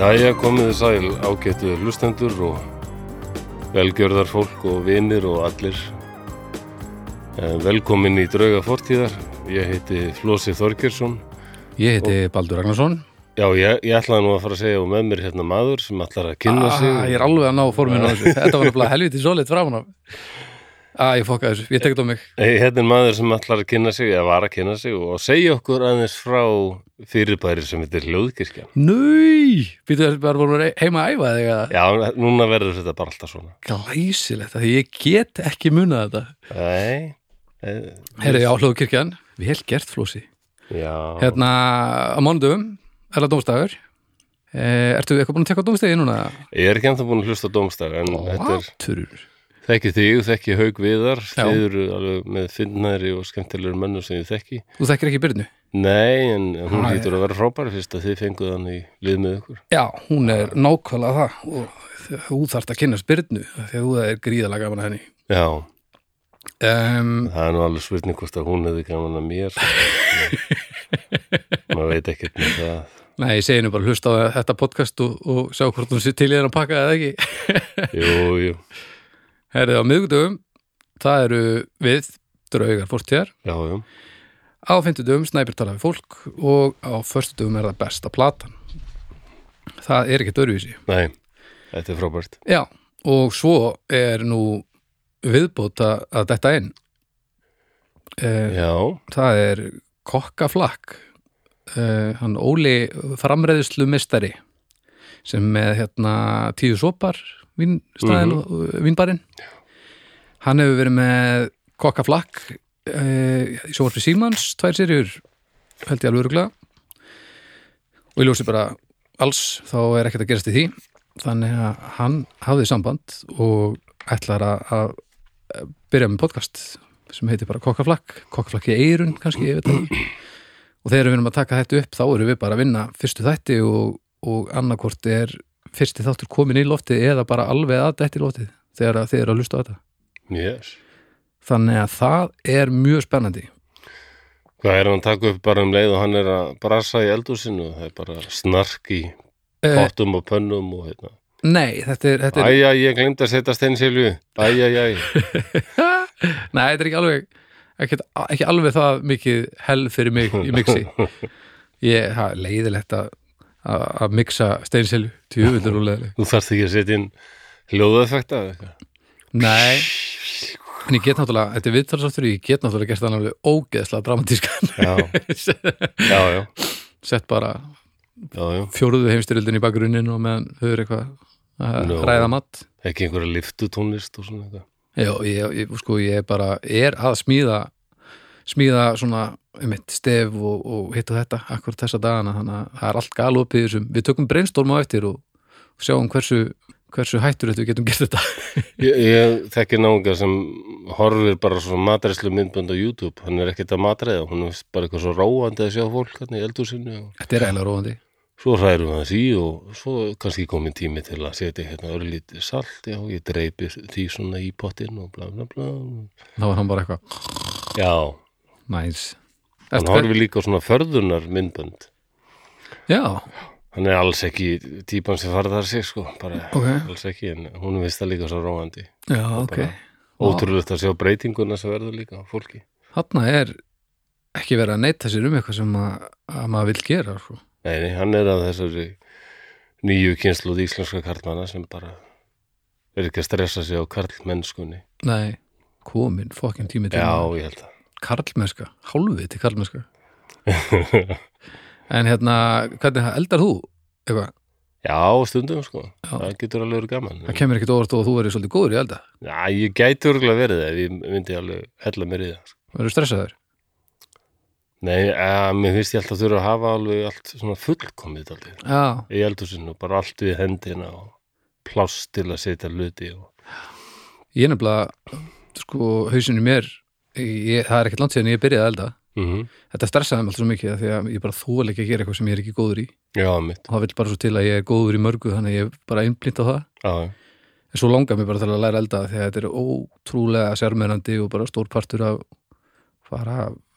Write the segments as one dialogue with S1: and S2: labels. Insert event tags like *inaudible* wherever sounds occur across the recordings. S1: Jæja, komið þið sæl ágættu hlustendur og velgjörðar fólk og vinir og allir. Eh, Velkomin í Drauga Fortíðar, ég heiti Flósi Þorgjörsson.
S2: Ég heiti Baldur Ragnarsson
S1: Já, ég, ég ætlaði nú að fara að segja og með mér hérna maður sem ætlar að kynna sig.
S2: ah, Ég er alveg að ná forminu á þessu Þetta var nefnilega helviti svolít framan á ah, Ég fokkaði þessu, ég tekið á mig
S1: Eh, Hérna er maður sem ætlar að kynna sig, eða var að kynna sig og segja okkur aðeins frá fyrirbæri sem heitir hljóðkirkja.
S2: Nöi, býtu þessu bara voru heima að æfa þig að
S1: Já, núna verður þetta bara alltaf svona.
S2: Glæsilegt, af því ég get ekki munað þetta
S1: Nei, eh,
S2: Herri, já, hlóðkirkjan, vel gert flósi
S1: já,
S2: Hérna, á mánudöfum, er það dómstafur eh, Ertu eitthvað búin að tekka á dómstegi núna?
S1: ég er ekki ennþá búin að hlusta á dómstar en þetta er
S2: Turur
S1: Þekki þig, þekki Haug Viðar,
S2: Já.
S1: þið eru alveg með finnæri og skemmtilegur mönnum sem ég þekki.
S2: Þú þekkir ekki Byrnu?
S1: Nei, en hún
S2: Nei.
S1: lítur að vera frábæri fyrst að þið fenguð hann í lið með ykkur.
S2: Já, hún er nákvæmlega það og þú þarft að kynnast Byrnu því að þú er gríðalega gaman að henni
S1: Já,
S2: um,
S1: það er nú alveg spurning hvort að hún hefði gaman að
S2: *laughs*
S1: mér. Maður veit ekkert með það.
S2: Nei, ég segi nú bara hlusta á þetta podcast og, og sjá hvort hún sér til í þeirra að pakka eða ekki.
S1: Jú, jú,
S2: Herðið á miðgudöfum, það eru við, draugar fórtíðar,
S1: já, jú.
S2: á fimmtudöfum snæpir tala við fólk og á förstudöfum er það besta platan. Það er ekkert öruvísi.
S1: Nei, þetta er frábært.
S2: Já, og svo er nú viðbóta að detta inn. Eh,
S1: Já,
S2: það er kokkaflakk, eh, hann Óli framreiðslu mistari sem með hérna tíu sopar vínstæðin mm og vínbarinn hann hefur verið með kokkaflakk eh, í sjóvarfi Símans, tvær serjur held ég alveg öruglega og ég ljósi bara alls þá er ekkert að gerast í því þannig að hann hafði samband og ætlar að, að eh, byrja með podcast sem heitir bara kokkaflakk, kokkaflakk í eirun kannski, ég veit það ekki. og þegar við erum að taka þetta upp þá erum við bara að vinna fyrstu þætti og, og annarkvort er fyrsti þáttur komin í loftið eða bara alveg að þetta í loftið þegar að þið eru að lusta á þetta
S1: yes.
S2: þannig að það er mjög spennandi
S1: Hvað er hann að taka upp bara um leið og hann er að brasa í eldúsinu? Það er bara snark í
S2: Eh.
S1: pottum og pönnum og hérna.
S2: nei, þetta er, þetta er,
S1: Æja, ég glemt að setja steinsilju Æja, æja,
S2: nei, þetta er ekki alveg ekki, ekki alveg það mikið hell fyrir mig í mixi ég, það er leiðilegt að að að mixa steinsilju til höfundur og leðileg
S1: þú þarft ekki að setja inn hljóðaeffekta eða eitthvað.
S2: Nei En ég get náttúrulega, þetta er viðtalsáttur Ég get náttúrulega gert hann alveg ógeðslega dramatískan *laughs*
S1: Já, já, já,
S2: Sett bara
S1: já, já
S2: fjóruðu heimstyrildin í bakgrunnin Og meðan þau eru eitthvað að
S1: Nú.
S2: ræða mat
S1: ekki einhverja liftutónlist og svona eitthvað
S2: Já, ég, ég, sko, ég bara er að smíða Smíða svona mitt stef og, og hitt og þetta Akkur þessa dagana, þannig að það er allt galopið í þessum Við tökum brainstorm á eftir og, og sjáum hversu, hversu hættur þetta við getum gert þetta *laughs*
S1: Ég, ég þekki náunga sem horfir bara svona matræslu myndbönd á YouTube hann er ekkert að matræða, hún er bara eitthvað svo róandi að sjá fólk hérna í eldúsinu og
S2: Þetta er eiginlega róandi
S1: svo hrærum það sí og svo er kannski komið tími til að setja hérna örlítið salt, já, ég dreipi því svona í pottinn og bla bla bla
S2: Þá var hann bara eitthvað,
S1: Já,
S2: næs
S1: hann
S2: Ertu-
S1: horfir líka á svona förðunar myndbönd
S2: Já,
S1: hann er alls ekki típan sem farðar sig sko, bara
S2: Ok.
S1: alls ekki en hún veist það líka svo róandi
S2: Já, ok.
S1: ótrúlegt að sjá breytinguna sem verður líka á fólki
S2: Þarna er ekki verið að neyta sér um eitthvað sem að, að maður vil gera. Sko.
S1: nei, nei, hann er af þessari nýju kynsluð íslenska karlmanna sem bara er ekki að stressa sig á karlmennskunni
S2: Nei, komin fokkin tími til
S1: já,
S2: að-
S1: ég held
S2: karlmennska, hálfið til karlmennska. *laughs*
S1: það
S2: En hérna, hvernig það eldar þú? Eitthvað,
S1: já, stundum sko
S2: Já.
S1: það getur alveg verið gaman
S2: það kemur ekkert óvart og þú verður svolítið góður í elda.
S1: já, ég gæti örgulega verið það ef ég myndi alveg hella mér í það sko.
S2: Verður stressaður?
S1: nei, að, mér finnst ég alltaf þurfa að hafa alveg allt svona fullkomið aldrei
S2: Já,
S1: í eldhúsinu, bara allt við hendina og pláss til að setja hluti og...
S2: ég er nefnilega, sko, hausinu mér, ég, það er ekkert langt síðan ég byrjaði að elda.
S1: mm
S2: Þetta stressaði mig alltaf svo mikið af því að ég bara þóla ekki að gera eitthvað sem ég er ekki góður í.
S1: Já, mitt
S2: Og það vil bara svo til að ég er góður í mörgu, þannig að ég bara einblínt á það.
S1: Já, já.
S2: en svo langar mér bara til að læra elda því að þetta er ótrúlega sérmennandi og bara stór partur af bara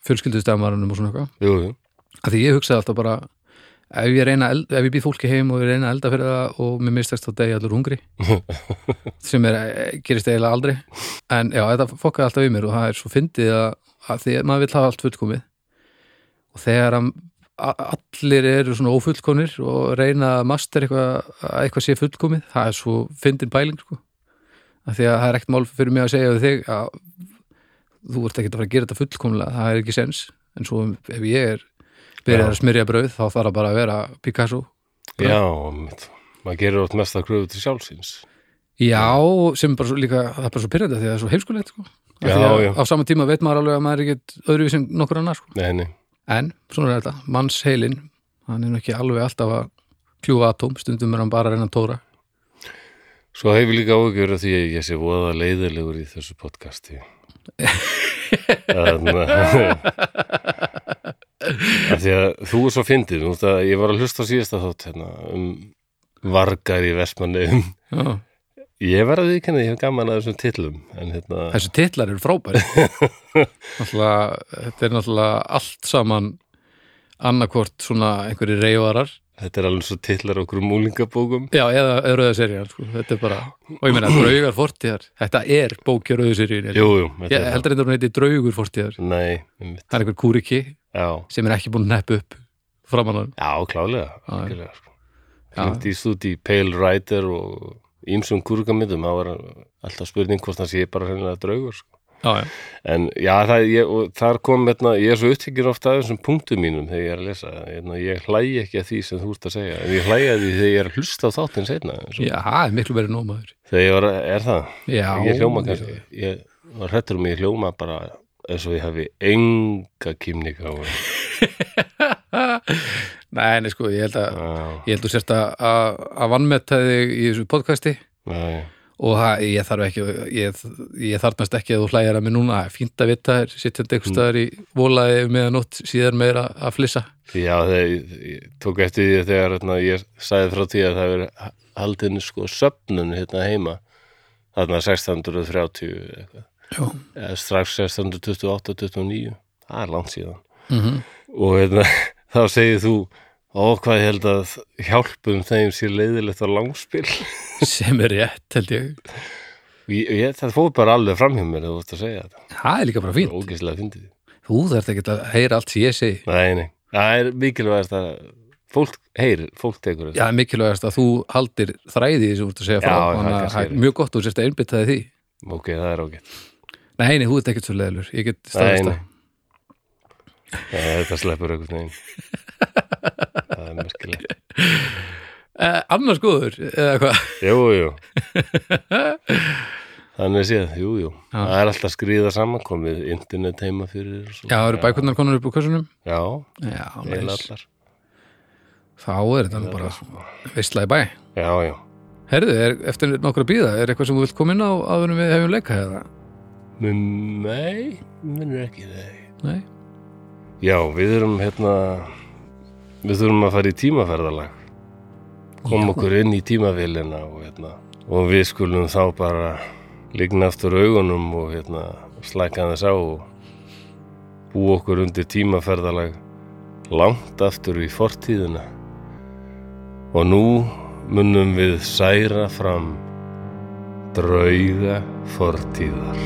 S2: fjölskyldustæðamarinnum og svona eitthvað
S1: jú, jú
S2: að því ég hugsaði alltaf bara ef ég, reyna, að elda- ef ég býð fólki heim og ég reyna að elda fyrir það og mér mistast þá degi allur hungri sem er, eh, gerist eiginlega aldrei en já, þetta fokkaði alltaf í mér og það er svo fyndið að, að því að maður vill hafa allt fullkomið og þegar að a- allir eru svona ófullkomnir og reyna að master eitthvað að eitthvað sé fullkomið, það er svo fyndin pæling sko, af því að það er ekkert mál fyrir mig að segja við þig að þú ert ekki að fara að gera þetta fullkomlega það er ekki sens, en svo ef ég er byrjað
S1: Já.
S2: að smyrja brauð þá þarf það bara að vera Picasso
S1: Já, mitt. maður gerir átt mesta kröfu til sjálfsins.
S2: Já, sem bara svo líka, það er bara svo pyrrandi því að það er svo heimskulegt sko. Af
S1: Já,
S2: því að
S1: já.
S2: Á sama tíma veit maður alveg að maður er ekkert öðruvísi en nokkur annar sko.
S1: Nei, nei,
S2: En, svona er þetta, manns heilin hann er nú ekki alveg alltaf að kljúfa atóm, stundum er hann bara að reyna að tóra
S1: svo hefur líka áhugjur að því að ég sé voða leiðilegur í þessu podcasti. Þannig að því að þú er svo fyndið, þú veist að ég var að hlusta á síðasta þátt hérna um vargar í Vestmanneum.
S2: já.
S1: Ég verði ekki henni, ég hef gaman að þessum titlum, en hérna...
S2: Þessu titlar eru frábæri
S1: *laughs*
S2: Náttúrulega, þetta er náttúrulega allt saman annarkvort svona einhverju reyvarar
S1: Þetta er alveg svo tillar okkur múlingabókum.
S2: Já, eða eða rauða serían sko. Þetta er bara, og ég meina, draugar fortíðar Þetta er bókja rauðu seríun
S1: Jú, jú, þetta
S2: Ég
S1: er
S2: heldur þetta hún heiti draugur fortíðar
S1: það. Nei, einmitt.
S2: Það er einhver kúriki
S1: Já,
S2: sem er ekki búin að neppu upp framan hann
S1: já, klálega.
S2: Já, já.
S1: algjörlega, sko. Hringdi í stúti Pale Rider og ímsum kúrgamindum, það var alltaf spurning hvort það sé bara hreinlega draugur, sko.
S2: já, já.
S1: En já, það, ég, og þar kom, hérna, ég er svo upptekir ofta af þessum punktum mínum þegar ég er að lesa. Hérna, ég hlægi ekki að því sem þú ert að segja, en ég hlægi að því þegar ég er að hlusta á þáttinn seinna. Svo,
S2: já, það er miklu verið nómaður
S1: Þegar ég var, að- er það?
S2: já,
S1: ég hljóma kannski, ég var hrettur um að ég hljóma bara eins og ég hafi enga kýmning á henni.
S2: *laughs* nei, nei, sko, ég held að
S1: Já,
S2: ég held að sérst að- að að vannmetta þig í þessu podcasti
S1: já, já.
S2: og það, ég þarf ekki ég, ég þarnast ekki að þú hlægir að mér núna það er fínt að vita þér, sittjandi
S1: Mm.
S2: einhvers staðar í volaði meðan nótt síðar meira að flissa
S1: Já, þegar ég, ég tók eftir því þegar hérna, ég sagði frá því að það veri haldin sko söfnun hérna heima þarna 1630 eða eitthvað.
S2: já,
S1: eða strax 1628-29 það er langt síðan
S2: mm
S1: og hérna, *laughs* þá segir þú ó hvað ég held að hjálpum þeim sér leiðilegt á langspil *laughs*
S2: sem er rétt held ég
S1: ég, ég, það fór bara alveg framhjum mér þú vart að segja þetta,
S2: það er líka bara fínt,
S1: ógæslega fyndið
S2: þú þarft ekki að heyra allt sem ég segi
S1: Nei, nei, það er mikilvægast að fólk heyrir, fólk tekur þetta
S2: Já, mikilvægast að þú haldir þræði sem þú ert að segja frá,
S1: Já, það er
S2: þannig að
S1: kannski
S2: það er
S1: rétt.
S2: mjög gott og sérst að einbyttaði því.
S1: ok, það er ok
S2: Nei, nei, þú ert ekkert svo leðlur, ég get
S1: Nei,
S2: staðist
S1: nei.
S2: það.
S1: Nei, þetta sleppur einhvern veginn Það er merkilegt
S2: Eh, annars góður, eða hvað?
S1: Jú, jú Þannig séð, jú, jú Það er alltaf skrýða samankomið internet heima fyrir og svo.
S2: Já, það eru bækurnar konar upp úr kössunum.
S1: Já,
S2: Já,
S1: eiginlega
S2: næs.
S1: allar
S2: Þá er þetta nú bara veistla í bæ.
S1: Já, já
S2: Herðu, er, eftir nokkra bíða, er eitthvað sem þú vilt koma inn á aðurum við hefum leika eða?
S1: Men, Nei, minnur ekki þeir
S2: Nei?
S1: Já, við erum hérna Við þurfum að fara í tímaferðalag Kom okkur inn í tímavélina og hérna Og við skulum þá bara Ligna aftur augunum og hérna Slæka þess á og Bú okkur undir tímaferðalag Langt aftur í fortíðina Og nú munum við særa fram Drauga fortíðar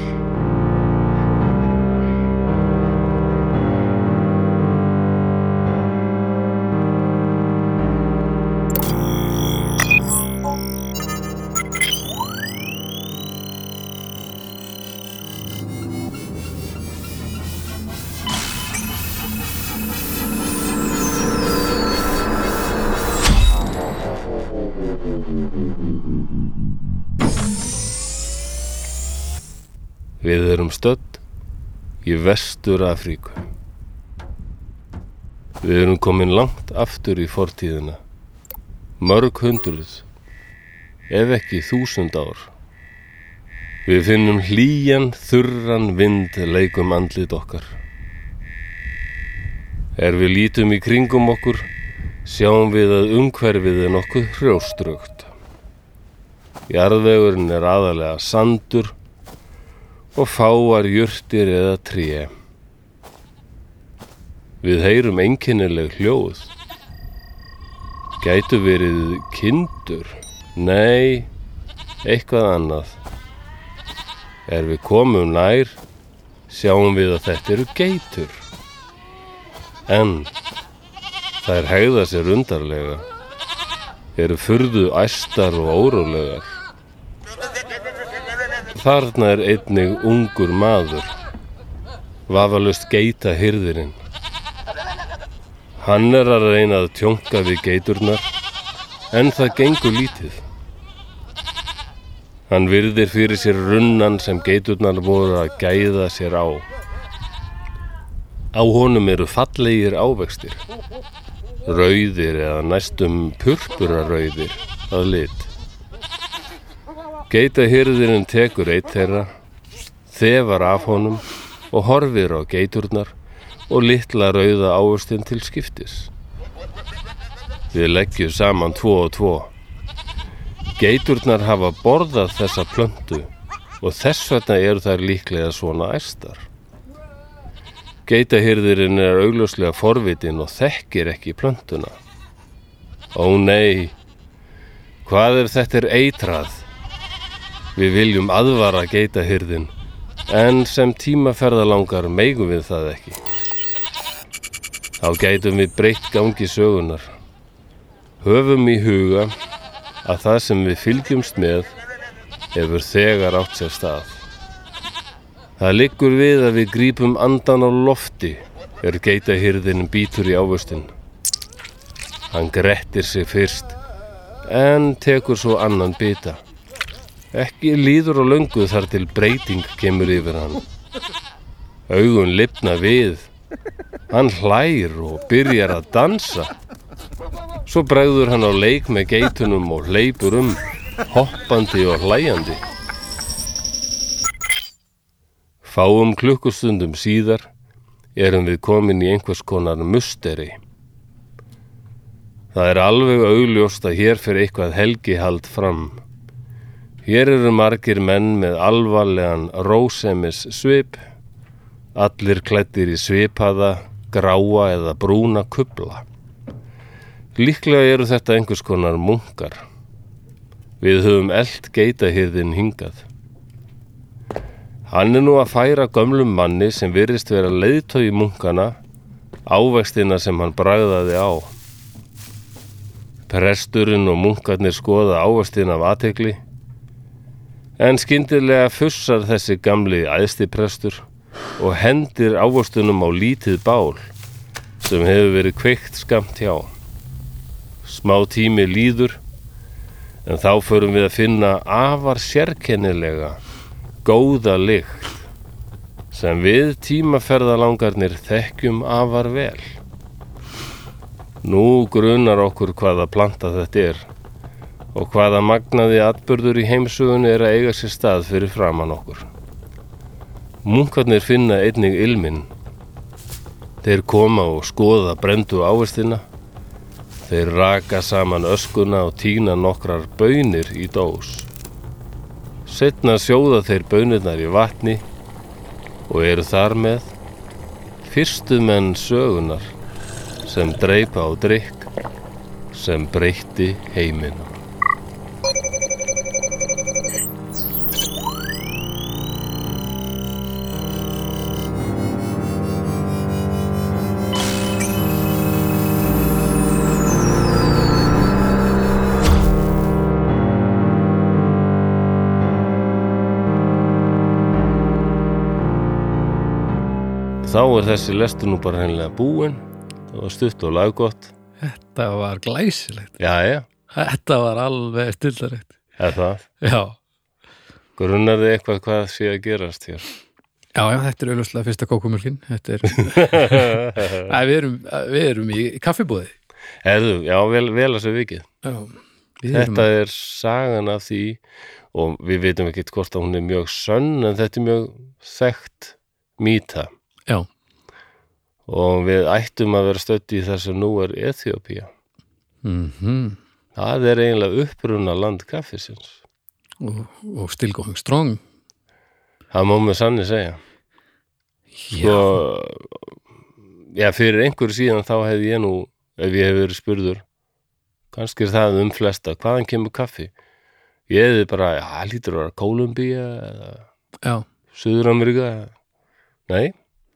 S1: Við erum stödd í Vestur Afríku. Við erum komin langt aftur í fortíðina. Mörg hundruð, ef ekki þúsund ár. Við finnum hlýjan, þurran vind leikum andlit okkar. Er við lítum í kringum okkur, sjáum við að umhverfið er nokkuð hrjóströgt. Jarðvegurinn er aðalega sandur og fáar jurtir eða tré. Við heyrum einkennileg hljóð. Gætu verið kindur? Nei, eitthvað annað. Er við komum nær, sjáum við að þetta eru geitur. En þær hegða sér undarlega, eru furðu æstar og órólegar. Þarna er einnig ungur maður, vafalust geita hyrðirinn. Hann er að reyna að tjónka við geiturnar, en það gengur lítið. Hann virðir fyrir sér runnan sem geiturnar voru að gæða sér á. Á honum eru fallegir ávextir, rauðir eða næstum purpurarauðir að lit. Geitahyrðirinn tekur eitt þeirra, þefar af honum og horfir á geiturnar og litla rauða ávöxtin til skiptis. Við leggjum saman tvo og tvo. Geiturnar hafa borðað þessa plöntu og þess vegna eru þær líklega svona æstar. Geitahyrðirinn er augljóslega forvitin og þekkir ekki plöntuna. Ó nei, hvað er þetta er eitrað? Við viljum aðvara geitahyrðin, en sem tímaferðalangar meigum við það ekki. Þá gætum við breytt gangi sögunar. Höfum í huga að það sem við fylgjumst með hefur þegar átt sér stað. Það liggur við að við grípum andan á lofti er geitahyrðin bítur í ávöstin. Hann grettir sig fyrst en tekur svo annan bita. Ekki líður og löngu þar til breyting kemur yfir hann. Augun lifna við Hann hlær og byrjar að dansa. Svo bregður hann á leik með geitunum og hleypur um, hoppandi og hlæjandi. Fáum klukkustundum síðar erum við komin í einhvers konar musteri. Það er alveg augljóst að hér fyrir eitthvað helgihald fram. Hér eru margir menn með alvarlegan rósemis svip Allir klættir í svipaða, gráa eða brúna kubla. Líklega eru þetta einhvers konar munkar. Við höfum eld geitahyrðin hingað. Hann er nú að færa gömlum manni sem virðist vera leiðtói munkana ávegstina sem hann bræðaði á. Presturinn og munkarnir skoða ávegstina af aðtegli en skyndilega fussar þessi gamli æðstiprestur og hendir ávostunum á lítið bál sem hefur verið kveikt skamt hjá. Smá tími líður en þá förum við að finna afar sérkennilega góða lykt sem við tímaferðalangarnir þekkjum afar vel. Nú grunar okkur hvaða planta þetta er og hvaða magnaði atbörður í heimsugun er að eiga sér stað fyrir framann okkur. Munkarnir finna einnig ilminn. Þeir koma og skoða brendu ávistina. Þeir raka saman öskuna og týna nokkrar bönir í dós. Setna sjóða þeir bönirnar í vatni og eru þar með fyrstu menn sögunar sem dreipa á drikk sem breytti heiminn. Þá er þessi lestur nú bara hennilega búin og stutt og laggott.
S2: Þetta var glæsilegt.
S1: Jæja,
S2: Þetta var alveg stillaregt.
S1: er það.
S2: Já.
S1: Grunnar þið eitthvað hvað sé að gerast hér?
S2: Já, já, þetta er auðvitað fyrsta kókumjölkin. Þetta er,
S1: *laughs*
S2: Æ, við, erum, við erum í kaffibóði.
S1: Herðu, já, vel, vel að þessu vikið.
S2: Já, við erum,
S1: Þetta er sagan af því og við veitum ekki hvort að hún er mjög sönn en þetta er mjög þekkt mýta
S2: já,
S1: og við ættum að vera stödd í þess að nú er Ethiopía.
S2: mm
S1: Það er eiginlega uppruna land kaffisins.
S2: og, og still going strong.
S1: Það má með sannig segja.
S2: Já,
S1: sko, já, fyrir einhverju síðan þá hefði ég nú, ef ég hef verið spurður kannski er það um flesta, hvaðan kemur kaffi ég hefði bara, já, lítur að vera Kólumbía eða
S2: já,
S1: Suður-Ameríka nei,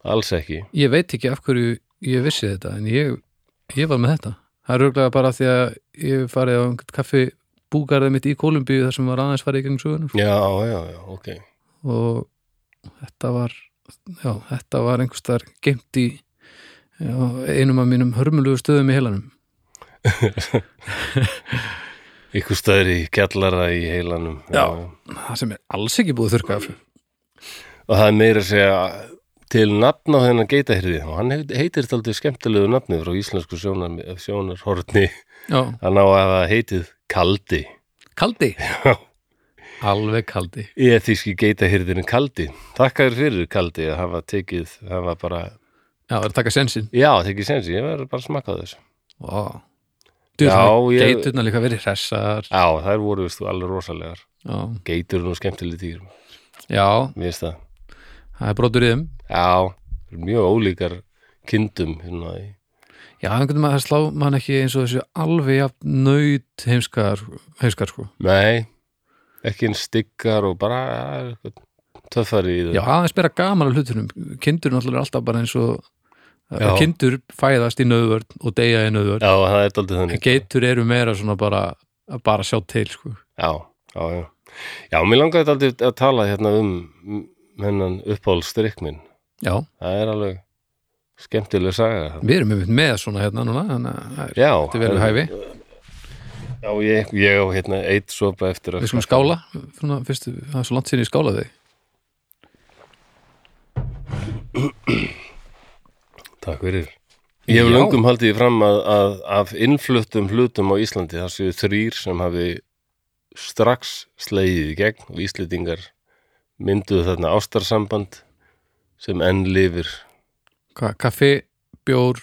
S1: alls ekki
S2: ég veit ekki af hverju ég vissi þetta en ég, ég var með þetta það er örglega bara því að ég hef farið á einhvern kaffi búgarðið mitt í Kolumbíu þar sem var aðeins farið í gegnum söguna sko.
S1: já, já, já, ok
S2: og þetta var já, þetta var einhvers þar geimt í já, einum af mínum hörmulugu stöðum í heilanum
S1: ykkur stöður í kjallara í heilanum
S2: Já. það sem er alls ekki búið þurrka af
S1: og það er meira að segja til nafn á þennan geitahyrði og hann heit- heitir þetta aldrei skemmtilegu nafni frá íslensku sjónar, sjónarhorni
S2: já,
S1: hann á að hafa heitið Kaldi
S2: kaldi
S1: Já.
S2: alveg kaldi
S1: eðíski geitahyrðinu Kaldi þakka þér fyrir Kaldi að hafa tekið hafa bara,
S2: já, það er að taka sensin
S1: já tekið sensi ég verður bara að smakka á þessu
S2: Vá.
S1: Já,
S2: Djöfull,
S1: ég-
S2: geiturnar líka verið hressar
S1: já þær voru veist þú alveg rosalegar
S2: já,
S1: geitur eru nú skemmtileg dýr
S2: já
S1: mér finnst það
S2: það er brotur í þeim
S1: já mjög ólíkar kindum hérna í
S2: Já, einhvern veginn að slá mann ekki eins og þessu alveg jafn nöyt heimskar, heimskar sko.
S1: Nei, ekki einn styggar og bara ja, eitthvað töffari í þau.
S2: Já, aðeins meira gaman af hlutunum. Kindur náttúrulega er alltaf bara eins og eh,
S1: Já.
S2: kindur fæðast í nöðvörn og deyja í nöðvörn.
S1: já, það er daldið þannig.
S2: Geitur eru meira svona bara að bara sjá til sko.
S1: Já, já, já. Já, mér langaði daldið að tala hérna um m- hennan uppáhaldstrykk minn.
S2: Já,
S1: Það er alveg skemmtileg saga.
S2: við erum einmitt með svona hérna núna, þannig að það er-
S1: Já,
S2: þetta er vel við hæfi.
S1: Já, ég, ég á hérna eitt sopa eftir að... um-
S2: Við skulum skála, svona, fyrstu, það er svo langt sinni skála þig.
S1: Takk fyrir. Ég hef
S2: Já.
S1: löngum haldið því fram að, að af innfluttum hlutum á Íslandi það séu þrýr sem hafi strax slegið í gegn og Íslendingar mynduðu þarna ástarsamband sem enn lifir
S2: Hvað, kaffi, bjór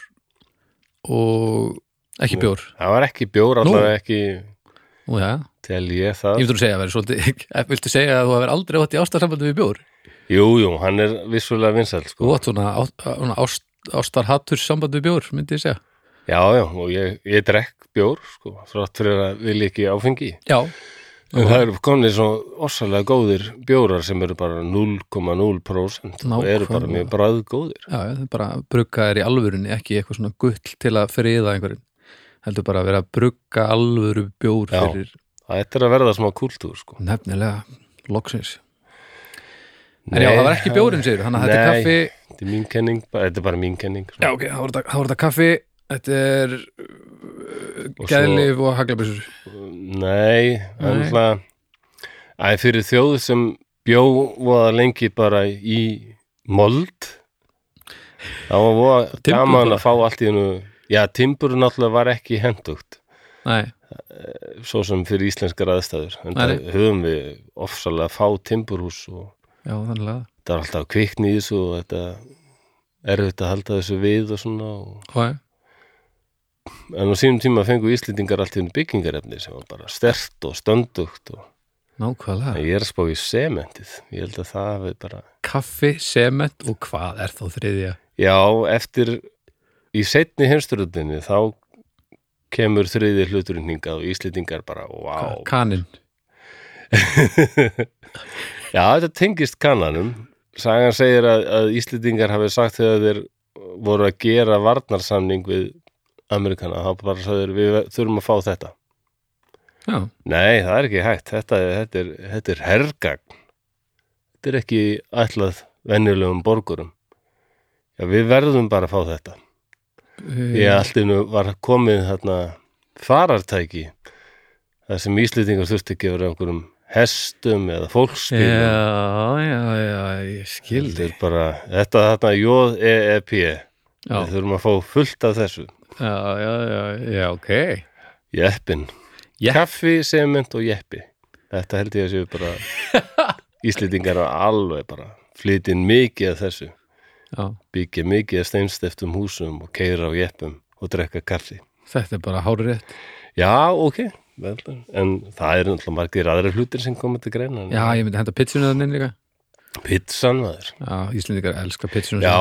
S2: og ekki bjór.
S1: það var ekki bjór,
S2: Nú.
S1: allavega ekki
S2: Nú, já,
S1: tel ég það
S2: ég myndur að segja að vera svolítið, *laughs* viltu segja að þú hefur aldrei átt í ástarsambandi við bjór?
S1: Jú, jú, hann er vissulega vinsæl
S2: Þú
S1: sko.
S2: átt svona, ást, svona ást, ástarhattur samband við bjór, myndi ég segja.
S1: Já, já, og ég, ég drekk bjór sko, þrátt fyrir að vilja ekki áfengi
S2: Já.
S1: En það eru komnið svo ossalega góðir bjórar sem eru bara 0,0% og eru bara
S2: Nákvæmlega.
S1: mjög bræðgóðir.
S2: Já, það er bara að brugga þær í alvörunni, ekki eitthvað svona gull til að friða einhverjum. Heldur bara að vera að brugga alvöru bjór
S1: Já.
S2: fyrir
S1: Þetta er að verða smá kultúr, sko.
S2: nefnilega loksins. En já, það var ekki bjórinn sigur, þannig að þetta er
S1: Nei.
S2: kaffi.
S1: Þetta er mín kenning, bara- þetta er bara mín kenning. sko.
S2: Já, ok, þá var þetta- þá var þetta kaffi, þetta er
S1: Og svo-
S2: gæðlif og haglabissur.
S1: Nei,
S2: Nei.
S1: en það, æ, fyrir þjóðu sem bjó voða lengi bara í mold, það var voða
S2: Timbur
S1: gaman
S2: bara.
S1: að fá allt í hennu, já, timbur náttúrulega var ekki hendugt,
S2: Nei,
S1: svo sem fyrir íslenskar aðstæður, en
S2: Nei,
S1: það
S2: nei.
S1: höfum við ofsalega fá timburhús og
S2: já, þannig að.
S1: þetta er alltaf kvikni í þessu og þetta er auðvitað að halda þessu við og svona og...
S2: Hvað?
S1: en á sínum tíma fengu Íslendingar allt í enn byggingarefni sem var bara stert og stöndugt og
S2: Nákvæmlega.
S1: en ég er að spá í sementið ég held að það við bara
S2: Kaffi, sement og hvað er þá þriðja?
S1: já, eftir í setni heimsturðinni þá kemur þriði hluturinn hingað og Íslendingar bara, wow
S2: Kaninn.
S1: já, þetta tengist kannanum sagan segir að, að Íslendingar hafi sagt þegar þeir voru að gera varnarsamning við Amerikana, þá bara sagður við þurfum að fá þetta
S2: Já,
S1: Nei, það er ekki hægt. Þetta, þetta, er, þetta er herrgagn. Þetta er ekki ætlað venjulegum borgurum. Já, við verðum bara að fá þetta.
S2: e,
S1: Í allinu var komið þarna farartæki þar sem Íslendingar þurfti ekki að vera einhverjum hestum eða
S2: Eh,
S1: fólkspílum.
S2: Já, já, já, ég skil
S1: Þetta
S2: þig.
S1: er bara, þetta þarna J-E-E-P.
S2: Já,
S1: Við þurfum að fá fullt af þessu.
S2: já, já, já, já, ok.
S1: Jeppin.
S2: Jepp.
S1: Kaffi, sement og jeppi. Þetta held ég að séu bara
S2: *laughs*
S1: Íslendingar að alveg bara flytja inn mikið af þessu.
S2: Já,
S1: Byggja mikið af steinsteftum húsum og keira á jeppum og drekka kaffi.
S2: þetta er bara hárið rétt.
S1: Já, ok. vel, En það er náttúrulega margir aðra hlutir sem koma til greina. en
S2: Já, ég myndi henda pitsunni þannig líka.
S1: Pizzan maður.
S2: Já, Íslendingar elska pitsunni.
S1: Já,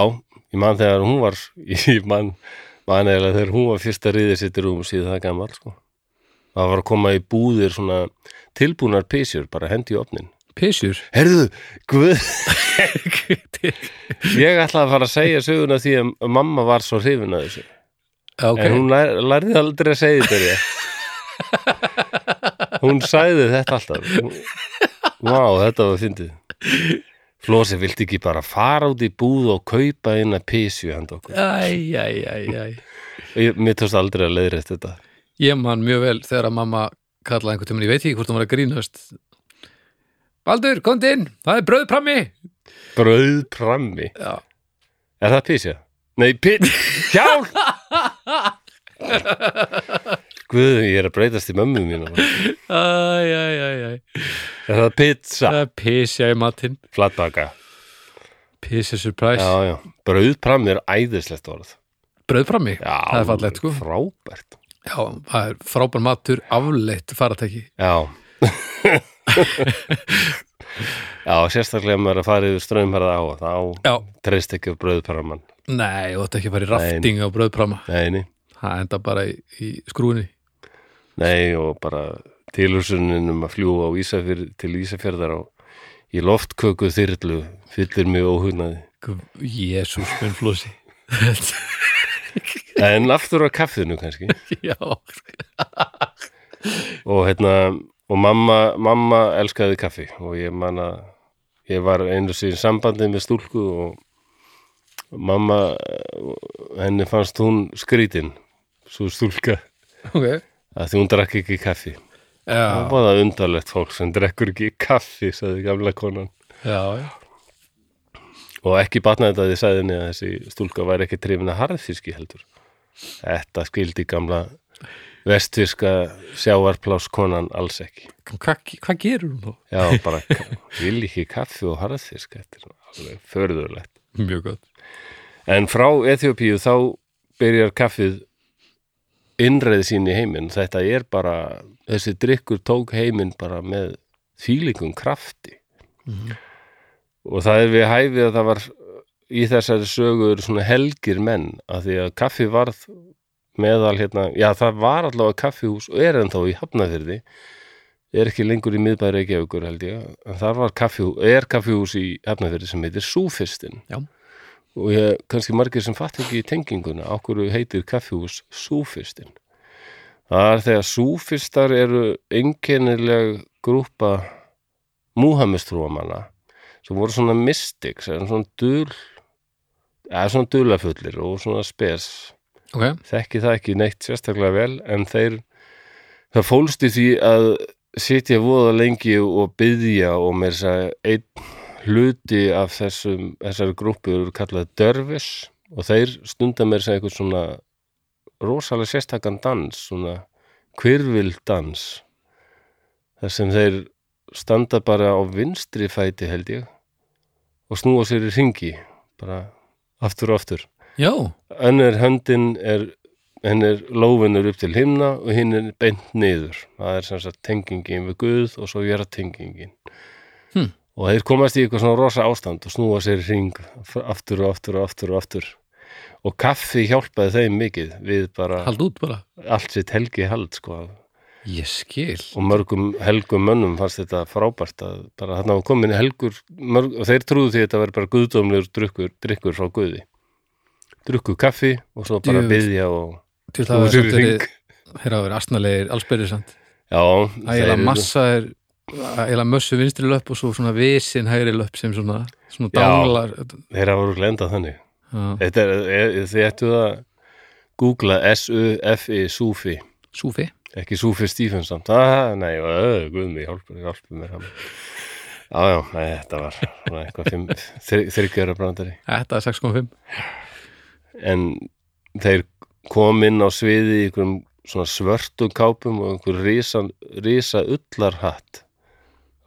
S1: ég man þegar hún *laughs* var, ég man, man eða þegar hún var fyrst að riðið sitt í rúm síðan það gammal, sko. það var að koma í búðir svona tilbúnar písjur, bara hendi í opnin *laughs*
S2: Pysjur
S1: Herðu, guð *laughs* Ég ætlaði að fara að segja söguna því að mamma var svo hrifin að þessu
S2: okay.
S1: En hún lær, lærði aldrei að segja þetta rétt Hún sagði þetta alltaf Hún- Vá, þetta var fyndið Flósi vildi ekki bara fara út í búð og kaupa eina písju handa okkur
S2: Æ, æ, æ, æ
S1: ég, Mér tókst aldrei að leiðrétt þetta
S2: Ég man mjög vel þegar að mamma kallaði einhvern tímann, ég veit ekki hvort hún var að grínast Baldur, komdu inn, það er bröðprammi
S1: Brauðprammi,
S2: Já,
S1: er það písja? Nei,
S2: *laughs*
S1: písja, hjálp Guð, ég er að breytast í mömmu mínu
S2: æ, æ, æ, æ
S1: Er það pizza?
S2: Það er písja í matinn,
S1: Flatbaka
S2: písja surprise
S1: Já, já, brauðprammi er æðislegt orð
S2: Bröðprammi,
S1: Já,
S2: það er fallegt sko
S1: Frábært
S2: Já, það er frábær matur, afleitt faratæki
S1: Já *laughs* Já, sérstaklega ef maður er að fara yfir strömmherða á þá
S2: Já,
S1: treyst ekki á brauðpramman
S2: nei, þú ætti ekki að fara í rafting á bröðpramma
S1: Nei, nei,
S2: Það enda bara í, í skrúinni
S1: nei og bara tilhugsunin um að fljúa á Ísafjörð til Ísafjörðar á í loftköku þyrlu fyllir mig óhugnaði
S2: Jésús, minn flósi
S1: en aftur á kaffinu kannski
S2: *laughs* Já,
S1: og hérna og mamma, mamma elskaði kaffi og ég man að ég var einu síðan sambandi með stúlku og mamma eh, henni fannst hún skrítin svo stúlka
S2: ok
S1: að því hún drakk ekki kaffi
S2: Já,
S1: það var það undarlegt fólk sem drekkur ekki kaffi sagði gamla konan
S2: já, já
S1: og ekki batnaði þetta að því sagði henni að þessi stúlka væri ekki trefin að harðfíski heldur þetta skildi gamla vestfíska sjáarpláskonan alls ekki
S2: Hvað hva gerur hún þá?
S1: Já, bara *laughs* vil ekki kaffi og harðfisk þetta er svona alveg förðurlegt
S2: Mjög gott.
S1: en frá Ethiopíu þá byrjar kaffið innreið sín í heiminn þetta er bara, þessi drikkur tók heiminn bara með þýlingum krafti
S2: Mhm.
S1: og það er við hæfið að það var í þessari sögur svona helgir menn að því að kaffi varð meðal hérna, já það var allavega kaffihús og er ennþá í Hafnafyrði er ekki lengur í miðbæri ekki aukur held ég, en þar var kaffihús er kaffihús í Hafnafyrði sem heitir Súfistin
S2: Já.
S1: og ég, kannski margir sem fatt ekki í tenginguna á hverju heitir kaffihús Súfistin það er þegar Súfistar eru einkennileg grúpa múhamistrúamanna sem voru svona mystics eða svona dul eða svona dulafullir og svona spes
S2: Ok,
S1: þekki það ekki neitt sérstaklega vel en þeir það fólst í því að sitja voða lengi og byðja og með þess að segja einn hluti af þessum, þessari grúpu eru kallað dörfis og þeir stunda með þess að segja eitthvað svona rosalega sérstakann dans svona kvirvildans þar sem þeir standa bara á vinstri fæti held ég og snúa sér í ringi bara aftur og aftur
S2: já,
S1: önnur höndin er henn er lófinur upp til himna og hinn er beint niður það er sem sagt tengingin við Guð og svo gera tengingin
S2: Hmm.
S1: og þeir komast í eitthvað svona rosa ástand og snúa sér í hring aftur og aftur og aftur og aftur og kaffi hjálpaði þeim mikið við bara
S2: hald út bara.
S1: allt sitt helgi hald sko
S2: Ég skil.
S1: og mörgum helgum mönnum fannst þetta frábært að bara þarna var komin helgur mörg, og þeir trúðu því að þetta verið bara guðdómlegur drukkur, drykkur frá guði drukku kaffi og svo bara
S2: Djöfull.
S1: byðja og
S2: Til það
S1: snúa
S2: var
S1: sér
S2: samt
S1: í ring
S2: verið, þeir hafa verið asnalegir, allsbyrðisand.
S1: já, þeir
S2: Ægilega
S1: eru-
S2: massa er, ægilega mössu vinstri löpp og svo svona visin hægri löpp sem svona, svona
S1: Já.
S2: dálar.
S1: þeir hafa voru glenda þannig
S2: Já,
S1: þetta er, er, þið ættu að googla S-U-F-I Súfi
S2: súfi.
S1: ekki Súfi Stífensson ah, nei, öð, guð mig, hjálpur, hjálpur mér hann já, já, nei, þetta var svona eitthvað fimm, þryr, þryggjara brandari
S2: Þetta er 6,5.
S1: en þeir kom inn á sviði í einhverjum svona svörtum kápum og einhver risa, risa ullarhatt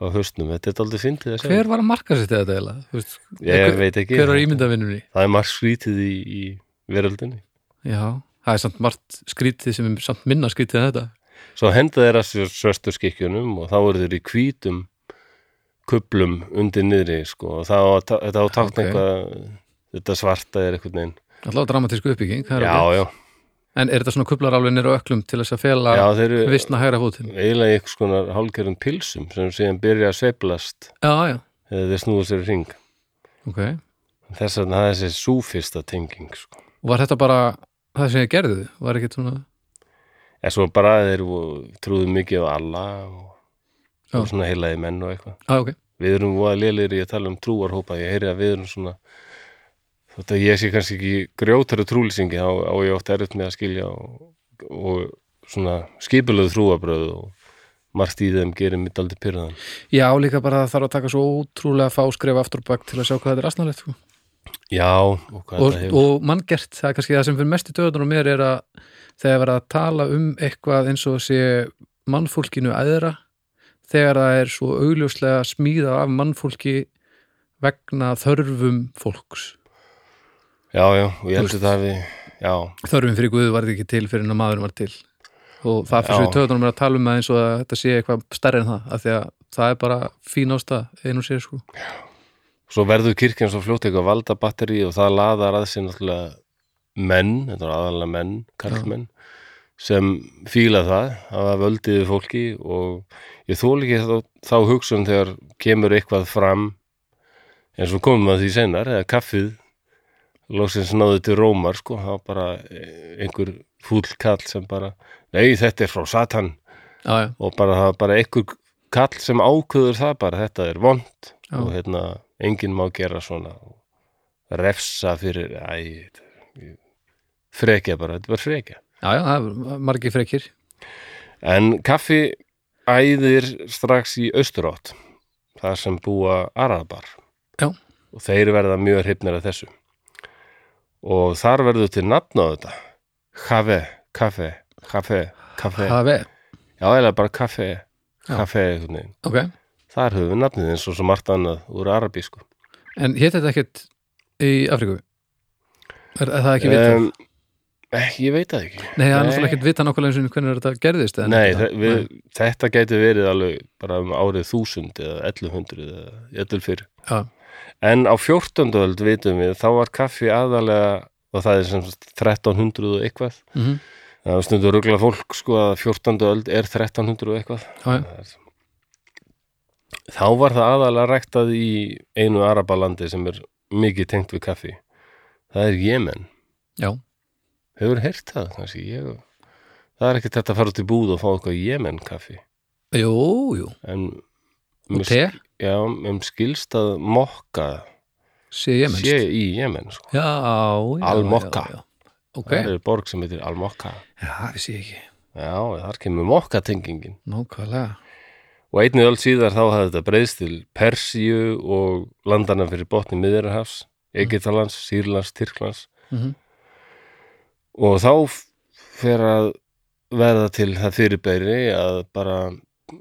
S1: á höstnum, þetta er aldrei fyndið að segja
S2: Hver var að marka sér þetta eiginlega? Þú veist,
S1: ég
S2: hver-
S1: veit ekki,
S2: Hver var ímyndavinnunni?
S1: það er margt skrítið í, í veröldinni
S2: Já, það er samt margt skrítið sem er samt minna skrítið en þetta.
S1: svo henda þeir að svörstu skikkjunum og þá eru þeir í hvítum kublum undir niðri sko, og það á, að ta- þetta á takt
S2: Ok.
S1: okay. eitthvað þetta svarta er eitthvað neginn
S2: Allá dramatísku uppbygging. það er
S1: já,
S2: ok.
S1: já,
S2: En er þetta svona kublarálfinir og öklum til þess að fela
S1: Já, þeir eru
S2: vissna hægra fótinn?
S1: eiginlega í einhvers konar hálgerðum pilsum sem síðan byrja að sveiflast
S2: Já, já,
S1: eða þeir snúa sér í ring.
S2: ok.
S1: Þess vegna það er þessi súfista tenging, sko.
S2: Og var þetta bara það sem ég gerði? Var ekkert svona...
S1: En svo bara þeir vo- trúðu mikið á Allah og,
S2: Já.
S1: og svona heilaði menn og eitthvað.
S2: Já, ok.
S1: Við erum voða lélir í að tala um trúarhópa, ég heyri að við erum svona, þótt að ég sé kannski ekki grjótara trúlýsingi, þá á ég oft erut með að skilja og, og svona skipulöðu trúabröðu og margt í þeim gerir mitt aldrei pyrraðan.
S2: Já, líka bara það þarf að taka svo ótrúlega fá skref aftur og bak til að sjá hvað þetta er asnalegt, sko.
S1: Já, og hvað
S2: og,
S1: þetta hefur.
S2: og manngert, það er kannski það sem fyrir mest í döðunum mér er að þegar verða að tala um eitthvað eins og sé mannfólkinu æðra þegar það er svo augljóslega smíða af mannfólki vegna þörfum fólks
S1: já, já, og ég
S2: Þú
S1: held
S2: veist.
S1: að það við, já,
S2: þörfum fyrir guðu var þetta ekki til fyrir en að maðurinn var til og það fyrir
S1: Já.
S2: svo í döðunum er að tala um það eins og að þetta sé eitthvað stærri en það af því að það er bara fín ásta einu sér sko
S1: svo verður kirkjan svo fljótt eitthvað valda batteri og það laðar að sér náttúrulega menn, þetta er aðalega menn, karlmenn, sem fíla það að það völdiði fólki og ég þól ekki þá, þá hugsun þegar kemur eitthvað fram eins og komum að því senar eða kaffið loksins náðu til rómar sko, það var bara eh, einhver fúll kall sem bara nei þetta er frá satan
S2: já, já,
S1: og bara það er bara einhver kall sem ákveður það bara þetta er vond
S2: Já.
S1: og hérna enginn má gera svona og refsa fyrir æ, þetta er- ég- frekja bara, þetta var frekja
S2: já, já það er margir frekir
S1: en kaffi æðir strax í austurátt þar sem búa arabar
S2: Já.
S1: og þeir verða mjög hrifnir af þessu og þar verður til nafn á þetta kaffe, kaffe, kaffe, kaffe
S2: það er,
S1: já, eða bara kaffe, kaffe einhvern veginn
S2: ok
S1: Þar höfum við nafnið eins og svo margt annað úr arabísku.
S2: En hétt þetta ekkert í Afríku? Er, er það ekki vitað?
S1: Em, eh, ég veit það
S2: nei, það er
S1: ekki. Um, nei.
S2: náttúrulega ekkert vitað nákvæmlega eins og hvernig þetta gerðist. en
S1: Nei,
S2: þetta-
S1: þe- við, þetta gæti verið alveg bara um árið 1000 eða 1100 eða jötul fyrr.
S2: Já,
S1: En á 14. öld vitum við, þá var kaffi aðalega og það er sem sagt 1300 og eitthvað.
S2: mm
S1: Það var stundur ruggla fólk sko að 14. öld er 1300 og eitthvað.
S2: já, já,
S1: Það er- Þá var það aðalega ræktað í einu arabalandi sem er mikið tengt við kaffi. Það er Jemen.
S2: já,
S1: Hefur heyrt það, kannski ég Það er ekki þetta að fara út í búð og fá eitthvað Jemen kaffi
S2: jú, jú,
S1: En
S2: og te,
S1: Já, um skilstað mokka
S2: sé ég mennst.
S1: sé í Jemen sko.
S2: Já, já,
S1: Al-Mokka.
S2: já, já. Ok,
S1: Það er borg sem heitir Al-Mokka
S2: já, við sé ekki,
S1: Já, þar kemur mokka tengingin
S2: nákvæmlega.
S1: Og einnig öll síðar þá hafði þetta breyðst til Persíu og landana fyrir botni Miðjarhafs, Egyptalands, Sýrlands, Tyrklands
S2: Mm
S1: og þá f- fer að verða til það fyrirbæri að bara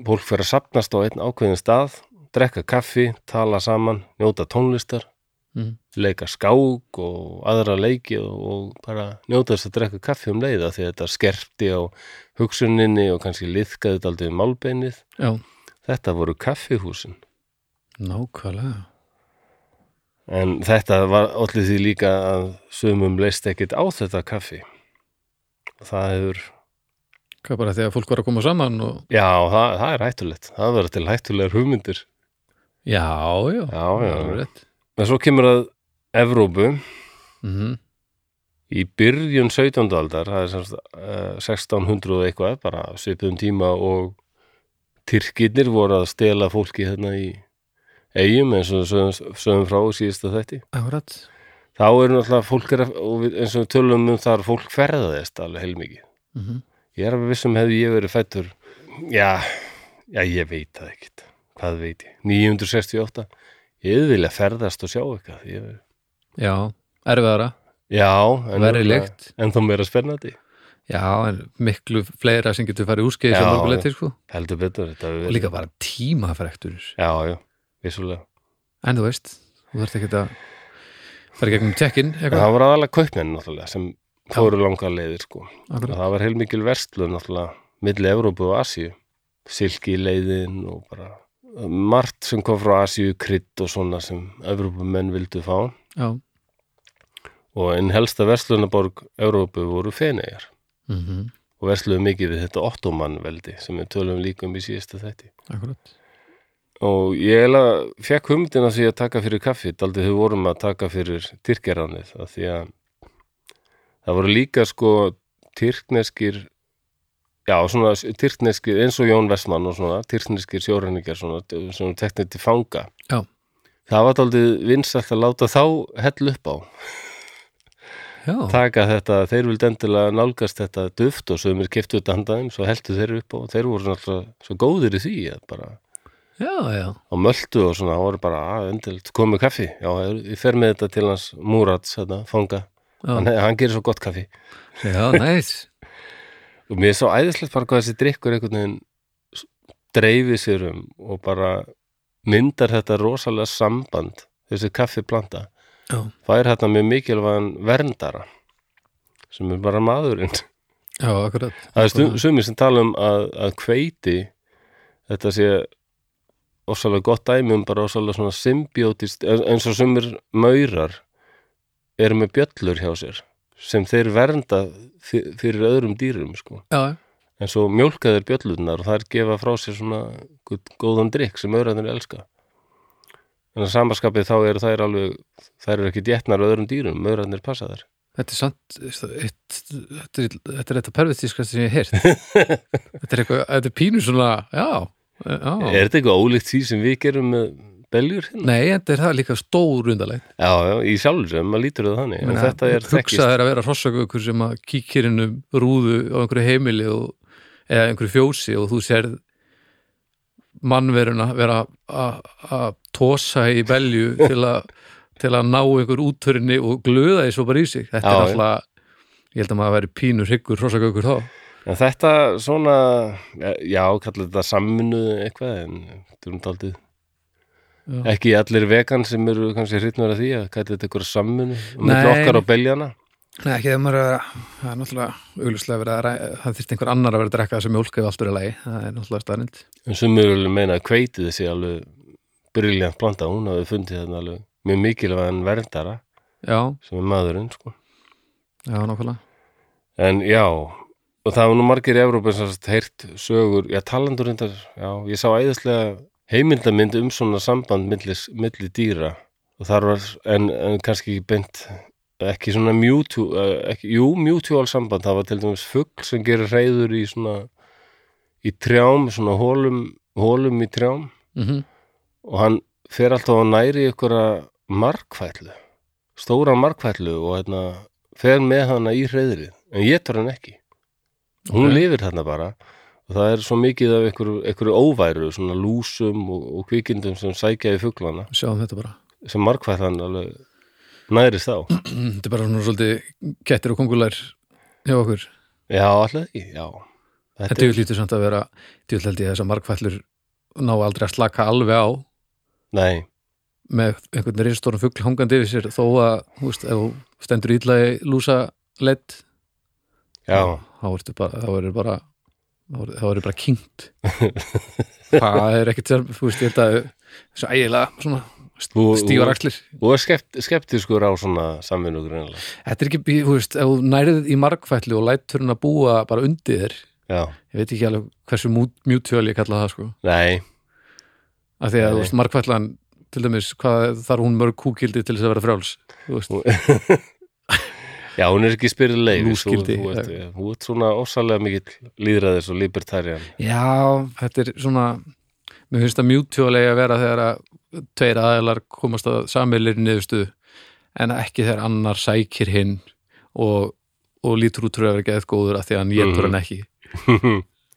S1: fólk fer að sapnast á einn ákveðin stað drekka kaffi, tala saman njóta tónlistar,
S2: Mhm.
S1: leika skák og aðra leiki og, og bara njóta þess að drekka kaffi um leiða því að þetta skerpti á hugsuninni og kannski liðkaði þetta aldrei um málbeinið
S2: Já,
S1: þetta voru kaffihúsin
S2: nákvæmlega.
S1: en þetta var allir því líka að sumum leist ekkit á þetta kaffi það hefur
S2: Hvað bara þegar fólk var að koma saman og,
S1: Já, það, það er hættulegt. Það verður til hættulegar hugmyndir.
S2: já, já,
S1: Já,
S2: alveg rétt.
S1: En svo kemur að Evrópu
S2: Mm
S1: í byrjun 17. aldar, það er semst uh, 1600 og eitthvað, bara svipum tíma og tyrkirnir voru að stela fólki hérna í eigum eins og sögum, sögum frá síðasta þetti.
S2: Akkurat,
S1: Þá eru náttúrulega fólk, er að, og við- eins og við tölum um þar, fólk ferðaðist alveg heilmikið.
S2: mm
S1: Ég er alveg vissum hefði ég verið fættur, já, já, ég veit það ekkit, hvað veit ég, 968, ég vil að ferðast og sjá eitthvað. Ég,
S2: já, erfiðara,
S1: já, en,
S2: verið leikt.
S1: en þá meira spennandi,
S2: Já, en miklu fleira sem getur farið úrskeið sem
S1: Já,
S2: mörgu
S1: já.
S2: leti, sko.
S1: heldur betur þetta. hefur
S2: Og
S1: verið-
S2: líka bara tímafrektur.
S1: Já, já, vissulega.
S2: En þú veist, þú þarft ekki að fara í gegnum tjekkin,
S1: En
S2: eitthvað.
S1: það voru aðalega kaupmenn náttúrulega sem fóru langar leiðir sko. Og
S2: Akkurat.
S1: það var heilmikil verstlun náttúrulega milli Evrópu og Asíu, silki leiðin og bara uh, margt sem kom frá Asíu, krydd og svona sem Evrópumenn vildu fá.
S2: Já,
S1: og einn helsta verslunaborg Európu voru Feneyjar
S2: mm -hmm.
S1: og versluðu mikið við þetta ottomanveldi sem við tölum líka um í síðasta þætti
S2: akkurat
S1: og ég eiginlega fekk humdina því að taka fyrir kaffi daldi þau vorum að taka fyrir tyrkjaránið af því að það voru líka sko tyrkneskir já svona tyrkneskir eins og Jón Vestmann og svona tyrkneskir sjóræningar svona sem voru teknir til fanga
S2: Já.
S1: það var daldi vinsalt að láta þá hell upp á
S2: Já,
S1: taka þetta, þeir vildi endilega nálgast þetta duft og sögumir keftu þetta handaðum svo heldu þeir upp og þeir voru náttúrulega svo góðir í því að bara
S2: já, já
S1: á möltu og svona, það voru bara að endilt komið kaffi, já, ég fer með þetta til hans Múrats, þetta, fanga
S2: Já.
S1: hann, hann gerir svo gott kaffi
S2: Já, næs
S1: og mér er svo æðislegt bara hvað þessi drikkur einhvern veginn s- dreifir sér um og bara myndar þetta rosalega samband þessi kaffiplanta
S2: Já,
S1: fær þetta mjög mikilvægan verndara sem er bara maðurinn
S2: já, akkurat
S1: Það er stu- sumir sem tala um að, að kveiti þetta sé ósalega gott dæmi um bara ósalega svona symbiótist en- eins og sumir maurar eru með bjöllur hjá sér sem þeir vernda fyr- fyrir öðrum dýrum sko.
S2: Já,
S1: en svo mjólka þeir bjöllurnar og þær gefa frá sér svona einhvern góðan drikk sem maurarnir elska en að samaskapið þá eru þær alveg þær eru ekki djettnar öðrum dýrum maurarnir passa þær
S2: þetta er samt eitt, þetta, er, þetta er þetta pervertíska sko, sem ég
S1: *laughs*
S2: hef heyrt þetta, er eitthvað, þetta er pínu svona Já, já
S1: Er þetta eitthvað ólíkt því sem við gerum með beljur hérna?
S2: Nei, þetta er það líka stór undalegt
S1: Já, já, í sjálfur sem maður lítur það þannig en þetta er
S2: Hugsa þeir að vera hrossagökur sem að kíkir inn um rúðu á einhverju heimili og, eða einhverju fjósi og þú serð mannveruna vera að- að tósa í *laughs* belju til að til að ná einhver úttörinni og glöða því svo bara í sig þetta
S1: Já,
S2: er
S1: já.
S2: alltaf, ég held að maður veri pínur hryggur hrossagökur þá
S1: en þetta svona, já, kallar þetta samminu eitthvað en þetta er um taldið
S2: Já.
S1: ekki allir vegan sem eru kannski hrytnar að því að kallar þetta eitthvað samminu og
S2: Nei.
S1: með okkar og beljana
S2: Nei, ekki þegar maður er að, það er náttúrulega augljuslega verið að, ræ- það þyrst einhver annar að vera að drekka þessi mjólk ef allt er í lagi, það er náttúrulega staðnind.
S1: en sumur vil meina að kveitið þessi alveg briljant blanda, hún hafi fundið þetta alveg mjög mikilvægan verndara
S2: Já,
S1: sem er maðurinn, sko
S2: já, nákvæmlega.
S1: En já, og það var nú margir í Evrópa sem sagt heyrt sögur, já talandur reyndar, já, ég sá æðislega heimildamind um svona samband milli, milli dýra og þar var, en, en kannski ekki beint, ekki svona mutual, eh, ekki, jú, mutual samband, það var til dæmis fugl sem gerir reyður í svona, í trjám, svona hólum, hólum í trjám
S2: Mm -hmm.
S1: og hann fer alltaf að næri ykkur markfællu, stóra markfællu og hérna, fer með hana í hreyðrið, en ég tóra hann ekki hún
S2: Ok.
S1: lifir þarna bara og það er svo mikið af ykkur, ykkur óværu svona lúsum og, og kvikindum sem sækja í fuglana,
S2: Sjáum þetta bara.
S1: sem markfællan alveg nærist á
S2: Mm, Þetta er bara svona svolítið kettir og kongulær hjá okkur.
S1: já, alltaf ekki, já
S2: Þetta, þetta er lítið samt að vera, þetta held ég þess að margfællur ná aldrei að slaka alveg á
S1: nei,
S2: með einhvern reyndstórum fugl hangandi yfir sér þó að, þú veist, ef þú stendur illa í lúsa lett,
S1: já,
S2: þá ertu bara, þá verður bara þá verður- þá verður bara *laughs* kynnt það er ekkert sem, þú veist, ég held að þessu ægilega svona
S1: Þú- þú-
S2: stívar axlir
S1: og er skept, skeptiskur á svona samvinnu greinlega,
S2: þetta er ekki, þú veist, ef þú nærið í margfætlu og lætur hún að búa bara undir þér
S1: já,
S2: ég veit ekki alveg hversu mú- mutual ég kalla það, sko
S1: nei
S2: af því að,
S1: Nei.
S2: þú veist, margfætlan til dæmis, hvað þarf hún mörg kúkildi til þess að vera frjáls, þú veist
S1: Já, hún er ekki spyrðið leið svo,
S2: Lúskildi,
S1: þú, ert, þú ert svona ósalega mikill líðræðis og libertarian *laughs*
S2: Já, þetta er svona mér finnst það mjútjólega að vera þegar að tveir aðeilar komast að samilir niðurstu en ekki þegar annar sækir hinn og, og lítur út trúið að vera geðið góður að því að hann getur hann ekki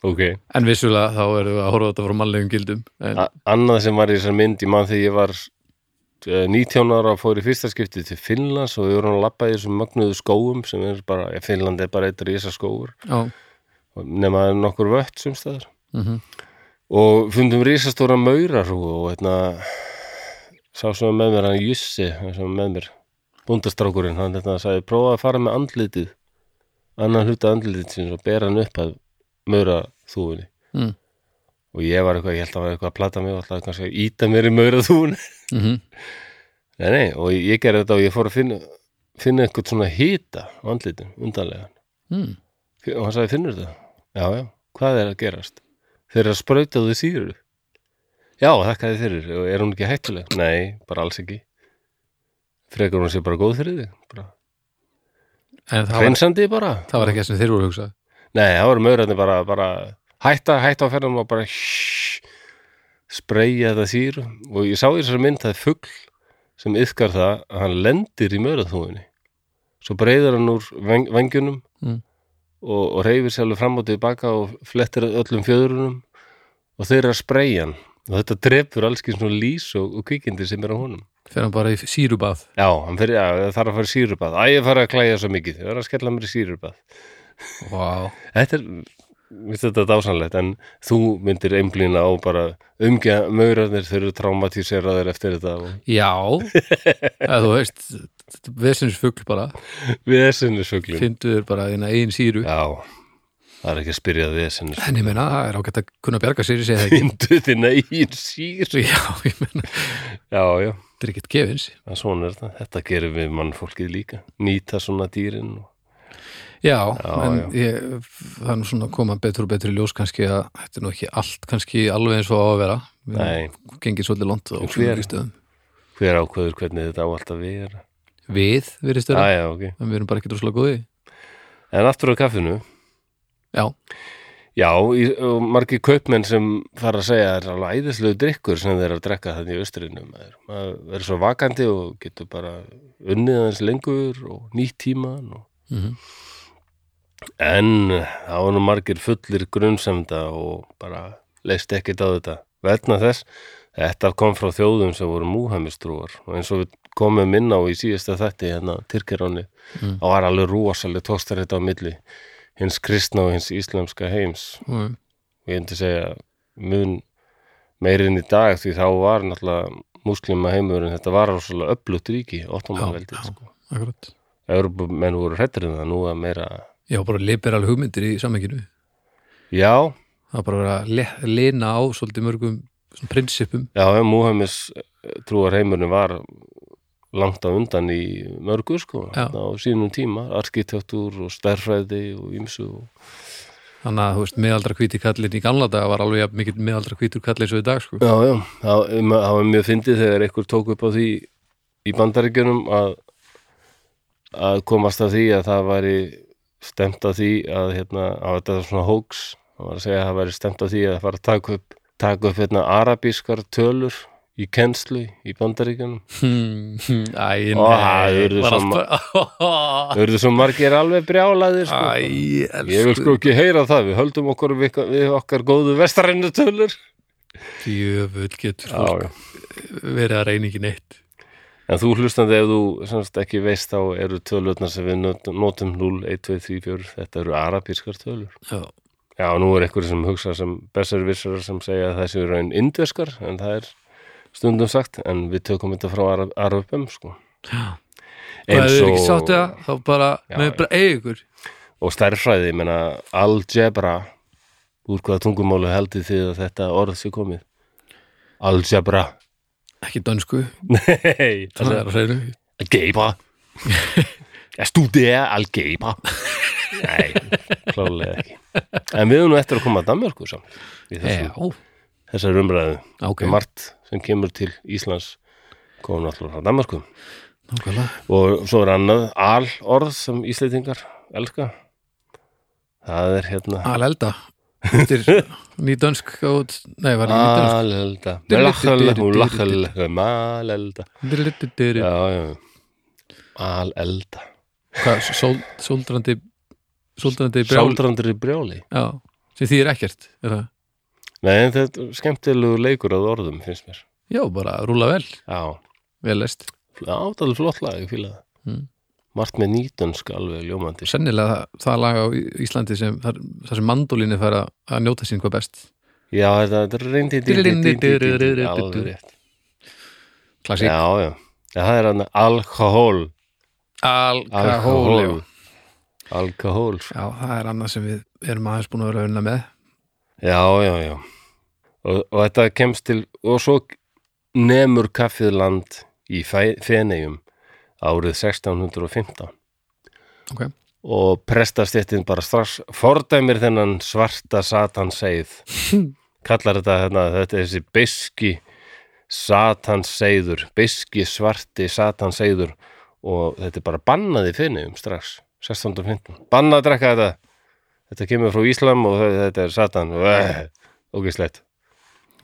S1: Ok,
S2: en vissulega þá erum við að horfa á þetta frá mannlegum gildum en,
S1: A annað sem var í þessar mynd ég mann þegar ég var eh, 19 ára fór í fyrsta skipti til Finnlands og við vorum að labba í þessum mögnuðu skóum sem er bara, ja, Finnland er bara eitt rísa skóur
S2: Já,
S1: nema það er nokkur vött sem staðar
S2: mm
S1: og fundum risastóra maurarhúu og hérna sá sem var með mér hann Jussi hann sem var með mér, búndastrákurinn hann hérna sagði, prófaði að fara með andlitið annan hluta andlitið sinns og bera hann upp að maurarþúfunni
S2: Mm.
S1: og ég var eitthvað, ég held að var eitthvað að plata mig og alltaf kannski að íta mér í maurarþúfunni
S2: Mm -hmm.
S1: *laughs* nei, nei, og ég gerði þetta og ég fór að finna finna eitthvað svona hýta á andlitið, undanlega
S2: Mm.
S1: og hann sagði, finnur það? Já, já, hvað er að gerast? Þeir eru að sprauta þau síru Já, þakkaði fyrir, og er hún ekki hættuleg? Nei, bara alls ekki Frekar hún sé bara góð fyrir þig bara.
S2: en það var,
S1: Hreinsandi bara
S2: það var ekki það sem þeir voru að hugsa
S1: Nei, það voru maurarnir bara, bara hætta, hætta á ferðum og bara shhh, spreyja þetta síru og ég sá í þessari mynd það er fugl sem yfkar það að hann lendir í maurarþúinni svo breyður hann úr veng, vengjunum
S2: Mm.
S1: og, og reyfir sér alveg fram og tilbaka og flettir öllum fjöðrunum og þeir eru að spreyja hann og þetta drepur alls ekki svona lýs og, og kvikindi sem er á honum
S2: fyrir hann bara í sírubað
S1: Já, hann fyrir, já, það þarf að fara í sírubað Æ, ég fara að klæja svo mikið, það er að skella mér í sírubað
S2: wow.
S1: Þetta er, minnst þetta dásanlegt en þú myndir einblýna á bara umgja maurarnir þau eru traumatíseraðir eftir þetta og *laughs*
S2: já eða þú veist vesins fugl bara,
S1: vesinnisfuglum
S2: fyndu þér bara þína eigin síru
S1: Já, það er ekki að spyrja að *laughs* vesinnis
S2: en ég meina, það er ágætt að kunna bjarga sér í segja það
S1: Fyndu þinn eigin sír
S2: ekki já, ég meina,
S1: Já, já,
S2: þetta er ekkert gefins
S1: en svona er þetta Þetta gerum við mannfólkið líka Nýta svona dýrin og...
S2: Já,
S1: Já,
S2: en
S1: já.
S2: Ég, það er nú svona að koma betur og betur í ljós kannski að þetta er nú ekki allt kannski alveg eins og á að vera Við
S1: Nei,
S2: erum gengið svolítið lont og
S1: En hver-
S2: stöðum
S1: hver ákveður hvernig þetta á alltaf við er
S2: Við verið
S1: Já,
S2: stöðum,
S1: já, ok
S2: en við erum bara ekki droslega góði
S1: En aftur á kaffinu
S2: Já,
S1: Já, í, og margir kaupmenn sem fara að segja að það er alveg æðislegu drikkur sem þeir eru að drekka þannig í austrinu maður. maður verður svo vakandi og getur bara unnið aðeins lengur og nýtt tíman og...
S2: mm -hmm.
S1: en þá er nú margir fullir grunnsemda og bara leist ekkert á þetta vegna þess, þetta kom frá þjóðum sem voru múhæmistrúar og eins og við komum inn á í síðasta þætti hérna, Tyrkiróni,
S2: Mm.
S1: þá var alveg rosaleg tóstar þetta á milli hins kristna og hins íslamska heims
S2: Mhm.
S1: ég myndi segja mun meiri en í dag því þá var náttúrulega múslima heimurinn þetta var rosalega öflugt ríki
S2: Já,
S1: ottomanveldið
S2: já.
S1: sko.
S2: akkurat
S1: Európumenn voru hrættir um það nú að meira
S2: Já, bara liberal hugmyndir í sammenginu
S1: já,
S2: Það er bara að vera að le- lina á svolítið mörgum svona prinsipum
S1: já, já Múhamis trúar heimurinn var langt á undan í mörgu sko
S2: Já.
S1: á sínum tíma, arkitektúr og stærfræði og ýmsu og...
S2: Þannig að, þú veist, meðaldra hvíti kallin í gamla daga var alveg jafn mikill meðaldra hvítur kallin svo í dag, sko *laughs*
S1: Já, já, það það var mjög fyndið þegar einhver tók upp á því í bandaríkjunum að, að komast að því að það væri stemt að því að, hérna, að þetta var svona hoax, það var að segja að það væri stemt að því að það var að taka upp, taka upp hérna, arabískar tölur í kennslu í bandaríkjunum.
S2: Hmm, hmm, Æ, nei
S1: Ó, það urðu
S2: var
S1: svo
S2: allt bara-
S1: Það eru svo margir alveg brjálaðir, sko.
S2: *laughs* Æ,
S1: Ah. Ég vil
S2: elsku
S1: sko ekki heyra það, við höldum okkur við, við okkar góðu vestarinnu tölur.
S2: Djöfull getur
S1: Já, já.
S2: fólk verið að reyna ekki neitt
S1: En þú hlustandi ef þú semst ekki veist þá eru tölurnar sem við not- notum 0, 1, 2, 3, 4 þetta eru arabískar tölur.
S2: Já,
S1: Já, nú er einhverjum sem hugsa sem besser vissar sem segja að það séu raun indveskar en það er stundum sagt en við tökum þetta frá Arab arabum sko.
S2: ef
S1: Eins
S2: þið er ekki
S1: og,
S2: sáttu það þá bara,
S1: Já,
S2: með
S1: já.
S2: bara eiga ykkur
S1: og stærfræði, ég meina algebra úr hvaða tungumálu heldur þið að þetta orð sé komið? Algebra. *laughs*
S2: ekki dansku,
S1: Nei,
S2: það er að reyna *laughs*
S1: Algebra Ég studera algebra Nei, klálega ekki En við höfum nú eftir að koma að Danmörku samt í þessu,
S2: Já,
S1: þessar umræðu
S2: ok,
S1: Margt sem kemur til Íslands komum náttúrulega frá Danmörku
S2: nákvæmlega
S1: og svo er annað al orð sem Ísleitingar elska Það er hérna
S2: Alelda,
S1: *laughs*
S2: þetta er ný dansk át, nei, var ekki
S1: Alelda Melakallahu lakallahu Malelda
S2: ný dansk
S1: Já, já Alelda
S2: Hvað, sól- sóldrandi sóldrandi brjál
S1: Sáldrandur í brjáli
S2: Já, sem þýðir ekkert er það?
S1: Nei, en þetta er skemmtilegu leikur að orðum, finnst mér.
S2: Já, bara rúla vel,
S1: Já,
S2: vel leist
S1: átalið flott lag, ég fíla það.
S2: Mm.
S1: Margt með nýtönsk alveg ljómandi.
S2: Sennilega það, það lag á Í- Íslandi sem, þar, þar sem mandólinni fær að, að njóta sín hvað best
S1: Já, þetta þetta er reyndi alveg rétt.
S2: Klassík
S1: Já, já. Já, það er hann alkohól.
S2: Alkohól já.
S1: Alkohól. sko.
S2: já, það er annað sem við erum aðeins búin að vera að unna með
S1: Já, já, já. Og, og þetta kemst til, og svo nemur kaffið land í Feneyjum árið 1615.
S2: Ok.
S1: og prestastéttin bara strax fordæmir þennan svarta satanseið kallar þetta hérna, þetta er þessi beski satanseiður beski svarti satanseiður og þetta er bara bannaði finnum strax, 16.15 bannað að drekka þetta þetta kemur frá Íslam og þe- þetta er satan ógislegt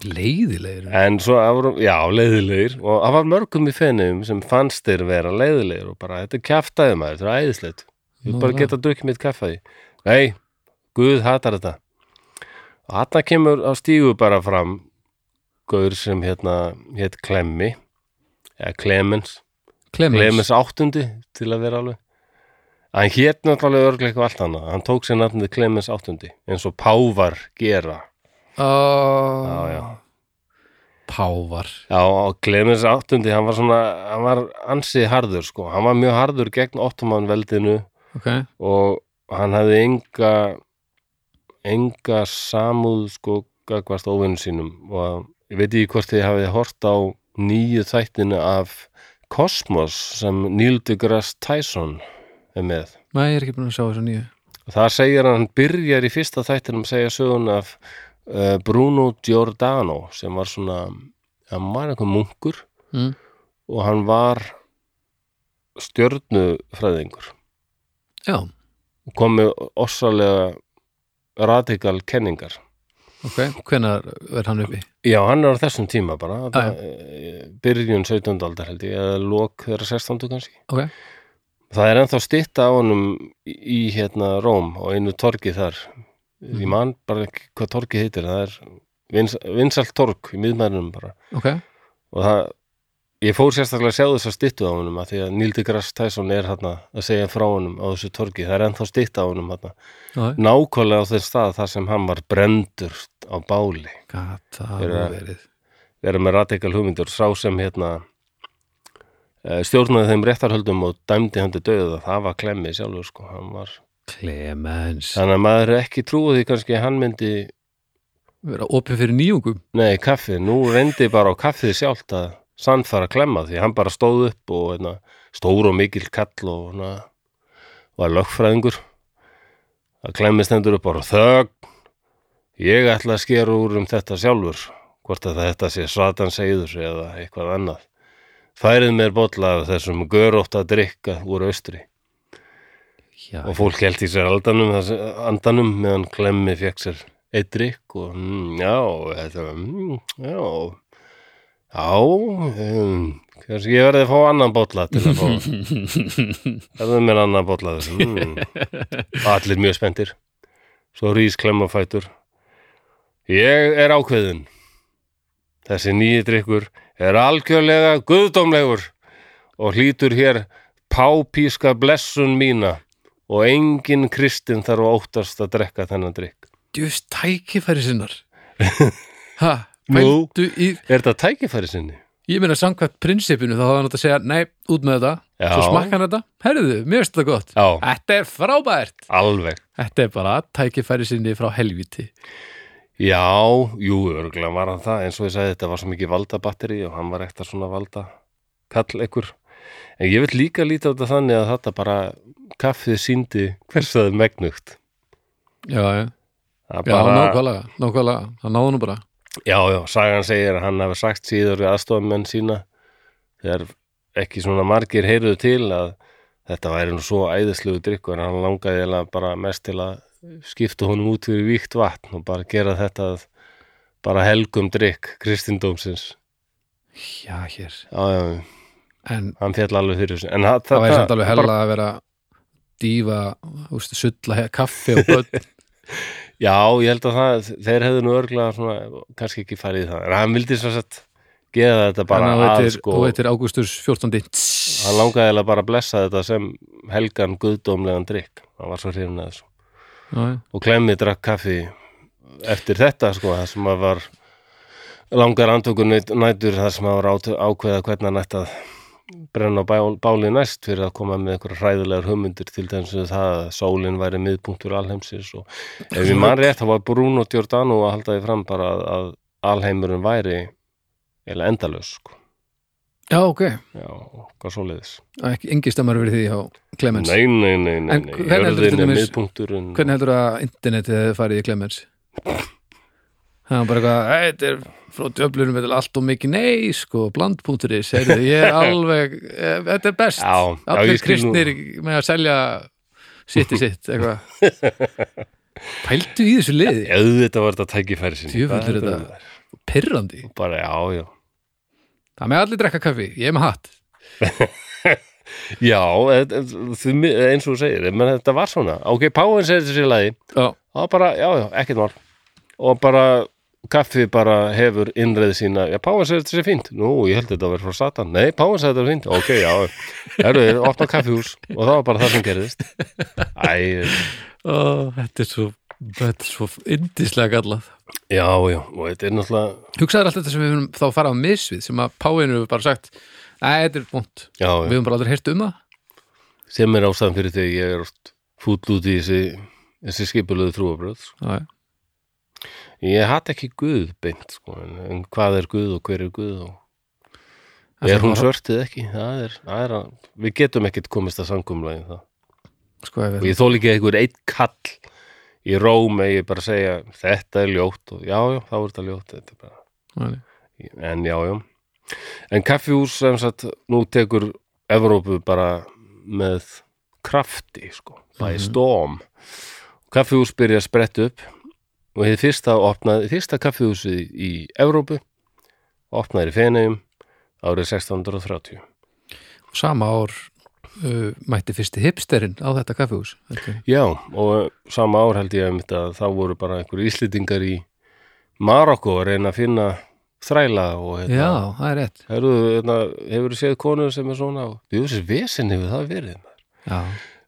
S2: leiðilegir
S1: En svo, voru, já, leiðilegir og það var mörgum í fennum sem fannst þeir vera leiðilegir og bara, þetta er kjaftaði maður, þetta er æðislegt ég vil
S2: Nú,
S1: bara
S2: það.
S1: geta að drukja mitt kaffaði Nei, Guð hatar þetta og þarna kemur á stígu bara fram Guður sem hérna hétt Klemmi eða Clemens,
S2: Clemens,
S1: Clemens áttundi til að vera alveg Hann hétt náttúrulega örglega eitthvað allt annað, hann tók sér nafnið Clemens áttundi, eins og pávar gera Já, já
S2: Ó, Pávar
S1: Já, og Clemens áttundi, hann var svona, hann var ansið harður sko, hann var mjög harður gegn ottomanveldinu
S2: ok,
S1: og hann hafði enga, enga samúð sko gagvast óvinnu sínum og ég veit ekki hvort þið hafið hort á nýju þættinu af Cosmos sem Neil deGrasse Tyson er með.
S2: næ, ég er ekki búin að sjá þessu nýju
S1: Og Það segir að hann byrjar í fyrsta þættinum að segja sögun af uh, Bruno Giordano sem var svona, hann var einhver munkur
S2: mm.
S1: og hann var stjörnufræðingur
S2: já,
S1: og kom með ossalega radikal kenningar.
S2: ok, hvenær verð hann uppi
S1: Já, hann er á þessum tíma bara,
S2: Já,
S1: ah, byrjun 17. aldar held ég, eða lok þeirra 16. kannski.
S2: ok,
S1: Það er ennþá stytta á honum í í, hérna Róm og einu torgi þar.
S2: Mhm.
S1: Ég man bara ekki hvað torgi heitir, það er vins, vinsalt torg í miðmærinum bara.
S2: ok
S1: og það ég fór sérstaklega að sjá þess að styttu á honum að því að Neil deGrasse Tyson er hérna að segja frá honum á þessu torgi það er ennþá stytta á honum hérna
S2: Já,
S1: nákvæmlega á þess stað þar sem hann var brendur á báli
S2: Gat að
S1: Fyrir að-
S2: verið
S1: verið með radikal hugmyndur sá sem hérna eh, stjórnaði þeim réttarhöldum og dæmdi hann til döða það var klemmi sjálfur sko hann var
S2: Clemens
S1: þannig að maður er ekki trúið því kannski að hann myndi
S2: vera opið fyrir nýjungum
S1: nei kaffi nú reyndi bara á kaffið sjálft að sannfara að klemma því hann bara stóð upp og hérna, stór og mikil kall og hérna, var lögfræðingur að klemmi stendur upp bara þögn ég ætla að skera úr um þetta sjálfur hvort að þetta sé satan segður eða eitthvað annað færið mér bolla af þessum görótt að drikka úr austri
S2: já,
S1: og fólk held í sér aldanum, þess- andanum meðan klemmi fekk sér eitt drikk og mm, já, þetta var mm, já já um, kannski ég verði að fá annan bolla til að
S2: *laughs*
S1: fá verði mér annan bolla af þessu mm. *laughs* allir mjög spenntir svo rís klemmafætur ég er ákveðin þessi nýji drikkur er algjörlega guðdómlegur og hlýtur hér pápíska blessun mína og enginn kristinn þarf að óttast að drekka þennan drikk.
S2: djúst tækifæri
S1: *laughs*
S2: sinnar ha,
S1: Nú.
S2: pældu í
S1: Er þetta tækifæri sinni?
S2: ég meina samkvæmt prinsipinu þá hafði hann átt að segja nei, út með þetta,
S1: Já.
S2: svo smakka hann þetta herriðu, mér finnst þetta gott
S1: Já.
S2: þetta er frábært,
S1: Alveg.
S2: þetta er bara tækifæri sinni frá helviti
S1: Já, jú, örgulega var hann það, eins og ég sagði þetta var svo mikið valdabatteri og hann var ekta svona valda kall ekkur. En ég vil líka líta á þetta þannig að þetta bara kaffið síndi hversaði megnugt.
S2: já, já,
S1: Það
S2: já nákvæmlega, nákvæmlega hann náði nú bara
S1: Já, já, sagan segir að hann hafi sagt síður við aðstofamenn sína þegar ekki svona margir heyruðu til að þetta væri nú svo æðislegu drikku en hann langaði eiginlega bara mest til að skipta honum út fyrir víkt vatn og bara gera þetta að bara helgum drikk kristindómsins.
S2: já, hér,
S1: Já, já,
S2: en
S1: hann fjall alveg fyrir þessu. En hann-
S2: það væri
S1: þetta-
S2: samt alveg hella að vera dífa, úst, sulla he- kaffi og börn
S1: Já, ég held að það, þeir hefðu nú örglega svona, kannski ekki farið í það. En hann vildi svo sett geða þetta bara
S2: hann
S1: að
S2: veitir,
S1: sko.
S2: og veitir ágústus 14.
S1: hann langaði eiginlega bara að blessa þetta sem helgan guðdómlegan drikk hann var svo hrifin að þessu
S2: Já, já.
S1: og klemmi drakk kaffi eftir þetta sko það sem að var langar andvöku nætur það sem að var át- ákveða hvernig hann ætti að brenna á bál- báli næst fyrir að koma með einhverja hræðilegar hugmyndir til þess að það að sólin væri miðpunktur alheimsins og ef við mann rétt þá var Bruno Giordano að halda því fram bara að, að alheimurinn væri eða endalaus sko
S2: Já, ok,
S1: Já, hvað svo leiðis?
S2: ekki, engi stemmar verið því á Clemens
S1: Nei, nei, nei, nei,
S2: En
S1: nei.
S2: hvernig heldur
S1: Jörðin
S2: til
S1: er
S2: dæmis-
S1: miðpunktur en...
S2: Hvernig heldur að internetið hefði farið í Clemens? Það var bara eitthvað, "Æ, þetta er frá djöflunum þetta er allt og mikið nei, sko, bland.is heyrðu, ég er alveg, eh, þetta er best
S1: Já, já,
S2: allir
S1: ég skil nú-
S2: kristnir með að selja sitt í sitt,
S1: *laughs*
S2: eitthvað Pældu í þessu liði
S1: Auðvitað var þetta tækifæri sinni
S2: Djöfull er þetta. Pirrandi,
S1: Bara, já, já
S2: það með allir drekka kaffi Ég er með hatt,
S1: Já, e- e- því mi- eins og þú segir menn þetta var svona, ok, Páin segir þessi lagi
S2: já,
S1: og bara, já, já, ekkert mál og bara, kaffi bara hefur innreið sína, já, Páin segir þetta sé fínt nú, ég held þetta að vera frá Satan, nei, Páin segir þetta er fínt, ok, já, erum við opna kaffihús og það var bara það sem gerðist Æ,
S2: Ó, þetta er svo þetta er svo yndislega gallað
S1: já, já og þetta er náttúrulega,
S2: Hugsaður allt þetta sem við höfum þá farið á misvið sem að páinu hefur bara sagt Nei, þetta er búnt,
S1: já,
S2: við
S1: já
S2: höfum bara aldrei heyrt um það
S1: sem er ástæðan fyrir því ég er oft fúll út í þessi, þessi skipulöðu trúabröð
S2: Já,
S1: ég hatt ekki Guð beint, sko, en, en hvað er Guð og hver er Guð og
S2: Það
S1: er
S2: þarf
S1: hún
S2: að-
S1: svörtið ekki það er, það er að, við getum ekkert komist að samkumlæði það
S2: Sko, ef
S1: og
S2: við
S1: ég þól ekki að einhver eitt kall í róm eða ég bara segja þetta er ljótt og já, já, þá er þetta ljótt þetta er bara,
S2: Nei.
S1: en já, já en kaffihús sem sagt nú tekur Evrópu bara með krafti sko, by
S2: Mhm.
S1: storm kaffihús byrja að spretta upp og hefði fyrsta opnaði, fyrsta kaffihúsið í Evrópu opnaði í Fenegjum árið 1630
S2: Sama ár uh, mætti fyrsti hipsterinn á þetta kaffihús okay.
S1: Já, og sama ár held ég einmitt að þá voru bara einhverju íslendingar í Marokko að reyna að finna þræla og
S2: Já,
S1: hérna,
S2: það er rétt
S1: herðu, hérna hefur séð konu sem er svona og þú þessi vesen hefur það verið maður.
S2: Já,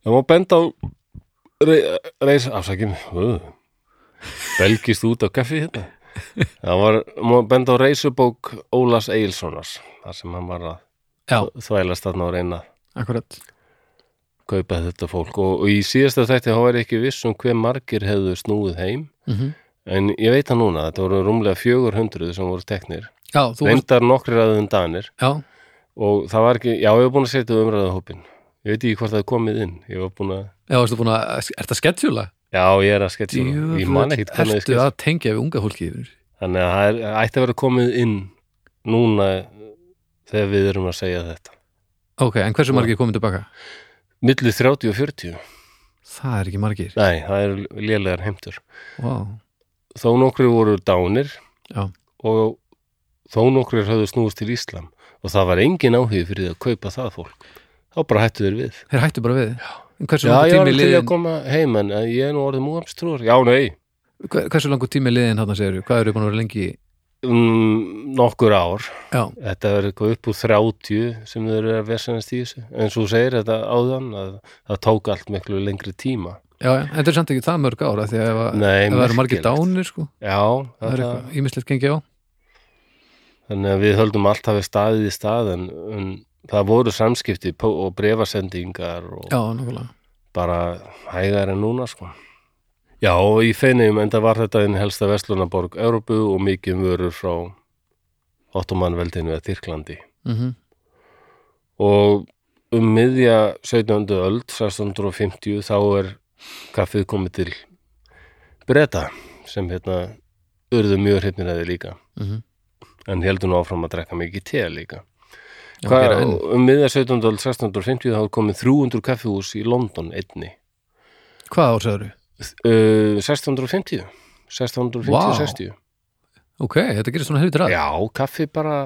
S1: það má benda á rei- reis, afsakinn belgist út á kaffi hérna það var, má benda á reisubók Ólas Eilssonas þar sem hann var að
S2: Já
S1: þvælast þarna og reyna að
S2: akkurat
S1: kaupa þetta fólk og, og í síðasta þætti þá var ég ekki viss um hve margir hefðu snúið heim
S2: mm
S1: en ég veit það núna, þetta voru rúmlega 400 sem voru teknir,
S2: Já, þú varst,
S1: reyndar nokkrir aðeins danir
S2: já,
S1: og það var ekki, já ég var búin að setja umræða hópin, ég veit ekki hvort það er komið inn ég var búin að,
S2: já, varstu búin að, ertu að sketsjúla?
S1: já ég er að sketsa það. ég man ekkit hvernig ég
S2: ertu
S1: sketsa
S2: að tengja við unga fólki yfir
S1: þannig að það er, ætti að vera komið inn núna þegar við erum að segja þetta
S2: Ok, en
S1: Sko.
S2: hversu margir komið tilbaka?
S1: milli 30 og 40,
S2: Það er ekki margir
S1: nei það eru lélegar heimtur
S2: wow.
S1: þó nokkrir voru dánir
S2: Já.
S1: og þó nokkrir höfðu snúist til Íslam og það var engin áhug fyrir því að kaupa það fólk þá bara hættu þeir við
S2: Þeir hættu bara við En hversu langur
S1: Já, ég var
S2: tími
S1: alveg til
S2: liðin
S1: að koma heim en en ég er nú orðið múhamstrúar Já, nei,
S2: hver- Hversu langur tími liðin þarna segir Hvað eru búin að vera lengi í?
S1: um, nokkur ár
S2: Já,
S1: Þetta er eitthvað upp úr 30 sem þau eru að vesanast í þessu En svo segir þetta áðan að það tók allt miklu lengri tíma
S2: já, já, en þetta er samt ekki það mörg ára Því að ef, að-
S1: Nei,
S2: ef það eru margir
S1: merkilegt.
S2: dánir sko,
S1: Já,
S2: Það er
S1: þetta,
S2: eitthvað ímislegt gengi á
S1: þannig að við höldum alltaf við staðið í stað en, en það voru samskipti pó- og brefasendingar og
S2: Já, nákvæmlega
S1: bara hægar en núna sko Já, og í feinum enda var þetta einn helsta Vestlunaborg Európu og mikið um vörur frá Ottomanveldinu eða Tyrklandi
S2: mm
S1: og um miðja 17. öld 1650 þá er kaffið komið til breyta sem hérna urðu mjög hrypnir að þið líka
S2: mhm.
S1: en heldur nú áfram að drekka mikið te líka
S2: Já,
S1: Hvað,
S2: gera enn.
S1: um miðja 17. öld 1650 þá er komið 300 kaffihús í London einni
S2: Hvað ársæður við?
S1: Uh, 1650 1650,
S2: Vá.
S1: 60
S2: Ok, þetta gerist svona helvitur að
S1: Já, kaffi bara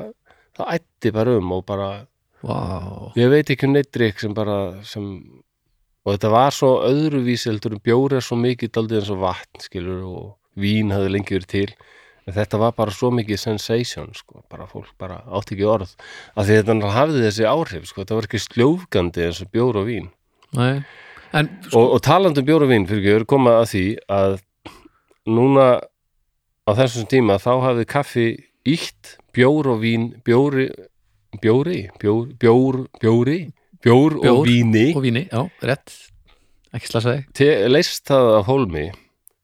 S1: það ætti bara um og bara
S2: Vá,
S1: ég veit ekki um neitt drikk sem bara sem, og þetta var svo öðruvísi heldur um bjóra svo mikið daldið eins og vatn skilur og vín hafði lengi verið til en þetta var bara svo mikið sensation sko, bara fólk bara átti ekki orð af því þetta hafði þessi áhrif sko, þetta var ekki sljófgandi eins og bjóra og vín
S2: nei En sko,
S1: og, og talandi um bjór og vín fyrir ekki, koma að því að núna á þessum tíma þá hafði kaffi ítt bjór og vín bjóri bjóri, bjór, bjór, bjóri bjór, og
S2: Bjór.
S1: víni
S2: og víni, já, rétt Ekki slasa þig
S1: te, leist það af hólmi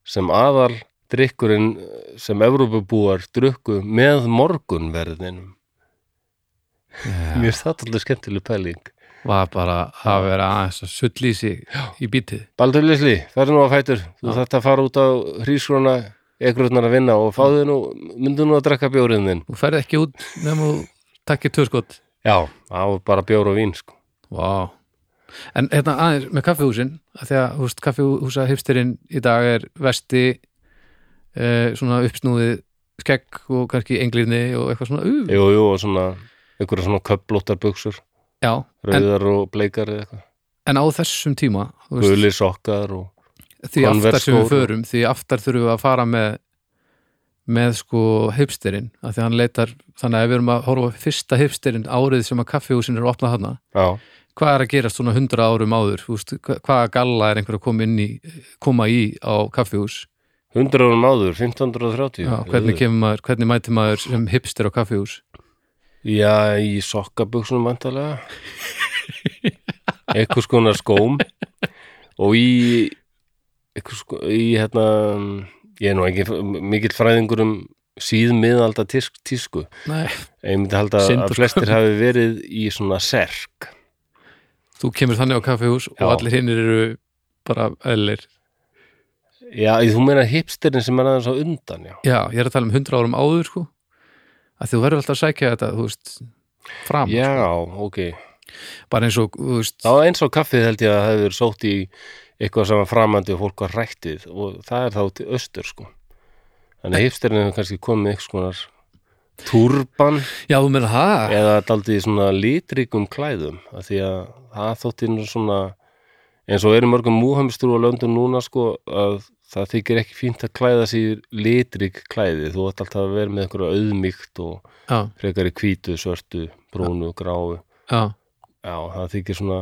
S1: sem aðal eh, drikkurinn sem Evrópubúar drukku með morgunverðinum Mér finnst það alltaf skemmtileg pæling.
S2: var bara að vera aðeins að sull í sig í bítið
S1: Baldur Lisli, ferð nú að fætur. Þú þarft að fara út á hrísgrona ekkurutnar að vinna og fáðu nú, myndu nú að drekka bjórið þinn.
S2: þú ferð ekki út nefnum þú takkir tvö skot
S1: Já, það var bara bjór og vín, sko.
S2: Vá. En hérna aðeins með kaffihúsin að því að húst, kaffihúsa hipsterinn í dag er vesti eh, svona uppsnúðið skegg og kannski englirni og eitthvað svona uh,
S1: Jú, jú, og svona, einhverja svona köplóttar buksur,
S2: já, en,
S1: rauðar og bleikar eða eitthvað.
S2: en á þessum tíma þú veist,
S1: Guli sokkar og,
S2: því aftar
S1: Converse
S2: sem við
S1: skór.
S2: förum því aftar þurfum við að fara með með sko hipsterinn að því að hann leitar, þannig að ef við erum að horfa á fyrsta hipsterinn árið sem að kaffihúsin eru opnað hana
S1: já,
S2: hvað er að gerast svona hundra árum áður Þú veist, hva- hvaða galla er einhver að koma inn í koma í á kaffihús
S1: 100 árum áður, 1530.
S2: Já, hvernig
S1: Auðvitað.
S2: kemur maður, hvernig mætir maður sem hipster á kaffihús?
S1: Já, í sokkabuksunum vantarlega einhvers konar skóm og í einhvers, ko- í hérna ég er nú ekki mikill fræðingur um síðmiðalda tísk, tísku
S2: Nei,
S1: ég myndi halda
S2: Syndar-
S1: að flestir hafi verið í svona serk
S2: þú kemur þannig á kaffihús og
S1: Já.
S2: allir hinnir eru bara eðlir.
S1: Já, þú meina hipsterin sem er aðeins á undan já,
S2: Já, ég er að tala um hundra árum áður sko að þú verður alltaf að sækja þetta, þú veist fram,
S1: já ok
S2: bara eins og þú veist,
S1: þá eins og kaffið held ég að það hefur verið sótt í eitthvað sem var framandi og fólk var rættið og það er þá til austur sko þannig að hipsterinn hefur kannski komið með eitthvað konar turban
S2: já þú meina það
S1: eða daldið í svona litríkum klæðum af því að það þótti nú svona eins og er í mörgum múhamstur og löndum núna sko að það þykir ekki fínt að klæða sér litrík klæði þú ætti alltaf að vera með einhverja auðmíkt og
S2: Já,
S1: frekari hvítu, svörtu, brúnu, gráu
S2: já,
S1: Já, það þykir svona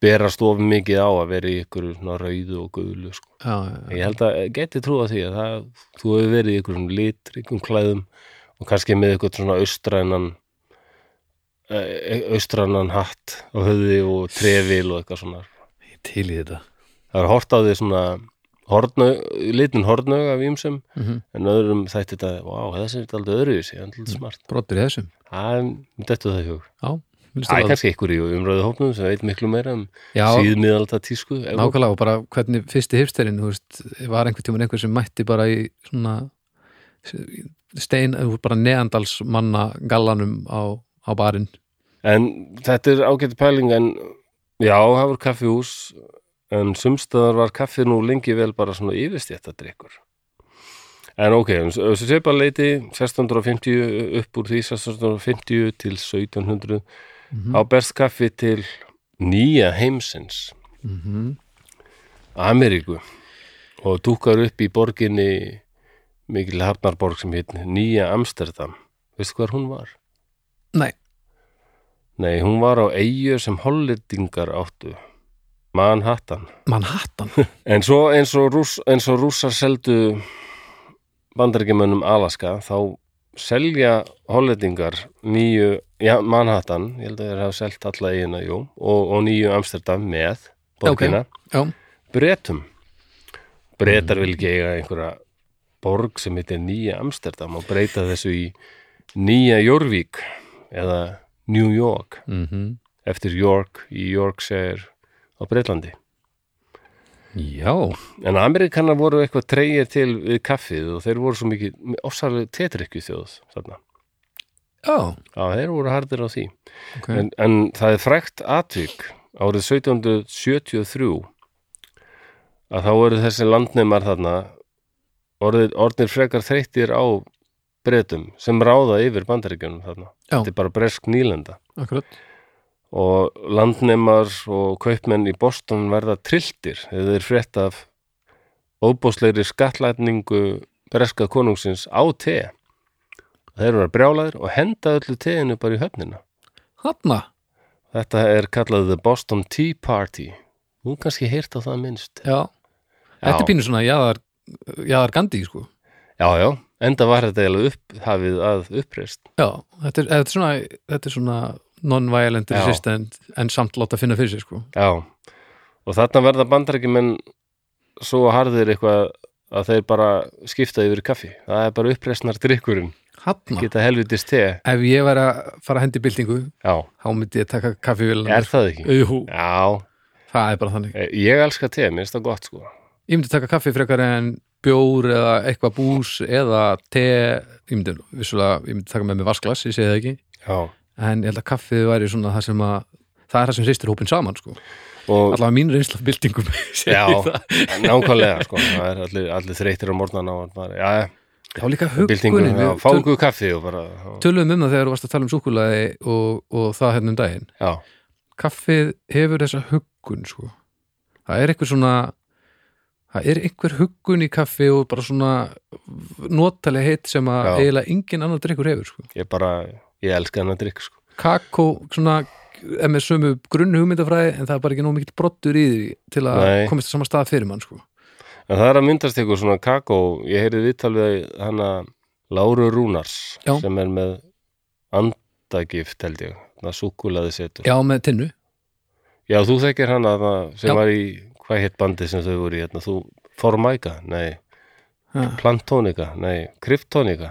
S1: berast of mikið á að vera í ykkur svona rauðu og guðlu sko.
S2: já, já,
S1: Ég held að geti trúa því að það, þú hefur verið í ykkur litrikum klæðum og kannski með ykkur svona austrænan eh, austrænan hatt á höfði og trefil og eitthvað svona
S2: ég til í þetta
S1: Það er hort á því svona hornög, litin hornög af ímsum
S2: mm
S1: en öðrum þætti þetta, vá, þessi er aldrei öðruvísi, það er aldrei
S2: Mm.
S1: smart
S2: Brottur í þessum,
S1: Það er, þetta það í hug
S2: já, minnstu
S1: Það er
S2: það
S1: kannski ykkur í umröðu hópnum sem veit miklu meira um
S2: Já,
S1: síðmiðalda tísku ef-
S2: nákvæmlega og bara hvernig fyrsti hipsterinn, þú veist, var einhvern tímann einhver sem mætti bara í svona stein, bara neandalsmanna gallanum á, á barinn
S1: en þetta er ágætt pæling en já, það var kaffihús en sumstaðar var kaffi nú lengi vel bara svona yfirstjætt að drikkur en ok, um svipa leiti 1650 upp úr því 1650 til 1700
S2: Mm. Mhm.
S1: á berst kaffi til nýja heimsins
S2: mm
S1: Ameríku og dúkar upp í borginni mikil hafnarborg sem heit Nýja Amsterdam veistu hvar hún var?
S2: Nei,
S1: Nei, hún var á eigu sem hollendingar áttu, Manhattan.
S2: Manhattan
S1: En svo eins og, rúss, eins og rússar seldu bandaríkjumönnum Alaska, þá selja hollendingar nýju, já, Manhattan, ég held að þeir hafa selt alla eigina, jú, og, og nýju Amsterdam með borgina,
S2: Já,
S1: bretum. Bretar vil ekki eiga einhverja borg sem heitir Nýja Amsterdam og breyta þessu í Nýja Jórvík eða New York
S2: mm
S1: eftir York í Yorkshire á Breitlandi.
S2: já.
S1: En Amerikanar voru eitthvað treyja til við kaffið og þeir voru svo mikið ofsalega tetrykju þjóð þarna.
S2: já
S1: Já, þeir voru hardir á því.
S2: ok
S1: En, en það er frækt atvík árið 1773 að þá voru þessi landneimar þarna orðir, orðnir frekar þreyttir á breytum sem ráða yfir bandaríkjunum þarna.
S2: Já.
S1: Þetta er bara bresk nýlenda.
S2: Akkurat
S1: og landnemar og kaupmenn í Boston verða trilltir eða þeir frétt af óbóðslegri skattlætningu breska konungsins á te þeir eru að brjálaðir og henda öllu teinu bara í höfnina
S2: Hanna,
S1: þetta er kallað The Boston Tea Party þú hefur kannski heyrt á það minnst
S2: já Þetta er
S1: já,
S2: pínu svona jaðar, jaðar Gandhi sko
S1: já, já, enda var þetta eiginlega upphafið að uppreist
S2: Já, þetta er, þetta er svona, þetta er svona non-violent
S1: Já.
S2: resistant en samt láta finna fyrir sér sko
S1: Já, og þarna verða bandarækjumenn svo harðir eitthvað að þeir bara skipta yfir í kaffi. Það er bara uppreisnar drikkurinn.
S2: Hanna.
S1: geta helvitist te
S2: Ef ég væri að fara að hendi byltingu,
S1: já,
S2: þá myndi ég taka kaffivélan.
S1: er það ekki?
S2: Jú,
S1: Já,
S2: það er bara þannig.
S1: eh, ég elska te, minnst það gott sko
S2: Ég myndi taka kaffi frekar en bjór eða eitthvað bús eða te, ég myndi vissulega, ég myndi taka með mig vasklas, ég segi það ekki
S1: já.
S2: en ég held að kaffið væri svona það sem að það er það sem hristir hópin saman sko
S1: og
S2: allavega mín reynsla af byltingum *laughs* segir
S1: *laughs* já,
S2: það.
S1: nákvæmlega sko það er allir, allir þreytir á morgnana og bara, já,
S2: þá líka
S1: byltingur,
S2: huggunin
S1: já,
S2: við
S1: fá
S2: töl,
S1: ykkur kaffi og bara,
S2: tölum um það þegar þú varst að tala um súkulaði og, og það hérna um daginn
S1: já,
S2: kaffið hefur þessa huggun sko það er einhver svona það er einhver huggun í kaffi og bara svona notaleg heitt sem að
S1: Já.
S2: eiginlega engin annar drikkur hefur sko
S1: ég bara ég elska hennar drikk sko
S2: kakó svona er með sömu grunn hugmyndafræði en það er bara ekki nóg mikill brottur í því til að
S1: Nei.
S2: komist að sama stað fyrir mann sko.
S1: en það er að myndast ykkur svona kakó ég heyrði viðtal við hana Láru Rúnars
S2: Já.
S1: sem er með andagift held ég, það súkulaði setur
S2: já með tinnu
S1: já, þú þekkir hana það sem
S2: Já.
S1: var í, hvað hétt bandið sem þau voru í hérna, þú, Formica, nei
S2: Ha.
S1: Plantónika, nei, kryptónika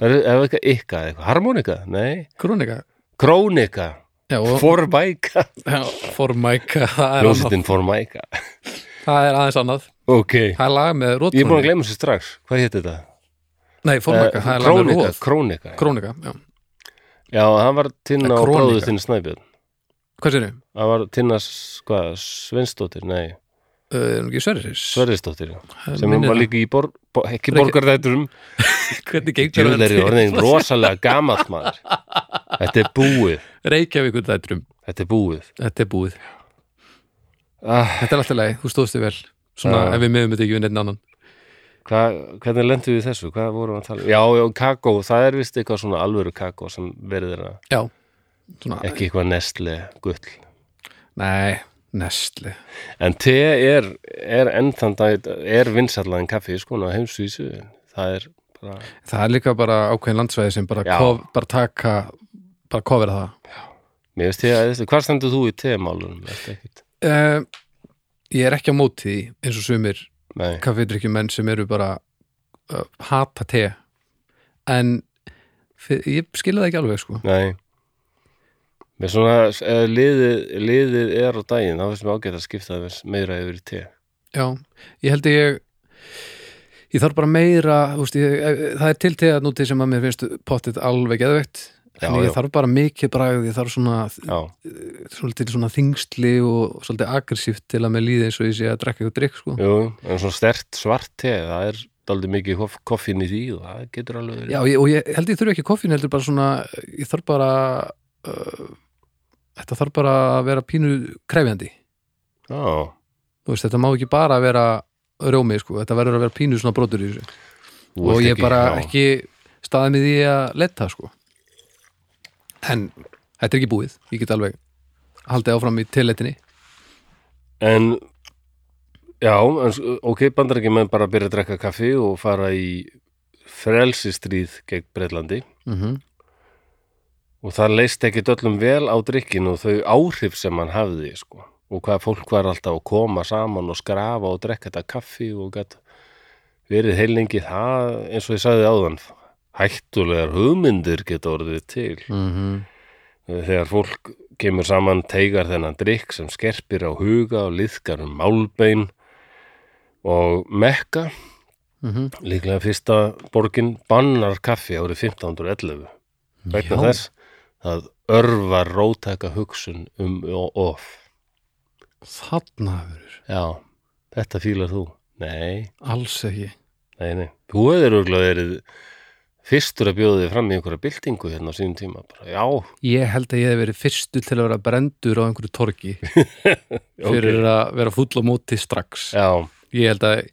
S1: Er það eitthvað ykkar, eitthvað, harmonika, nei,
S2: krónika
S1: krónika,
S2: já, og,
S1: *laughs* formæka,
S2: já, formæka það er, annað,
S1: ljósitinn formæka.
S2: það er aðeins annað
S1: Ok,
S2: það er lag með
S1: ég er búin að
S2: rótrónika
S1: gleyma þessu strax, hvað hétt þetta?
S2: nei formæka,
S1: Eh,
S2: það er lag með
S1: krónika,
S2: róð
S1: krónika.
S2: krónika, já
S1: Já, hann var tinn
S2: Eh,
S1: á
S2: Krónika.
S1: bróðu þinn Snæbjörn.
S2: hvað sér þið?
S1: Hann var tinn að, hvað, Sveinsdóttir, nei,
S2: Uh, er hún ekki Sverris?
S1: Sverrisdóttir, já.
S2: Það
S1: sem
S2: Eh, minnir
S1: hann var
S2: það.
S1: líka í borg, bo, ekki
S2: Frekar-
S1: borgarðætturum.
S2: hvernig gengur
S1: Jöfnir er orðin rosalega gamalt maður. Þetta er búið,
S2: Reykjavíkur dætrum,
S1: þetta er búið.
S2: þetta er búið
S1: Ah,
S2: þetta er alltaf lagi, þú stóðst þig vel svona
S1: Já.
S2: ef við meðum þetta ekki við neitt annan
S1: hva, hvernig lendum við í þessu? Hvað vorum við að tala? um? Já, já, kakó, það er vist eitthvað svona alvöru kakó sem verður að,
S2: já, svona,
S1: ekki eitthvað nestle gull.
S2: nei, nestli
S1: En te er, er enn þann dag, er vinsallaðin kaffi, sko, á heimsvísu. Það er bara,
S2: Það er líka bara ákveðin landsvæði sem bara,
S1: Já.
S2: kof, bara taka bara kofir það
S1: mér veist te að þessu, hvað stendur þú í te-málunum? Ertu ekkit?
S2: uh, Ég er ekki á móti því eins og sumir
S1: Nei,
S2: kaffidrykkjumenn sem eru bara uh, hata te en fyr- ég skilja það ekki alveg sko
S1: nei. Með svona, eh, liðið, liðið er á daginn, þá finnst mér ágætt að skipta það aðeins meira yfir í te.
S2: Já, ég held að ég ég þarf bara meira þú veist, ég, eh, það er til te að núti sem að mér finnst pottið alveg geðveikt en
S1: Já,
S2: ég
S1: já.
S2: þarf bara mikið bragð, ég þarf svona
S1: Já,
S2: svolítið svona þingstli og svolítið aggressíft til að mér líði eins og ég sé að drekka eitthvað drikk sko
S1: jú, en svona stert svart te, það er daldið mikið hoff- koffín í því og það getur alveg verið.
S2: Já, ég, og ég held ég þurfi ekki koffín heldur bara svona, ég þarf bara uh, þetta þarf bara að vera pínu krefjandi
S1: Já,
S2: Þú veist, þetta má ekki bara vera rjómi, sko, þetta verður að vera pínu svona brotur í þessu
S1: þú
S2: og
S1: ert
S2: ég bara
S1: já.
S2: ekki staðið með því að letta, sko en þetta er ekki búið ég get alveg haldið áfram í tillettinni
S1: En, já, en, s- ok, bandar ekki menn bara að byrja að drekka kaffi og fara í frelsistríð gegn Breitlandi
S2: mm -hmm.
S1: og það leist ekki öllum vel á drikkinu og þau áhrif sem hann hafði, sko og hvað fólk var alltaf að koma saman og skrafa og drekka þetta kaffi og gætt verið heilengi það eins og ég sagði áðan hættulegar hugmyndir geta orðið til
S2: Mm -hmm.
S1: þegar fólk kemur saman teigar þennan drikk sem skerpir á huga og liðkar um málbein og mekka
S2: mhm.
S1: líklega fyrsta borgin bannar kaffi árið 1511 vegna
S2: Já.
S1: þess að örvar rótæka hugsun um og of
S2: þarna verður,
S1: já, þetta fílar þú nei,
S2: alls ekki
S1: nei, nei þú hefur örgulega verið fyrstur að bjóða þig fram í einhverja byltingu hérna á sínum tíma bara, já,
S2: ég held að ég hef verið fyrstu til að vera brendur á einhverju
S1: *laughs*
S2: torgi fyrir að vera fúll á móti strax
S1: já
S2: ég held að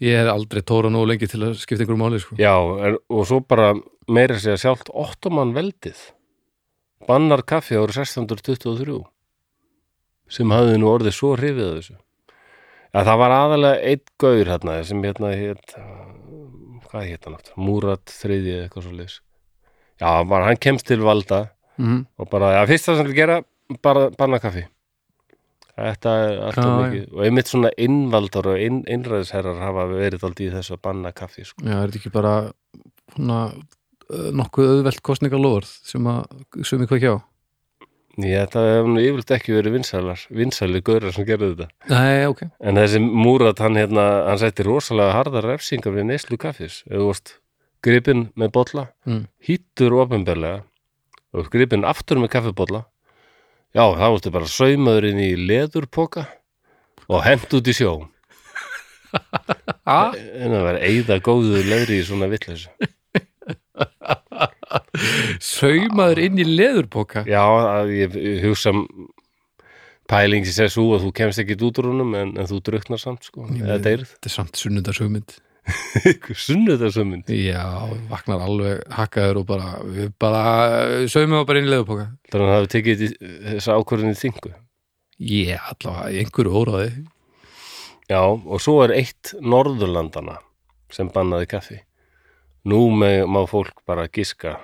S2: ég hef aldrei tóra nógu lengi til að skipta einhverju máli sko.
S1: Já, er, og svo bara meira segja sjálft ottoman veldið bannar kaffi árið 1623 sem hafði nú orðið svo hrifið af þessu Já, það var aðalega einn gaur hérna sem hérna hét eh, hvað hét hann aftur? Múrat þriði eða eitthvað svo leis Já, bara, hann kemst til valda
S2: mm.
S1: og bara, já, fyrst það sem við gera bara banna kaffi Þetta er alltaf
S2: Já,
S1: mikið og einmitt svona innvaldar og inn, innræðisherrar hafa verið aldrei í þessu að banna kaffi sko.
S2: já, er þetta ekki bara svona eh, nokkuð auðvelt kostningalóður sem að sumi hvað hjá
S1: Já, það hefur nú yfirleitt ekki verið vinsælar, vinsæli gaurar sem gerðu þetta.
S2: Nei, ok,
S1: En þessi Múrat, hann hérna, hann sætti rosalega harðar refsingar við neyslu kaffis. Ef þú vorst gripinn með bolla,
S2: Mm.
S1: hýttur ofinberlega, og gripinn aftur með kaffibólla, já, þá vorstu bara saumaður inn í leðurpoka og hent út í sjó.
S2: ah,
S1: En það var eigða góðu leðri í svona vitleysu.
S2: saumaður inn í leðurboka
S1: Já, að ég ég hugsa um pæling sem sér svo að þú kemst ekki út úr honum en, en þú druknar samt, sko. Eða deyrð.
S2: Þetta er samt sunnudarsugmynd
S1: Sunnu þetta sömund.
S2: Já, vaknar alveg hakkaður og bara, við bara saumaður bara inn í leðurboka
S1: Þannig að hann hafi tekið þi- þessa ákvörðin í þingu.
S2: Ég allavega, í einhverju óráði
S1: Já, og svo er eitt Norðurlandana sem bannaði kaffi. Nú með, má fólk bara giska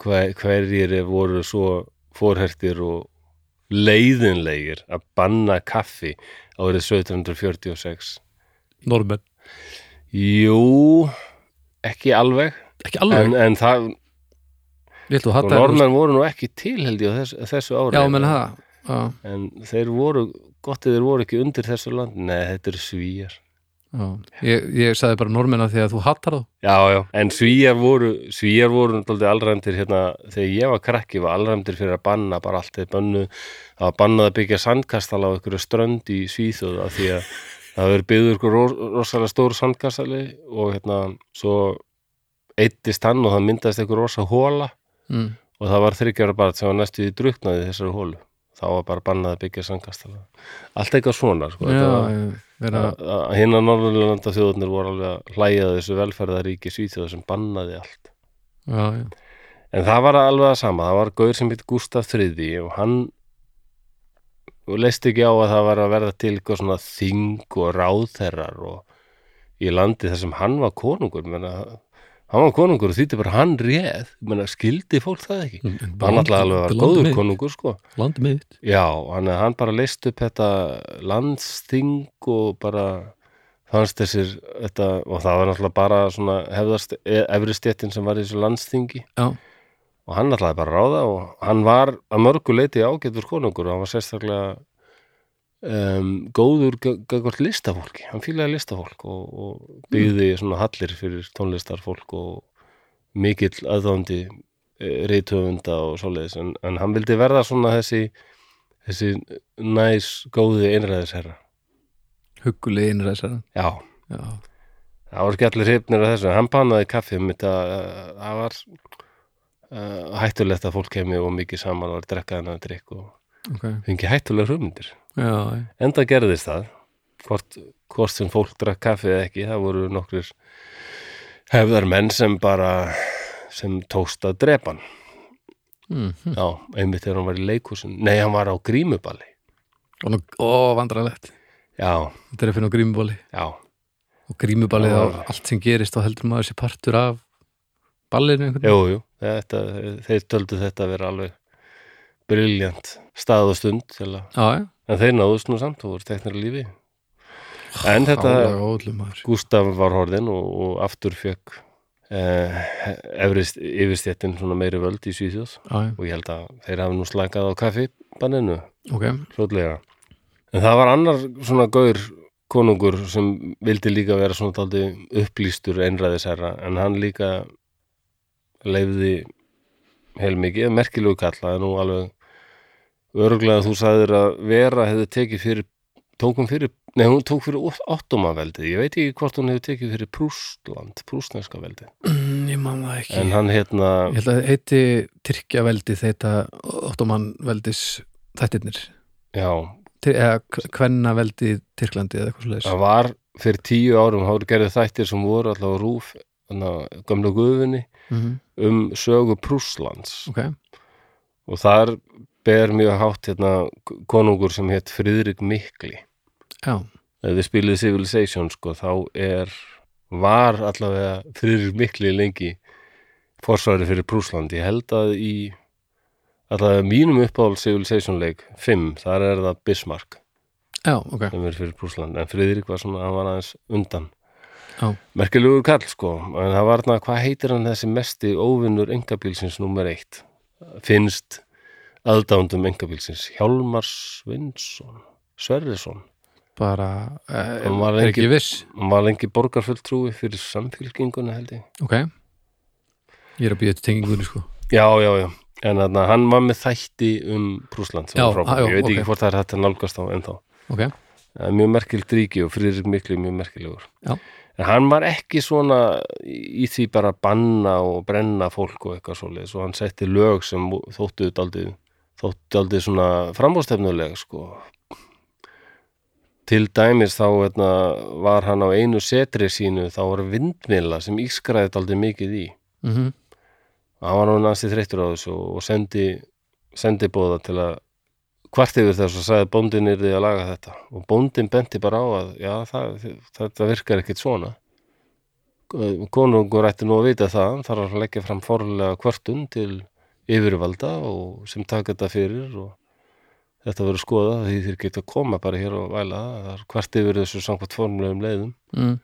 S1: hver, hverjir voru svo fórhertir og leiðinlegir að banna kaffi árið 1746.
S2: Normen,
S1: Jú, ekki alveg,
S2: ekki alveg
S1: en, en það,
S2: Ég held að
S1: og
S2: þetta
S1: norðmenn hérna. voru nú ekki til held ég á þess, þessu ári.
S2: Já, menn það Já,
S1: En þeir voru, gott eða þeir voru ekki undir þessu land. Nei, þetta eru svíjar.
S2: já Ég, ég sagði bara normen að því að þú hattar þá
S1: Já, já, en svíjar voru svíjar voru náttúrulega allræmdir hérna þegar ég var krakki var allræmdir fyrir að banna bara allt þeir bannu það var bannað að byggja sandkastala á einhverju strönd í Svíþjóð af því *laughs* að það verið byggður ykkur ros rosalega stór sandkastali og hérna svo eittist hann og það myndast einhver rosa hóla
S2: mm.
S1: og það var þryggjara bara sem var næstu í druknaði í þessari hólu þá var bara bannað að byggja sandkastala allt eitthvað svona sko,
S2: Já,
S1: þetta var,
S2: já, vera
S1: að að hinna Norðurlanda þjóðunir voru alveg að hlæja að þessu velferðaríki svíþjóð sem bannaði allt
S2: Já, já
S1: en það var alveg að sama, það var gaur sem hitt Gustaf III og hann leist ekki á að það var að verða til eitthvað svona þing og ráðherrar og í landi þar sem hann var konungur menna, hann var konungur og þýtti bara hann réð menna, skildi fólk það ekki hann alltaf alveg var góður konungur sko
S2: Land mitt
S1: Já, hann, hann bara leist upp þetta landsting og bara fannst þessir þetta, og það var náttúrulega bara svona hefðast, e- efri stjettin sem var í þessu landstingi
S2: Já,
S1: og hann náttúrulega bara að ráða og hann var að mörgu leiti ágætur konungur og hann var sérstaklega um, góður gagvart listafólki, hann fílaði listafólk og, og byggði svona hallir fyrir tónlistarfólk og mikill aðdándi reytöfunda og svoleiðis en, en hann vildi verða svona þessi þessi næs góði einræðisherra
S2: huggulegi innræsar
S1: já,
S2: Já,
S1: það var ekki allir hrypnir af þessu, hann bannaði kaffi mitt að að- það var uh, hættulegt að fólk kemi og mikið saman var að drekka þennan drikk og
S2: ok
S1: fengi hættulega hugmyndir
S2: Já, já
S1: enda gerðist það hvort, hvort sem fólk drakk kaffi eða ekki, það voru nokkrir hefðar menn sem bara sem tókst að drepa hann
S2: Mm.
S1: já, einmitt þegar hann var í leikhúsin nei, hann var á grímuballi
S2: Og nú- Ó, vandralegt
S1: já,
S2: Þetta er að finna á grímuballi
S1: já,
S2: Og grímuballi
S1: Já.
S2: þá allt sem gerist þá heldur maður sér partur af ballinu einhvern
S1: Jú, jú, þetta, þeir töldu þetta að vera alveg briljant stað og stund til að,
S2: Já, já
S1: en þeir náðust nú samt og voru teknir á lífi en þetta,
S2: Hálega óðlum maður
S1: Gústaf var horðin og, og aftur fekk eh, efrist, yfirstjættin svona meiri völd í Svíþjóð
S2: Já, já,
S1: og ég held að þeir hafi nú slakað á kaffibanninu
S2: ok *clears throat*
S1: fljótlega en það var annar svona gaur konungur sem vildi líka vera svona taldi upplýstur einræðisherra en hann líka leifði heilmikið, merkilegu kalla en nú alveg örglega þú sagðir að vera hefði tekið fyrir tókum fyrir, nei hún tók fyrir ottomaveldið, ég veit ekki hvort hún hefði tekið fyrir Prústland, Prústneska veldið
S2: Mm, Ég man það ekki
S1: en hann hérna,
S2: Ég held að það heiti Tyrkja veldi þetta Ottoman veldis þættirnir
S1: já,
S2: Ty- eða hvenna veldi Tyrklandi eða eitthvað svoleiðis
S1: það var fyrir tíu árum, þá voru gerðið þættir sem voru allavega rúf, þannig að gömla guðunni
S2: mm
S1: um sögu Prúslands
S2: Ok,
S1: og þar ber mjög hátt hérna konungur sem hétt Friðrik Mikli
S2: já,
S1: ef þið spilið Civilization sko þá er var allavega Friðrik Mikli lengi forsvari fyrir Prúsland ég held að í allavega mínum uppáhald Civilization leik 5, þar er það Bismarck
S2: já, ok
S1: sem er fyrir Prúsland en Friðrik var svona, hann var aðeins undan
S2: Já.
S1: merkilegur kall sko en það var þarna, hvað heitir hann þessi mesti óvinnur engabílsins nummer eitt finnst aðdándum engabílsins, Hjálmar Svinsson Sverrisson
S2: bara,
S1: Hann
S2: uh,
S1: var
S2: er
S1: lengi-
S2: ekki viss
S1: hann var lengi borgarfulltrúi fyrir samfylkinguna held ég
S2: ok ég er að býja til tengingunni sko
S1: já, já, já, en þarna, hann var með þætti um Prúsland sem
S2: Já,
S1: var frábær.
S2: já,
S1: ég veit
S2: ok.
S1: ekki hvort það er hægt að nálgast á ennþá
S2: ok,
S1: Það er mjög merkild ríki og Friðrik miklu er mjög merkilegur
S2: Já.
S1: en hann var ekki svona í í því bara að banna og brenna fólk og eitthvað svoleiðis og hann setti lög sem þóttu daldið þóttu daldið svona frambóðstefnulega sko til dæmis þá hérna, var hann á einu setri sínu þá var vindmila sem ískraði daldið mikið í
S2: mm
S1: og hann var nú næsti þreyttur á þessu og sendi, sendi bóða til að hvart yfir þess og sagði bóndin yrði að laga þetta og bóndin benti bara á að já, það, þetta virkar ekkit svona konungur ætti nú að vita það hann þarf að leggja fram forlega kvartun til yfirvalda og sem taka þetta fyrir og þetta verður skoða því þeir geta að koma bara hér og væla það er hvert yfir þessu samkvæmt formulegum leiðum
S2: Mm.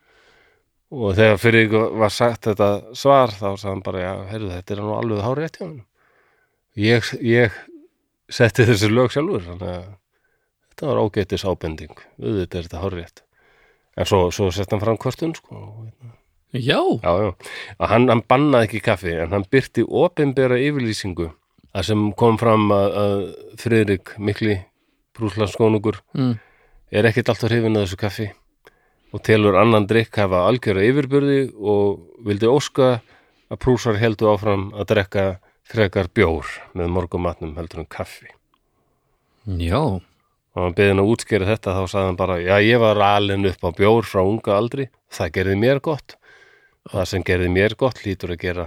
S1: og þegar fyrir ykkur var sagt þetta svar þá sagði hann bara, já, heyrðu, þetta er nú alveg hárið hjá hann ég, ég setti þessi lög sjálfur þannig að þetta var ágætis ábending auðvitað er þetta hárið en svo, svo sett hann fram kvörtun sko.
S2: já,
S1: já, já, að hann, hann bannaði ekki kaffi en hann byrti opinbera yfirlýsingu að sem kom fram að, að Friðrik mikli brúslandskónungur
S2: mm.
S1: er ekkert alltaf hrifin að þessu kaffi og telur annan drikk hafa algjöra yfirburði og vildi óska að prúsar heldu áfram að drekka frekar bjór með morgumatnum heldur en kaffi.
S2: já
S1: Og hann beðin að útskýra þetta þá sagði hann bara, já ég var alinn upp á bjór frá unga aldri, það gerði mér gott. Það sem gerði mér gott lítur að gera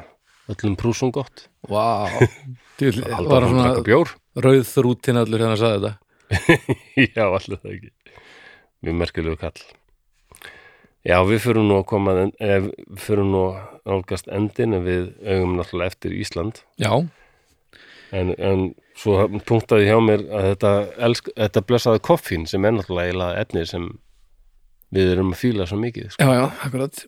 S1: öllum prúsum gott.
S2: vá Til,
S1: Haldur
S2: var
S1: hann að drekka
S2: svona
S1: bjór?
S2: rauð þrútin allur hérna að sagði þetta
S1: *laughs* já, allir það ekki. Mjög merkilegu kall. Já, við förum nú að koma, að en- eh, við förum nú að nálgast endin en við augum náttúrulega eftir Ísland.
S2: já,
S1: En, en svo punktaði hjá mér að þetta, elsk, þetta blessaði koffín sem er náttúrulega eiginlega efni sem við erum að fíla svo mikið. Sko.
S2: já, já, akkurat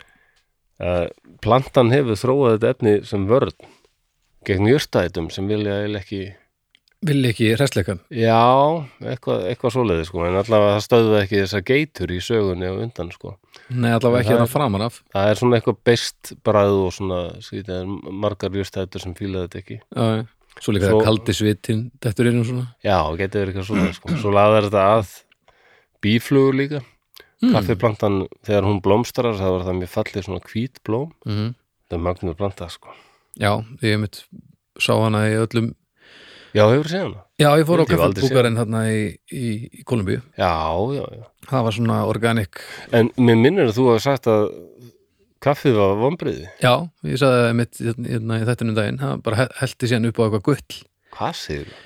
S1: Uh, plantan hefur þróað þetta efni sem vörn gegn jörstætum sem vilja eiginlega ekki
S2: vil ekki hræsleikan
S1: Já, eitthvað, eitthvað svoleiði sko, en allavega það stöðuði ekki þessar geitur í sögunni og undan sko.
S2: nei, allavega ekki
S1: Það er-
S2: hérna framan af
S1: það er svona eitthvað beist bræð og svona skrítið, það er margar jústættur sem fílaði þetta ekki
S2: já, já. svo líka
S1: Svo-
S2: svo... kaldi svitin þetta er einu svona
S1: já, getur verið eitthvað svona sko. svo laðar þetta að bíflugur líka Mm. kaffiplantan, þegar hún blómstrar þá var það mjög fallið svona hvít blóm
S2: mm.
S1: það er magnur planta sko
S2: já, ég mitt sá hana í öllum
S1: já, hefur séð hana?
S2: já, ég fór á
S1: Ég held ég hef aldrei séð.
S2: kaffebúkarinn þarna í, í, í Kolumbíu
S1: já, já, já
S2: það var svona organic
S1: en mér minnir að þú hafi sagt að kaffið var vombriði
S2: já, ég sagði það mitt hérna, í þetta um daginn, það bara he- hellti síðan upp á eitthvað gull
S1: hvað segir þú?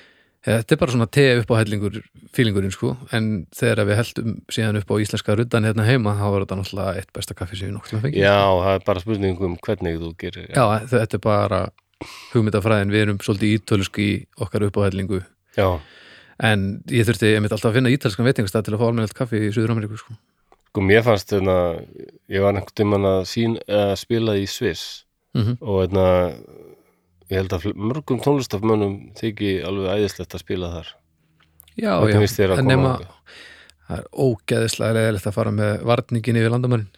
S2: Eh, Þetta er bara svona te upp á hellingur fílingurinn sko, en þegar við heldum síðan upp á íslenska ruddan hérna heima þá var þetta náttúrulega eitt besta kaffi sem við nokktum að fengi
S1: já, það er bara spurning um hvernig þú gerir
S2: Já, þetta er bara hugmyndafræðin, við erum svolítið ítölusk í okkar upp á hellingu
S1: já,
S2: en ég þurfti einmitt alltaf að finna ítalskan veitingastað til að fá almennilegt kaffi í Suður-Ameríku sko.
S1: sko mér fannst hérna, ég var einhvern tímann að, sín, að spila í Sviss
S2: mm
S1: og einna, ég held að fl- mörgum tónlistafmönnum þyki alveg æðislegt að spila þar
S2: Já,
S1: Hvernig finnst þér
S2: já,
S1: að
S2: en
S1: koma
S2: nema
S1: þangað?
S2: það er ógeðislega leðilegt að fara með varningin yfir landamærin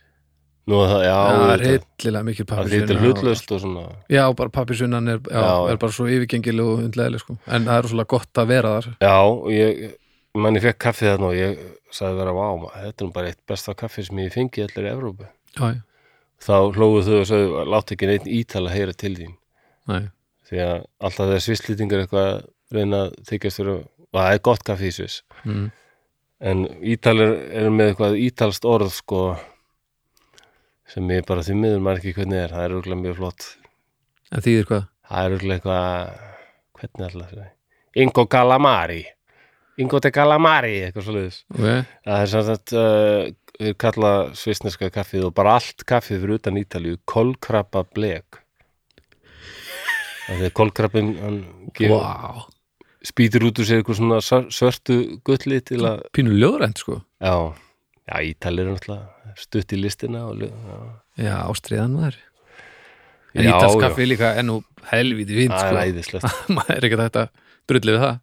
S1: Nú, það, já,
S2: Það er
S1: þetta-
S2: heitlilega mikil
S1: það er
S2: pappir
S1: lítið hlutlaust og svona
S2: Já, bara pappisvinnan er, já,
S1: Já, já.
S2: er bara svo yfirgengileg og undlegaðileg sko. en það er svolítið gott að vera þar
S1: já, ég mann ég fekk kaffið þarna og ég sagði vera vá, ma- þetta er nú bara eitt besta kaffið sem ég fengi í allir Evrópu
S2: Já, já,
S1: þá hlóðu þau og sagði, látt ekki neitt ítala heyra til þín
S2: nei,
S1: því að alltaf þegar svisslýtingar eitthvað að reyna að þykjast fyrir að og það er gott kaffið í sviss
S2: mm.
S1: en ítalir eru með eitthvað ítalst orð sko sem ég bara því miður maður ekki hvernig er það er örgulega mjög flott
S2: En þýðir hvað?
S1: það er örgulega eitthvað hvernig alltaf það er Ingo Calamari Ingo de Calamari eitthvað svoleiðis
S2: Okay.
S1: það er sem sagt uh, við kalla svisneska kaffið og bara allt kaffið fyrir utan Ítalíu kolkrabba blek þegar kolkrabbin hann gefur,
S2: Vá,
S1: spýtir út úr sér eitthvað svona sar- svörtu gulli til að
S2: pínu ljóðrænt sko
S1: Já, Já, Ítalir er náttúrulega stutt í listina og, ljó- já.
S2: Já, ástriðan maður En
S1: Já,
S2: ítalsk
S1: já.
S2: kaffi er líka enn og helviti fínt
S1: það er
S2: sko.
S1: æðislegt
S2: *laughs* maður er ekki hægt að drulli við það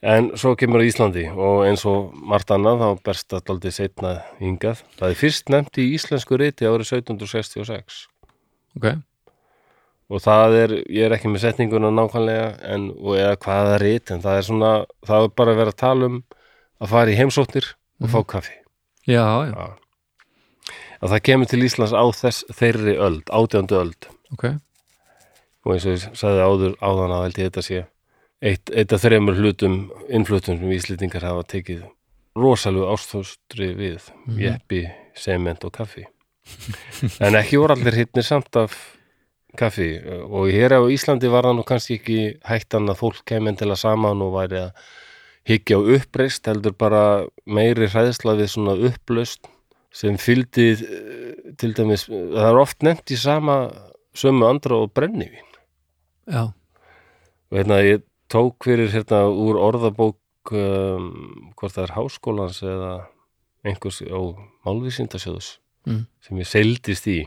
S1: En svo kemur á Íslandi og eins og margt annað þá berst það aldrei setna hingað. Það er fyrst nefnt í íslensku riti árið 1766
S2: Ok,
S1: og það er, ég er ekki með setninguna nákvæmlega en, og eða hvaða rit en það er svona, það er bara að vera að tala um að fara í heimsóttir og
S2: Mhm.
S1: fá kaffi.
S2: já, já,
S1: Já. Að það kemur til Íslands á þess þeirri öld, átjöndu öld
S2: ok
S1: og eins og ég sagði áður áðan að held ég þetta sé eitt, eitt af þreymur hlutum innflutum sem Íslendingar hafa tekið rosalegu ástfóstri við jeppi, sement og kaffi en ekki voru allir hittnir samt af kaffi og hér á Íslandi var það nú kannski ekki hættan að fólk kemur til að saman og væri að higgja á uppreist heldur bara meiri hræðsla við svona upplaust sem fylgdi eh, til dæmis, það er oft nefnt í sama sömu andra og brennivín
S2: Já,
S1: og hérna ég tók fyrir hérna úr orðabók um, hvort það er háskólans eða einhvers á málvísindasjóðus
S2: Mm.
S1: sem ég seildist í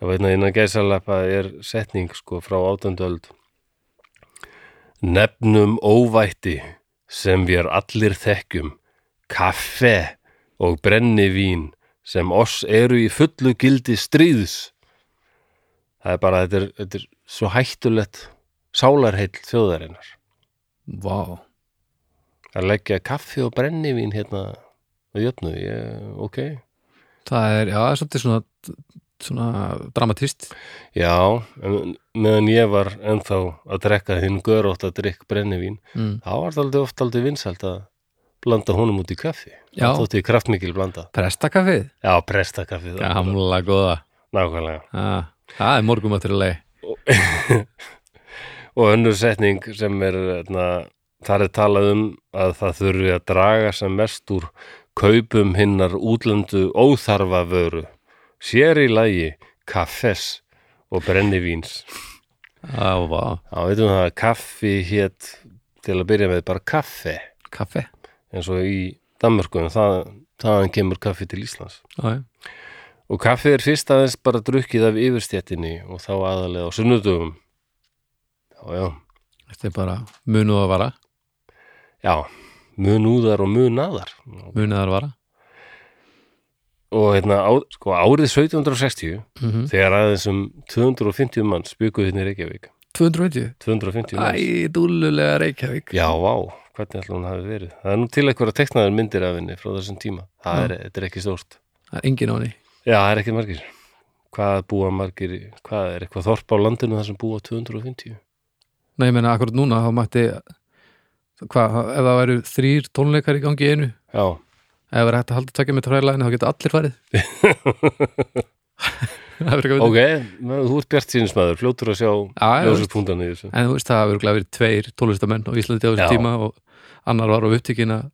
S1: það var hérna innan gæsalappa er setning sko frá átönduöld nefnum óvætti sem við allir þekkjum kaffe og brennivín sem oss eru í fullu gildi stríðs það er bara, þetta er, þetta er svo hættulegt sálarheill þjóðarinnar
S2: vá
S1: að leggja kaffi og brennivín hérna að jöfnu, ég, ok
S2: Það er, já, það er svolítið svona svona dramatist
S1: já, en, meðan ég var ennþá að drekka þinn görótt að drikk brennivín,
S2: mm.
S1: þá var það aldrei oft aldrei vinsælt að blanda honum út í kaffi
S2: Já.
S1: Það þótti kraftmikil blanda
S2: Prestakaffið,
S1: já, prestakaffið,
S2: gamla góða
S1: nákvæmlega
S2: Ah, Það er morgumaturlega
S1: og önnur setning sem er na, þar er talað um að það þurfi að draga sem mest úr kaupum hinnar útlöndu óþarfa vöru sér í lagi kaffes og brennivíns
S2: Já, vá,
S1: þá veitum við það að kaffi hétt til að byrja með bara kaffe
S2: kaffi
S1: eins og í Danmörku en það, þaðan kemur kaffi til Íslands
S2: Já, já.
S1: og kaffi er fyrst aðeins bara drukkið af yfirstjættinni og þá aðalega á sunnudöfum já já
S2: Þetta er bara munuð að vara
S1: Já, munúðar og munaðar
S2: Munuð að vara
S1: og hérna á, sko, árið 1760
S2: mm
S1: þegar aðeins um 250 manns bygguð hérna í Reykjavík
S2: 250
S1: 250 manns
S2: Æ, dúlulega Reykjavík
S1: Já, vá, hvernig ætla hún hafi verið Það er nú til eitthvað að teknaður myndir af henni frá þessum tíma Það er, þetta er ekki stórt
S2: Það er engin á henni
S1: Já, það er ekki margir Hvað búa margir, í- hvað er eitthvað þorp á landinu þar sem búa 250
S2: Nei, ég meina, akkurat núna, þá mætti hvað, ef það væru þrýr tónleikar í gangi í einu
S1: Já,
S2: ef það væri hægt að halda tökja með trælæðinu, hérna, þá geta allir
S1: *laughs*
S2: farið Það verður ekki að vita
S1: ok, þú ert bjart sínismæður fljótur að sjá
S2: já,
S1: ljósuspunktan í þessu
S2: En þú veist, það hafa örugglega verið tveir tólestamenn á Íslandi á
S1: Já.
S2: þessum tíma og annar var á upptíkin að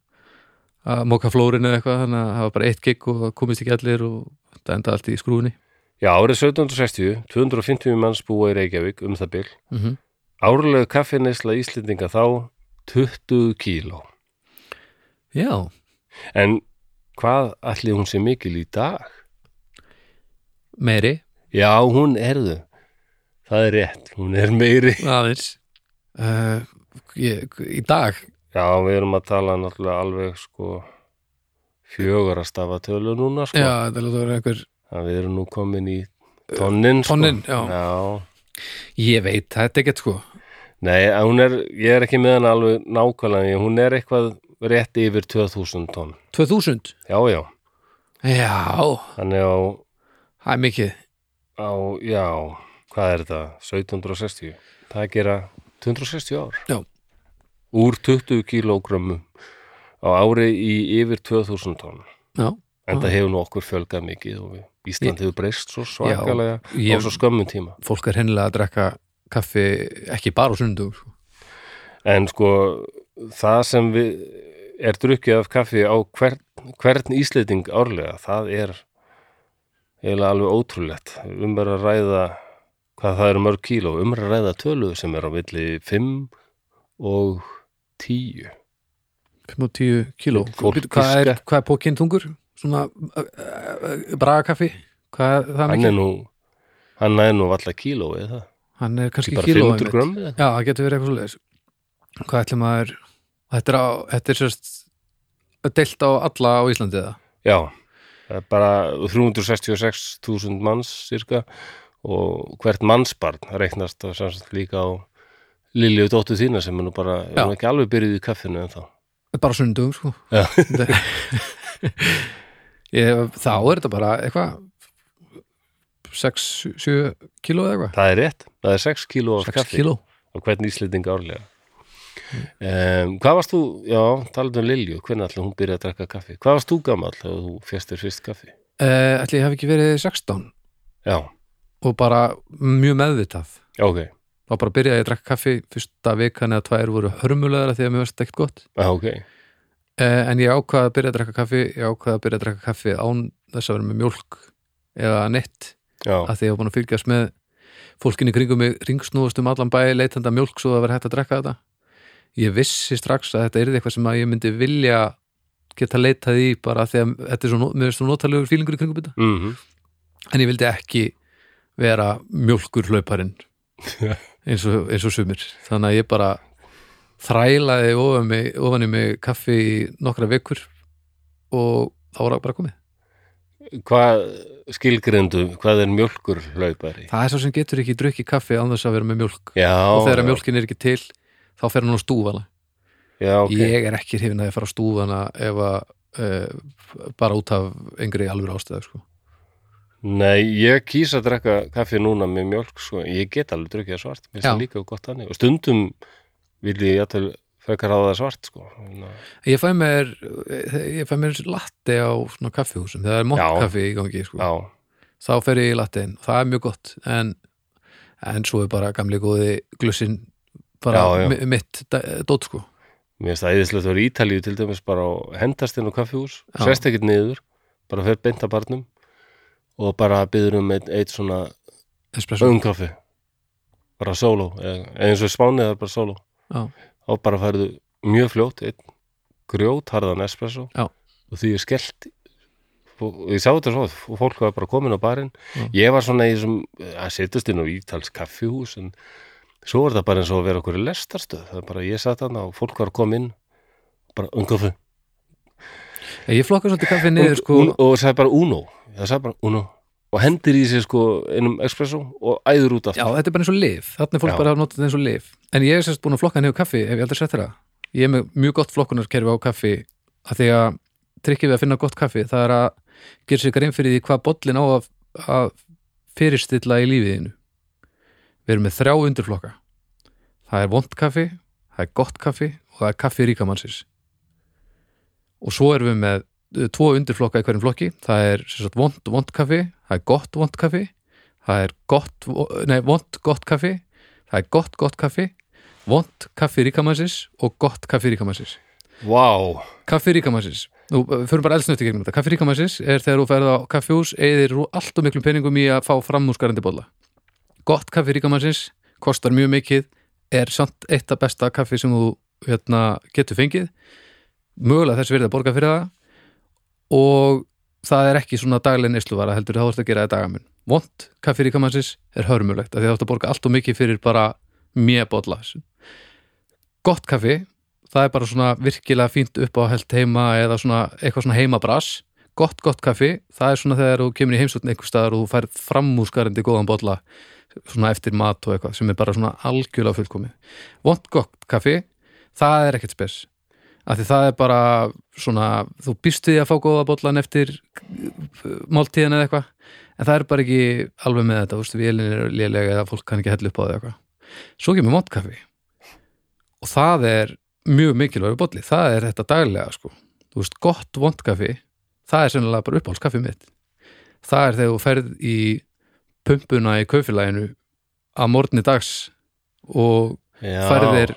S2: að móka flórin eða eitthvað þannig að það var bara eitt gig og það komist ekki allir og það endaði allt í skrúfinni
S1: Já, árið 1760, 250 manns búa í Reykjavík um það byrl
S2: mm -hmm.
S1: Árlegu kaffineysla Íslendinga þá 20 kíló.
S2: Já,
S1: En hvað ætli hún sé mikil í dag?
S2: meiri,
S1: Já, hún erðu. Það er rétt, hún er meiri.
S2: aðeins uh, ég, Í dag
S1: Já, við erum að tala náttúrulega alveg sko fjögur að stafa tölu núna sko.
S2: Já, þetta er alveg einhver
S1: Það við erum nú komin í tonnin sko.
S2: tonnin, já.
S1: Já,
S2: Ég veit, þetta er ekkert sko
S1: nei, að hún er, ég er ekki með hann alveg nákvæmlega, en hún er eitthvað rétt yfir 2000 tonn.
S2: 2000?
S1: Já, já,
S2: Já,
S1: þannig á
S2: það er mikið
S1: á, já, hvað er þetta? 1760. Það gera 260 ár.
S2: Já.
S1: Úr 20 kílógrömmum á ári í yfir 2000 tonn.
S2: Já,
S1: En það hefur nú okkur fjölgað mikið og við- Ísland hefur breyst svo svakalega
S2: Já, ég-
S1: á svo skömmum tíma.
S2: fólk er hennilega að drekka kaffi ekki bara á sunnudum sko.
S1: En sko, það sem við er drukkið af kaffi á hvern, hvern íslending árlega, það er eiginlega alveg ótrúlegt. Um er að ræða hvað það eru mörg kíló, um er að ræða tölu sem er á milli 5 og 10
S2: 5 og 10 kíló
S1: Fólk
S2: Býtu, hvað, er,
S1: fiskar.
S2: hvað er pókinn þungur? Svona uh, uh, bragakaffi Hvað er það
S1: hann
S2: mikið?
S1: er nú hann er nú alltaf kíló eða það
S2: Hann er
S1: Ekki
S2: kannski
S1: bara
S2: kíló
S1: 500
S2: einmitt.
S1: grömm eða
S2: Já, það getur verið eitthvað svoleiðis Hvað ætlum að er Þetta er, á, þetta er sérst deilt á alla á Íslandi það
S1: já, það er bara 366.000 manns cirka og hvert mannsbarn reiknast og samsagt líka á Lilju dóttu þína sem er nú bara er
S2: Já.
S1: nú ekki alveg byrjuð í kaffinu en þá
S2: bara sundum sko
S1: Já.
S2: Þetta- *laughs* ég, þá er þetta bara eitthvað 6-7 kíló eða eitthvað
S1: það er rétt, það er 6 kíló af
S2: 6
S1: kaffi
S2: kíló Mm.
S1: og hvern íslending árlega um, hvað varst þú, já, talandi um Lilju hvernig ætla hún byrjaði að drakka kaffi hvað varst þú gamall þegar þú fjast þér fyrst kaffi
S2: uh, ætli ég hef ekki verið 16
S1: já,
S2: og bara mjög meðvitað
S1: já, ok,
S2: þá bara byrjaði ég að drakka kaffi fyrsta vikan eða tvær voru hörmulegra því að mér varst ekkert gott
S1: já, ok
S2: uh, en ég ákvaði að byrja að drakka kaffi ég ákvaði að byrja að drakka kaffi án þess að vera með mjólk eða neitt
S1: já,
S2: að því ég var búin að fylgjast með fólkinni kringum mig ringsnúast um allan bæ leitanda mjólk svo það var hægt að drekka þetta ég vissi strax að þetta er eitthvað sem að ég myndi vilja geta leitað í bara af því að þetta er svo, mér er svo notalegur fílingur í kringum þetta
S1: mhm
S2: en ég vildi ekki vera mjólkur hlauparinn eins og, eins og sumir þannig að ég bara þrælaði ofan, mig, ofan í mig kaffi í nokkra vekur og þá var það bara komið
S1: hvað skilgrindu, hvað er mjölkur hlaupari?
S2: það er svo sem getur ekki drukki kaffi án þess að vera með mjólk
S1: Já,
S2: og þegar
S1: já,
S2: mjölkin er ekki til þá fer hann á stúfana
S1: já, okay.
S2: ég er ekki hrifin að ég fara á stúfana ef að uh, bara út af einhverju alveg ástæðu sko.
S1: Nei, ég kýs að drekka kaffi núna með mjölk, sko, ég get alveg drukkið það svart, mér
S2: Já.
S1: finnst líka gott þannig og stundum vil ég jættel frekar hafa það svart, sko Ná,
S2: ég fæ mér eh, ég fæ mér latte á svona kaffihúsum þegar það er
S1: Já.
S2: mokkkaffi í gangi sko.
S1: Já,
S2: þá fer ég í lattein, það er mjög gott en, en svo er bara gamli góði glussin bara
S1: Já, já.
S2: mi- mitt dæ- dót sko
S1: mér finnst það æðislegt að vera í Ítalíu til dæmis bara á hendastinn og kaffihús,
S2: Já.
S1: sest ekkert niður bara fer beint að barnum og bara byður um eitt, eitt svona
S2: espresso,
S1: öngkaffi bara sóló, eða- eins og spánið er bara sóló
S2: já,
S1: þá bara færðu mjög fljótt einn grjótharðan espresso
S2: Já.
S1: og því ég skellt og ég sá þetta svo og fólk var bara komin á barinn
S2: Já.
S1: ég var svona í þessum að setjast inn á Ítals kaffihús en svo var það bara eins og að vera okkur í lestarstöð það er bara ég satt hann og fólk var að koma inn bara ungafu
S2: ég flokka svolítið kaffi
S1: Um-
S2: niður sko
S1: og, og sagði bara uno það sagði bara uno og hendir í sig sko einum espresso og æður út
S2: Já,
S1: aftur
S2: þetta er bara eins og lif, þarna er fólk
S1: Já.
S2: bara að nota þetta eins og lif En ég er sérst búin að flokka niður kaffi ef ég aldrei sett þeirra Ég er með mjög gott flokkunarkerfi á kaffi að því að trykkið við að finna gott kaffi það er að gera sér grein fyrir því hvað bollin á að, að fyrirstilla í lífiðinu Við erum með þrjá undirflokka Það er vond kaffi, það er gott kaffi og það er kaffi ríkamannsins og svo erum við með uh, tvo undirflokka í hverjum flokki það er sem sagt, vond vond kaffi það er gott vond kaffi það er gott, vo- nei, vond gott kaffi það er gott gott kaffi vond kaffi ríkamannsins og gott kaffi ríkamannsins
S1: wow.
S2: kaffi ríkamannsins nú uh, förum bara elsnötti gegnum þetta kaffi ríkamannsins er þegar þú ferð á kaffihús eðir allt og miklum peningum í að fá framúskarandi bolla gott kaffi ríkamannsins kostar mjög mikið er samt eitt af besta kaffi sem þú hérna, getur fengið mögulega þess verið að borga fyrir það og það er ekki svona daglegin neysluvara heldur þá ertu að gera það dagamun vond kaffi ríkamannsins er hörmulegt af því það ertu að borga allt og mikið fyrir bara mjög bolla gott kaffi það er bara svona virkilega fínt upp á held heima eða svona eitthvað svona heimabras gott, gott kaffi, það er svona þegar þú kemur í heimsókn einhver staðar og þú færð framúskarandi góðan bolla, svona eftir mat og eitthvað sem er bara svona algjörlega fullkomið vond gott kaffi, það er ekkert spes af því það er bara svona, þú býst við því að fá góða bollan eftir máltíðan eða eitthvað, en það er bara ekki alveg með þetta, þú veist, vélin er lélega eða fólk kann ekki hella upp á það eða eitthvað svo kemur vond kaffi og það er mjög mikilvægur bolli það er þetta daglega sko þú veist, gott vondkaffi, það er sennilega bara uppáhaldskaffi mitt það er þegar þú ferð í pumpuna í kaufélaginu að morgni dags og
S1: Já.
S2: færð þér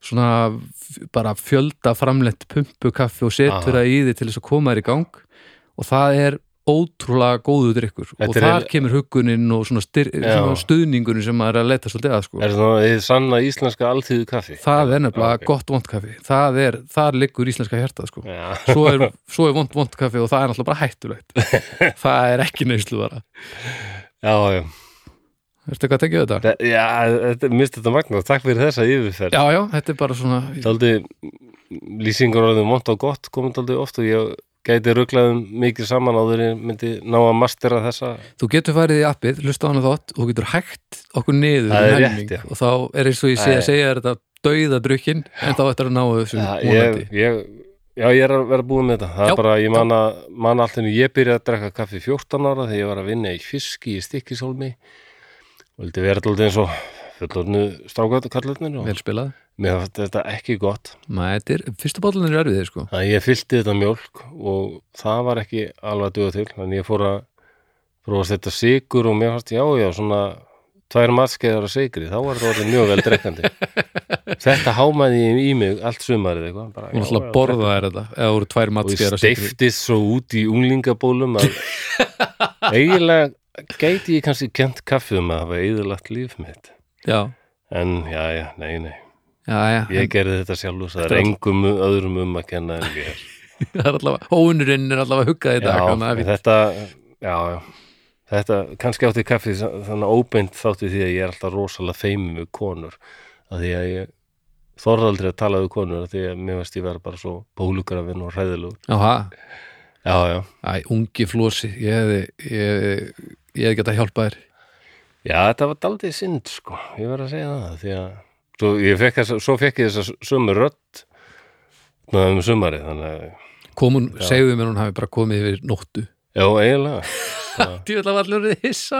S2: svona f- bara fjölda framleitt pumpukaffi og setur
S1: Aha.
S2: það í því til þess að koma þér í gang og það er ótrúlega góðu drikkur og
S1: Þetta er
S2: þar
S1: heil-
S2: kemur huggunin og svona, styr,
S1: Já.
S2: svona stuðningunin sem maður er að leita svolítið að sko.
S1: Er það þið sanna íslenska alþýðu kaffi?
S2: það er nefnilega
S1: Já, ok.
S2: gott vondkaffi það er, þar liggur íslenska hjartað sko.
S1: Já,
S2: svo er, svo er vond vondkaffi og það er náttúrulega bara
S1: *laughs*
S2: hættulegt það er ekki neysluvara
S1: já, já.
S2: Ertu eitthvað að tekja þetta?
S1: Þa- Já, þetta, minnst þetta magna, takk fyrir þessa yfirferð.
S2: Já, já, þetta er bara svona
S1: Daldi, lýsingur orðið mont og gott komið daldi oft og ég gæti rugglaðum mikið saman áður en ég myndi ná að mastera þessa.
S2: Þú getur farið í appið, hlusta á hana þátt og þú getur hægt okkur niður
S1: Það
S2: í
S1: er
S2: helming
S1: rétt, já.
S2: og þá er eins og ég sé
S1: Það
S2: að
S1: er-
S2: segja þér þetta dauða drukkin en þá ættir að ná þessu
S1: Já,
S2: vonandi.
S1: ég, ég, já, ég er að vera búin með þetta. Það
S2: Já,
S1: er bara, ég man, að, man alltaf en ég byrjaði að drekka kaffi 14 ára þegar ég var að vinna í fiski í stikkisólmi og vildi vera daldi eins og fullornu strákaðu kallarnir og
S2: Vel spilað
S1: mér fannst þetta ekki gott.
S2: Mæ, þetta er, fyrstu bóllin er erfið sko.
S1: að ég fyllti þetta mjólk og það var ekki alveg að duga til en ég fór að prófa að setja sigur og mér fannst, já, já, svona tvær matskeiðar að sigri, þá var þetta orðið mjög vel
S2: *laughs*
S1: drekkandi þetta hámaði ég í mig allt sumarið eitthvað bara,
S2: Þú
S1: já,
S2: ætla að
S1: já,
S2: borða þær þetta eða voru tvær
S1: og ég
S2: matskeður
S1: steiftist svo út í unglingabólum
S2: *laughs*
S1: að eiginlega gæti ég kannski kent kaffi um að hafa eiginlegt líf mitt
S2: Já,
S1: en, já, já, nei, nei
S2: já, já
S1: ég gerði þetta sjálfur, það
S2: Þetta
S1: er
S2: er all-
S1: engum öðrum um að kenna en ég er
S2: *laughs* Það er allavega, óunurinn er allavega huggað í dag
S1: já,
S2: þannig að við-
S1: þetta já, já, þetta kannski átti kaffi þannig að óbeint þátti því að ég er alltaf rosalega feimur með konur að því að ég þorði aldrei að tala við konur að því að mér veist ég vera bara svo bólugrafin og hræðilegur
S2: Jáha,
S1: já, já,
S2: æ, ungi flósi ég hefði, ég, ég hefði getað hjálpað þér
S1: já, þetta var daldið synd sko, ég verð að segja það því að svo, ég fekk, þessa- svo fekk ég þessa sömu rödd náðum sumari þannig að
S2: Komun, segðu mér hún hafi bara komið yfir nóttu
S1: já, eiginlega
S2: Djúlega var allur hissa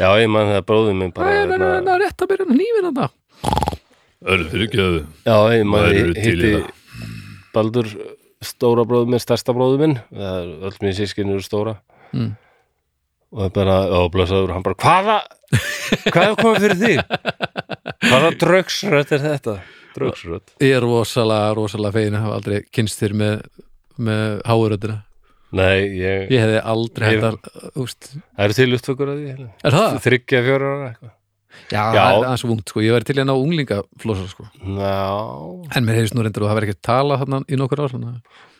S1: já, ég man það bróðið minn bara
S2: Það
S1: hérna-
S2: er rétt að byrja nýfin hann
S3: Örðu fyrir ekki að
S1: Já, ég maður
S3: eru til í
S1: hitti
S3: það.
S1: Baldur stóra bróður minn, stærsta bróður minn það er öll mér sískinn eru stóra
S2: Mm.
S1: og það er bara, já, blessaður hann bara, hvaða hvað er komið fyrir því? hvaða draugsrödd er þetta? draugsrödd?
S2: Ég er rosalega, rosalega fegin að hafa aldrei kynst þér með, með háuröndina
S1: Nei, ég,
S2: Ég hefði aldrei
S1: Ég-
S2: hægt að úst,
S1: það eru til upptökur að því hérna.
S2: Er það?
S1: þryggja fjóra ára eitthvað
S2: Já, það er aðeins vungt sko, ég væri til í að ná unglingaflosa sko
S1: Ná,
S2: En mér hefðist nú reyndar og það verið ekki að tala þarna í nokkur ár svona.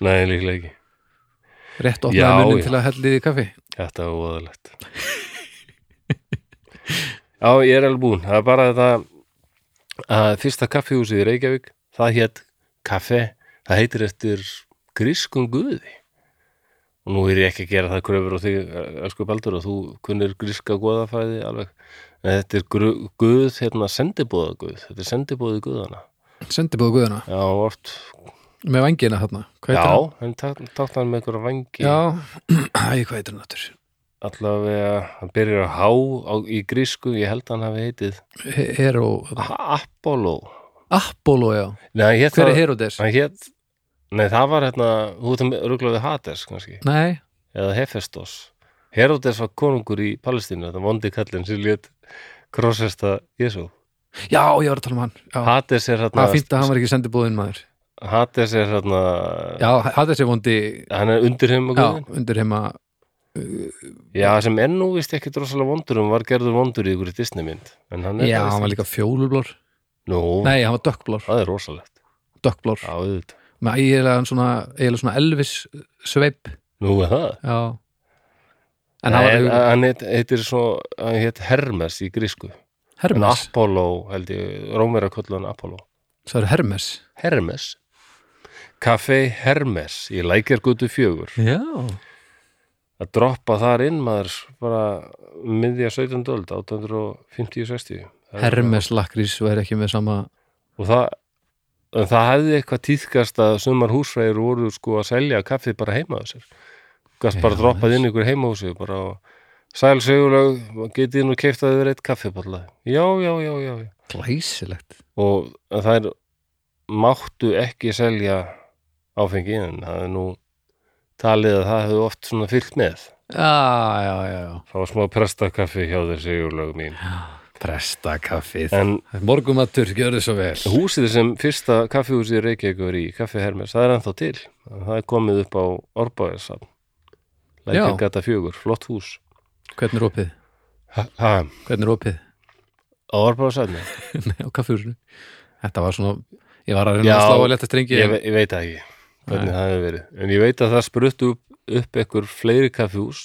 S1: nei, líklega ekki
S2: Rétt
S1: Já,
S2: opnaði munnin
S1: já.
S2: til að hella í því kaffi
S1: Þetta var óðalegt *laughs* Já, ég er alveg búinn Það er bara þetta að fyrsta kaffihúsið í Reykjavík það hétt kaffe það heitir eftir grískum guði og nú er ég ekki að gera það kröfur og því, elsku Baldur og þú kunnir gríska goðafæði alveg en þetta er gru- guð, hérna sendibóða guð, þetta er sendibóði guðana
S2: Sendi búið guðuna,
S1: Já, oft,
S2: með vangina þarna Hvað
S1: já,
S2: heitir hann?
S1: hann tátt táknar hann með einhverja vangi
S2: Já, *clears throat* æ, hvað heitir hann áttur?
S1: allavega, hann byrjar að há á, í grísku, ég held að hann hafi heitið
S2: Hero,
S1: Apollo
S2: Apollo já
S1: Nei, hét
S2: Hver
S1: það,
S2: er Herodes?
S1: Hann hét, nei, það var hérna út um rugglaði Hades kannski
S2: Nei,
S1: eða Hefestos Herodes var konungur í Palestínu þetta vondi kallinn sem lét krossesta Jésu
S2: já, ég var að tala um hann Já,
S1: Hades er
S2: það er
S1: hérna
S2: fínt að hann var ekki sendi búðin maður
S1: Hades er hérna
S2: Já, hafði þessi vondi
S1: hann er undir heim og
S2: já,
S1: guðin
S2: undir heima
S1: Já, sem ennú vist ekki drosalega vondur um var gerður vondur í ykkur Disney mynd en hann er
S2: Já,
S1: það víst
S2: hann var
S1: ekki.
S2: líka fjólublár
S1: Nú,
S2: Nei, hann var dökkblár,
S1: það er rosalegt
S2: dökkblár
S1: Já, auðvitað
S2: með eiginlega svona, eiginlega svona Elvis sveip
S1: Nú er það
S2: Já En hann
S1: Nei,
S2: var alveg
S1: Hann heit- heitir svo, hann heit Hermes í grísku En
S2: Hermes
S1: Apollo, held ég, Rómverja köllu hann Apollo.
S2: Það eru Hermes
S1: Hermes. Café Hermes í Lækjargötu fjögur.
S2: Já
S1: Að droppa þar inn maður bara miðja 17. öld, 1850-60. Það er
S2: Hermes lakrís væri ekki með sama
S1: bara- Og það, en það hefði eitthvað tíðkast að sumar húsræðir voru sko að selja kaffið bara heima á sér. Gast bara
S2: Já,
S1: droppað
S2: nice.
S1: inn ykkur heima á sér bara og sæl segjuleg, getið nú keiftaðið reitt kaffiballa. Já, já, já, já, já.
S2: Glæsilegt
S1: og þær máttu ekki selja áfengi en það er nú talið að það hefur oft svona fyllt með
S2: Já, já, já, já
S1: það var smá prestakaffi hjá þessi júlög mín
S2: Prestakaffið
S1: en
S2: Morgumatur, gjör þið svo vel
S1: húsið sem fyrsta kaffihúsið í Reykjavík var í Kaffi Hermes, það er ennþá til það er komið upp á Orbaðisafn
S2: Já.
S1: Lækjagata fjögur, flott hús
S2: Hvernig er opið?
S1: ha, ha,
S2: Hvernig er opið? *laughs*
S1: á árbáðsæðna
S2: Nei, á kaffjúrinu Þetta var svona, ég var að reyna
S1: Já,
S2: að slá að leta strengi
S1: ég, ve- ég veit það ekki hvernig það hefur verið en ég veit að það spruttu upp, upp ekkur fleiri kaffihús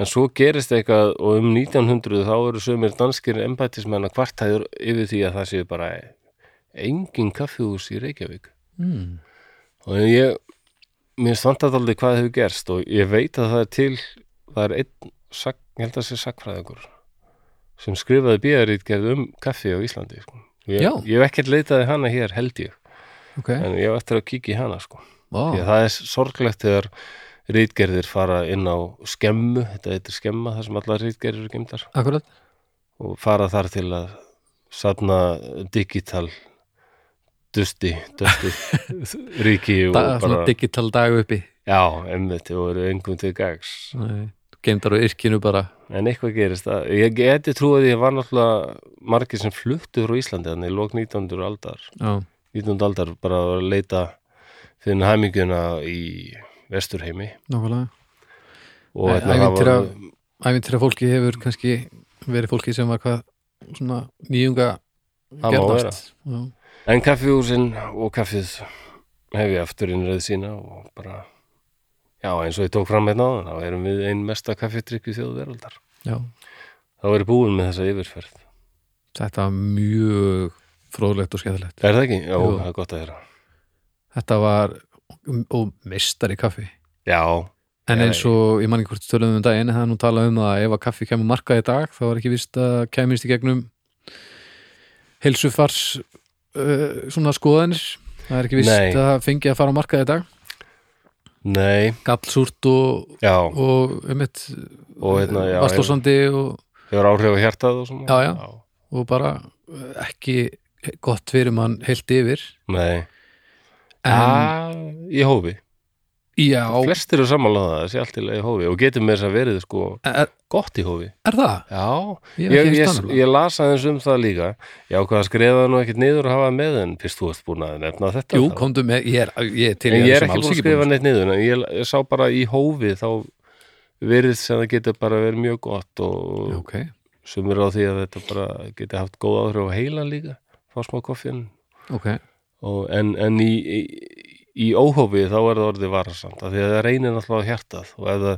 S1: en svo gerist eitthvað og um 1900 þá eru sömur danskir embættismenn að kvartæður yfir því að það séu bara engin kaffihús í Reykjavík
S2: mm.
S1: og ég mér standart aldrei hvað hefur gerst og ég veit að það er til það er einn, sak, ég held að sé sakfræðingur sem skrifaði bíðarítgerð um kaffi á Íslandi sko. Og ég,
S2: Já.
S1: ég hef ekkert leitaði hana hér held ég
S2: Ok,
S1: en ég hef eftir að kíkja í hana sko
S2: Vá.
S1: því að það er sorglegt þegar rítgerðir fara inn á skemmu þetta heitir skemma þar sem allar rítgerðir eru gemdar
S2: akkurat
S1: og fara þar til að safna digital dusti,
S2: *laughs*
S1: dusti ríki og
S2: da, Svona
S1: bara
S2: digital dag uppi
S1: já, emmitt, og eru engum til gags
S2: Nei, Geimdar á yrkinu bara
S1: en eitthvað gerist það ég geti trúið að ég var náttúrulega margir sem fluttu frá Íslandi þannig lók 19. aldar
S2: Já,
S1: 19. aldar bara að leita fyrir hæminguna í vesturheimi
S2: nákvæmlega
S1: og
S2: Nei,
S1: hérna það
S2: ævintýra-
S1: var-
S2: Ævintýra fólki hefur kannski verið fólki sem var hvað svona nýjunga
S1: Það má vera.
S2: gerðast Já,
S1: En kaffihúsin og kaffið hef ég aftur innröð sína og bara, já eins og ég tók fram hérna á þann, þá erum við einn mesta kaffidrykju þjóðu veraldar.
S2: já
S1: Þá er ég búin með þessa yfirferð.
S2: Þetta var mjög fróðlegt og skemmtilegt.
S1: Er það ekki? Já,
S2: Jú.
S1: það er gott að þeirra.
S2: Þetta var og meistari kaffi.
S1: Já,
S2: En
S1: Já,
S2: eins og ég man ekki hvort við töluðum um daginn en það er nú talað um að ef að kaffi kemur markað í dag þá var ekki vist að kemist í gegnum heilsufars uh, svona skoðanir það er ekki vist
S1: Nei.
S2: að það fengi að fara á markað í dag
S1: nei,
S2: gallsúrt og,
S1: já,
S2: og um eitt
S1: og hérna, já, hefur,
S2: vastlósandi og,
S1: hefur áhrif á hjartað og svona.
S2: Já, já. og bara eh, ekki gott fyrir mann heilt yfir
S1: Nei,
S2: en
S1: ah, í hófi.
S2: já,
S1: Flestir eru sammálaða það, það sé allt í lagi í hófi og getur með þess að verið sko
S2: er,
S1: gott í hófi.
S2: er það?
S1: Já,
S2: Ég, ég,
S1: ég, ég,
S2: ég, ég,
S1: ég las aðeins um það líka ég ákvað að skrifa það nú ekkert niður og hafa það með en fyrst þú ert búin að nefna þetta
S2: Jú,
S1: þá.
S2: komdu með, ég er, ég er til
S1: en
S2: í
S1: ég er
S2: þessum
S1: ekki
S2: alls
S1: búin að skrifa neitt niður en ég, ég sá bara í hófi þá verið sem það getur bara verið mjög gott og
S2: Ok,
S1: sumir á því að þetta bara geti haft góð áhrif á heilan líka fá smá koffin
S2: ok,
S1: og, en, en í, í, í óhófi þá er það orðið varasamt af því að það reynir náttúrulega á hjartað og ef það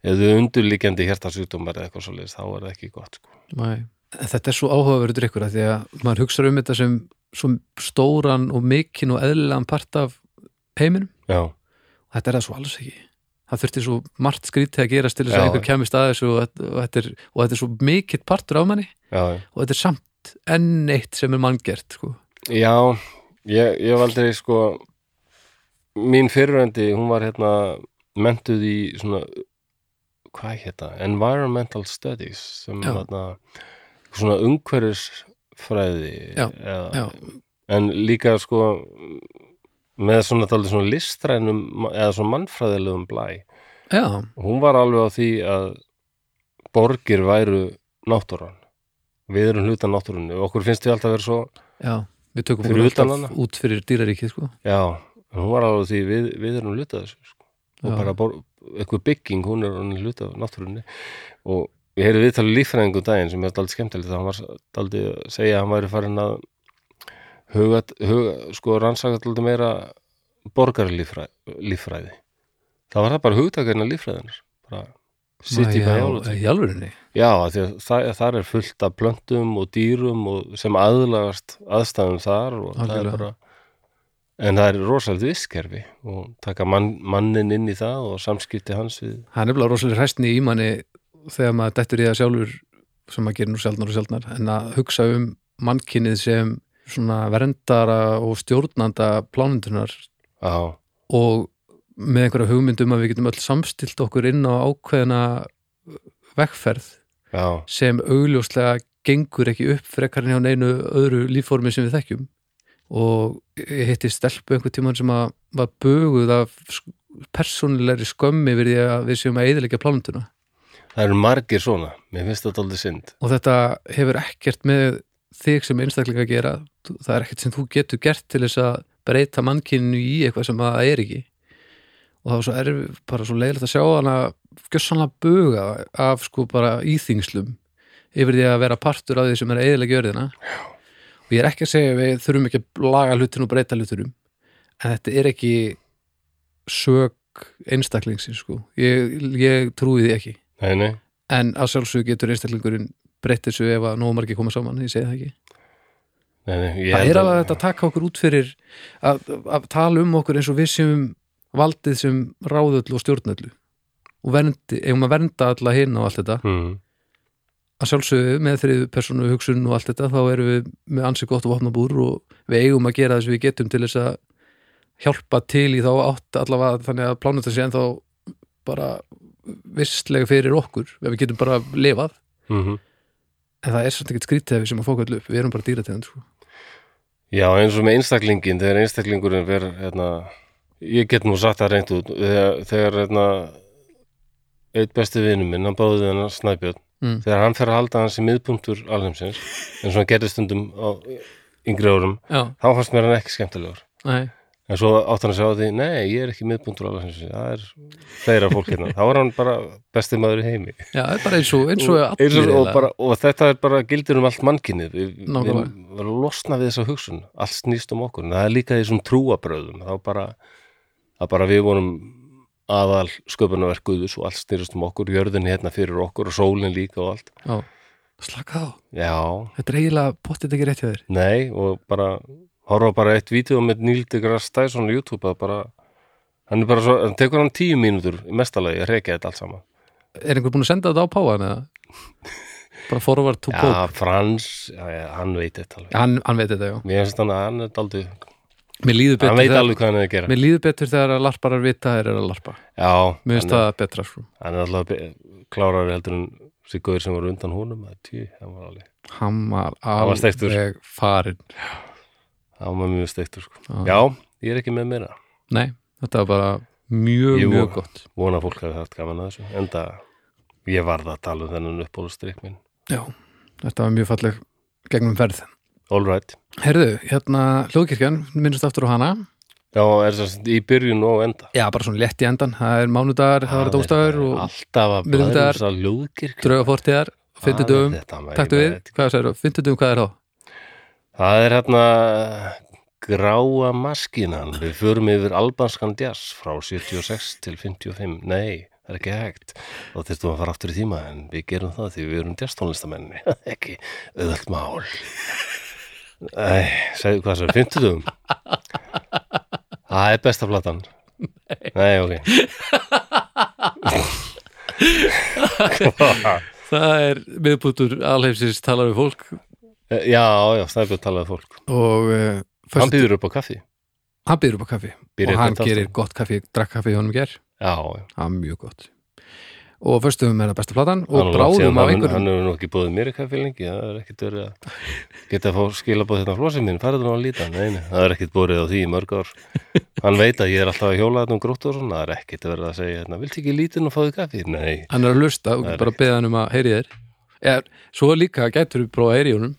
S1: ef þau undurlíkjandi hjartasjúkdómar eða eitthvað svoleiðis þá er það ekki gott sko.
S2: mæ Þetta er svo áhugaverður drikkur að því að maður hugsa um þetta sem svo stóran og mikinn og eðlilegan part af heiminum
S1: Já,
S2: og þetta er það svo alls ekki Það þurfti svo margt skrítið að gerast til þess
S1: Já.
S2: að einhver kemist að þessu og, þetta- og, þetta er, og þetta er svo mikill partur af manni
S1: já, já
S2: og þetta er samt enn eitt sem er manngert sko.
S1: Já, ég, ég hef aldrei sko mín fyrröndi, hún var hérna mentuð í svona hvað hérna, environmental studies sem
S2: Já.
S1: hérna svona umhverfisfræði
S2: Já,
S1: eða,
S2: já.
S1: en líka sko með svona talið svona listrænum eða svona mannfræðilegum blæ
S2: Já,
S1: hún var alveg á því að borgir væru náttúran við erum hluta náttúrunni og okkur finnst við alltaf að vera svo
S2: já, við tökum
S1: Fyrir
S2: hún
S1: utan
S2: alltaf
S1: hana.
S2: út fyrir dýraríkið sko.
S1: Já, en hún var alveg því við, við erum hlutað þessu sko. og
S2: Já.
S1: bara bor, eitthvað bygging, hún er hann hlutað náttúrunni og ég heyrði viðtalið líffræðingu um daginn sem er alltaf skemmtilegt að hann var alltaf að segja að hann væri farin að huga, huga sko rannsaka alltaf meira borgarlíffræði það var það bara hugtakarna líffræðinar bara city
S2: Mæ,
S1: biology
S2: Já, í alvörunni
S1: Já, af því að það, þar er fullt af plöntum og dýrum og sem aðlagast aðstæðum þar og það er
S2: Algjörlega.
S1: bara en það er rosalegt visskerfi og taka mann, mannin inn í það og samskipti hans við
S2: Það er nefnilega rosalega hræstni í manni þegar maður dettur í það sjálfur sem maður gerir nú sjaldnar og sjaldnar en að hugsa um mannkinnið sem svona verndara og stjórnanda plánundunar
S1: á,
S2: og með einhverja hugmyndum að við getum öll samstilt okkur inn á ákveðna vegferð
S1: já,
S2: sem augljóslega gengur ekki upp frekar en hjá neinu öðru lífformi sem við þekkjum og ég hitti stelpu einhvern tímann sem að var böguð af sk- persónulegri skömmi við því að við séum að eyðilegja plánunduna
S1: það eru margir svona mér finnst þetta aldrei synd
S2: og þetta hefur ekkert með þig sem einstaklinga að gera Þú- það er ekkert sem þú getur gert til þess að breyta mannkyninu í eitthvað sem það er ekki og það var svo erf, bara svo leiðilegt að sjá hana gjössanlega buga af sko bara íþingslum yfir því að vera partur af því sem er eðilega gjörðina Já. og ég er ekki að segja að við þurfum ekki að laga hlutin og breyta hlutinum en þetta er ekki sög einstaklingsins sko ég, ég trúi því ekki
S1: Nei, nei,
S2: en að sjálfsög getur einstaklingurinn breytt þessu ef að nóg margir koma saman ég segi það ekki
S1: nei, nei ég
S2: það
S1: held
S2: er alveg að þetta taka okkur út fyrir að, að tala um okkur eins og við séum valdið sem ráðullu og stjórnullu og verndi, eigum að vernda alla hinn og allt þetta
S1: mm,
S2: að sjálfsögðu með þriðu persónu hugsun og allt þetta þá erum við með ansi gott og vopnabúr og við eigum að gera þess við getum til þess að hjálpa til í þá átt allavega þannig að plánuta sé ennþá bara visslega fyrir okkur ef við getum bara lifað
S1: mm
S2: en það er svolítið ekkert skrítið ef við sem að fóka allu upp við erum bara dýrategund sko.
S1: Já, eins og með einstaklingin, þegar einstaklingurinn ver, hérna, ég get nú satt það reynd út, þegar, þegar hérna, eitt besti vinur minn, hann báði hennar Snæbjörn,
S2: Mm.
S1: þegar hann fer að halda hans í miðpunktur alheimsins, eins og hann gerði stundum á yngri árum,
S2: já,
S1: þá fannst mér hann ekki skemmtilegur.
S2: nei,
S1: En svo átt hann að sjá á því, nei, ég er ekki miðpunktur alheimsins, það er fleira fólk hérna. þá er hann bara besti maður í heimi.
S2: já, það er bara eins og eins og allir
S1: Eins og, og,
S2: eiginlega.
S1: bara, og þetta er bara gildir um allt mannkinnið við, við
S2: Nákvæmlega.
S1: verðum að losna við þessa hugsun allt snýst um okkur, en það er líka í þessum trúabröðum þá bara, það bara við vorum aðal sköpunarverk Guðus og allt snýrist um okkur, jörðin hérna fyrir okkur og sólin líka og allt
S2: já, slaka á,
S1: já,
S2: þetta er eiginlega pottið ekki rétt hjá þér
S1: nei og bara horfa bara eitt vídeo með Neil deGrasse Tyson á YouTube að bara, hann er bara svo hann tekur hann tíu mínútur í mestalagi að reykja þetta allt saman
S2: er einhver búin að senda þetta á páan eða bara forward to pope
S1: já, Frans, já, já, hann veit þetta alveg
S2: hann, hann veit þetta, já
S1: mér finnst hann að hann er daldið
S2: Mér líður betur
S1: hann veit
S2: þegar,
S1: alveg hvað hann er að gera
S2: mér líður betur þegar að larparar vita þeir eru að larpa.
S1: Já,
S2: Mér finnst
S1: hann er-
S2: það betra, sko.
S1: hann er alltaf be- klárari heldur en Sigurður sem var undan honum að tjú, hann var alveg
S2: Hann var
S1: var steiktur.
S2: alveg farinn.
S1: hann var mjög steiktur sko.
S2: Já.
S1: Já, ég er ekki með meira
S2: Nei, þetta var bara mjög,
S1: Jú.
S2: mjög gott.
S1: vona að fólk hafi haft gaman að þessu enda ég varð að tala um þennan uppbólustrykk minn
S2: Já, þetta var mjög falleg gegnum ferð.
S1: All right
S2: Herðu, hérna hljóðkirkjan, minnst aftur á hana.
S1: Já, er það sem sagt í byrjun og enda
S2: Já, bara svona létt í endan. Það er mánudagar, það var dóstagar og
S1: Alltaf að blæða
S2: miðvikudagar,
S1: þess að ljóðkirk
S2: draugafortiðar, fymtudum, taktu við, hvað sagður, fymtudum, hvað er þá?
S1: Það er hérna gráa maskinan við förum yfir albanskan jazz frá 76 til 55 nei, það er ekki hægt þá þyrstum við að fara aftur í tíma en við gerum það því við erum *laughs* jazztónlistamenni ekki auðvöld mál Æ, segðu hvað sem, 50 Það er besta platan Nei, ok Hvað?
S2: Það er miðbútur alheimsins talar við fólk
S1: *laughs* Já, já, snæfjöld talaði fólk
S2: og uh,
S1: Hann býður upp á kaffi
S2: hann býður upp á kaffi
S1: Býr
S2: og
S1: upp
S2: hann
S1: þetta
S2: gerir
S1: aftur.
S2: gott kaffi, drakk kaffi í honum í ger
S1: Já, já
S2: það var mjög gott og föstum er það besta platan
S1: Hann
S2: og
S1: er langt síðan
S2: bráðum af
S1: hann-
S2: einhverjum
S1: hann hefur nú ekki búið mér eitthvað fyrir lengi það er ekkit verið að geta að fá hérna skilabóð þetta flósið mín, farið nú að líta Nei, nei, það er ekkit búið á því í mörg ár hann veit að ég er alltaf að hjóla þetta um grótt og svona það er ekkit verið að segja, hérna, viltu ekki lítið og fáðu kaffi? Nei,
S2: hann er að lusta og
S1: Það er
S2: bara beða hann um að heyri þér er, svo líka gætur við prófa að heyri í honum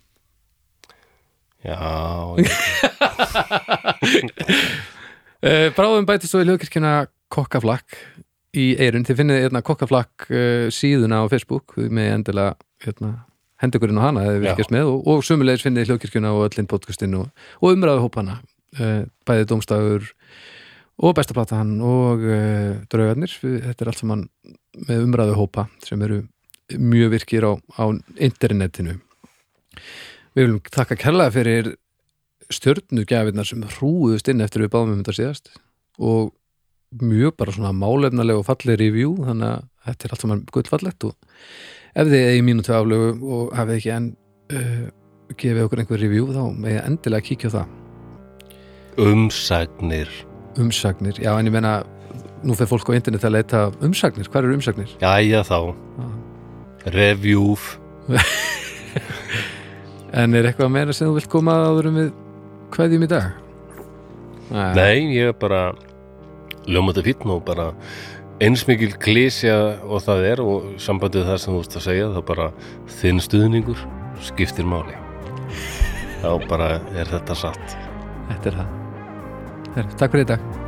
S1: já ég-
S2: uh, bráðum bætist svo í hljóðkirkjuna kokkaflakk í eirun þið finnið hérna, kokkaflakk uh, síðuna á Facebook við með endilega hérna, hendukurinn á hana eða
S1: Já.
S2: virkast með og, og sömulegis finnið hljóðkirkjuna og öllin podcastinn og, og umræðu hópana uh, bæði dómstafur og besta plata hann og uh, draugarnir, Við- þetta er allt saman með umræðu hópa sem eru mjög virkir á, á internetinu við viljum þakka kærlega fyrir stjörnugjafinnar sem hrúðust inn eftir við báðum um þetta síðast og mjög bara svona málefnaleg og falleg review þannig að þetta er allt saman gullfallegt og ef þið eigi mínútu aflögu og hafið ekki enn uh, gefið okkur einhver review þá með endilega kíkja á það
S1: umsagnir
S2: umsagnir, já en ég meina nú fer fólk á internet að leita að umsagnir hvað eru umsagnir?
S1: Jæja þá, review
S2: En er eitthvað meira sem þú vilt koma að áðurum við kveðjum í dag?
S1: Nei, ég er bara ljóma þetta fítn og bara eins mikil klísja og það er og sambandið það sem þú ert að segja þá bara þinn stuðningur skiptir máli þá bara er þetta satt
S2: Þetta er það. Her, takk fyrir í dag.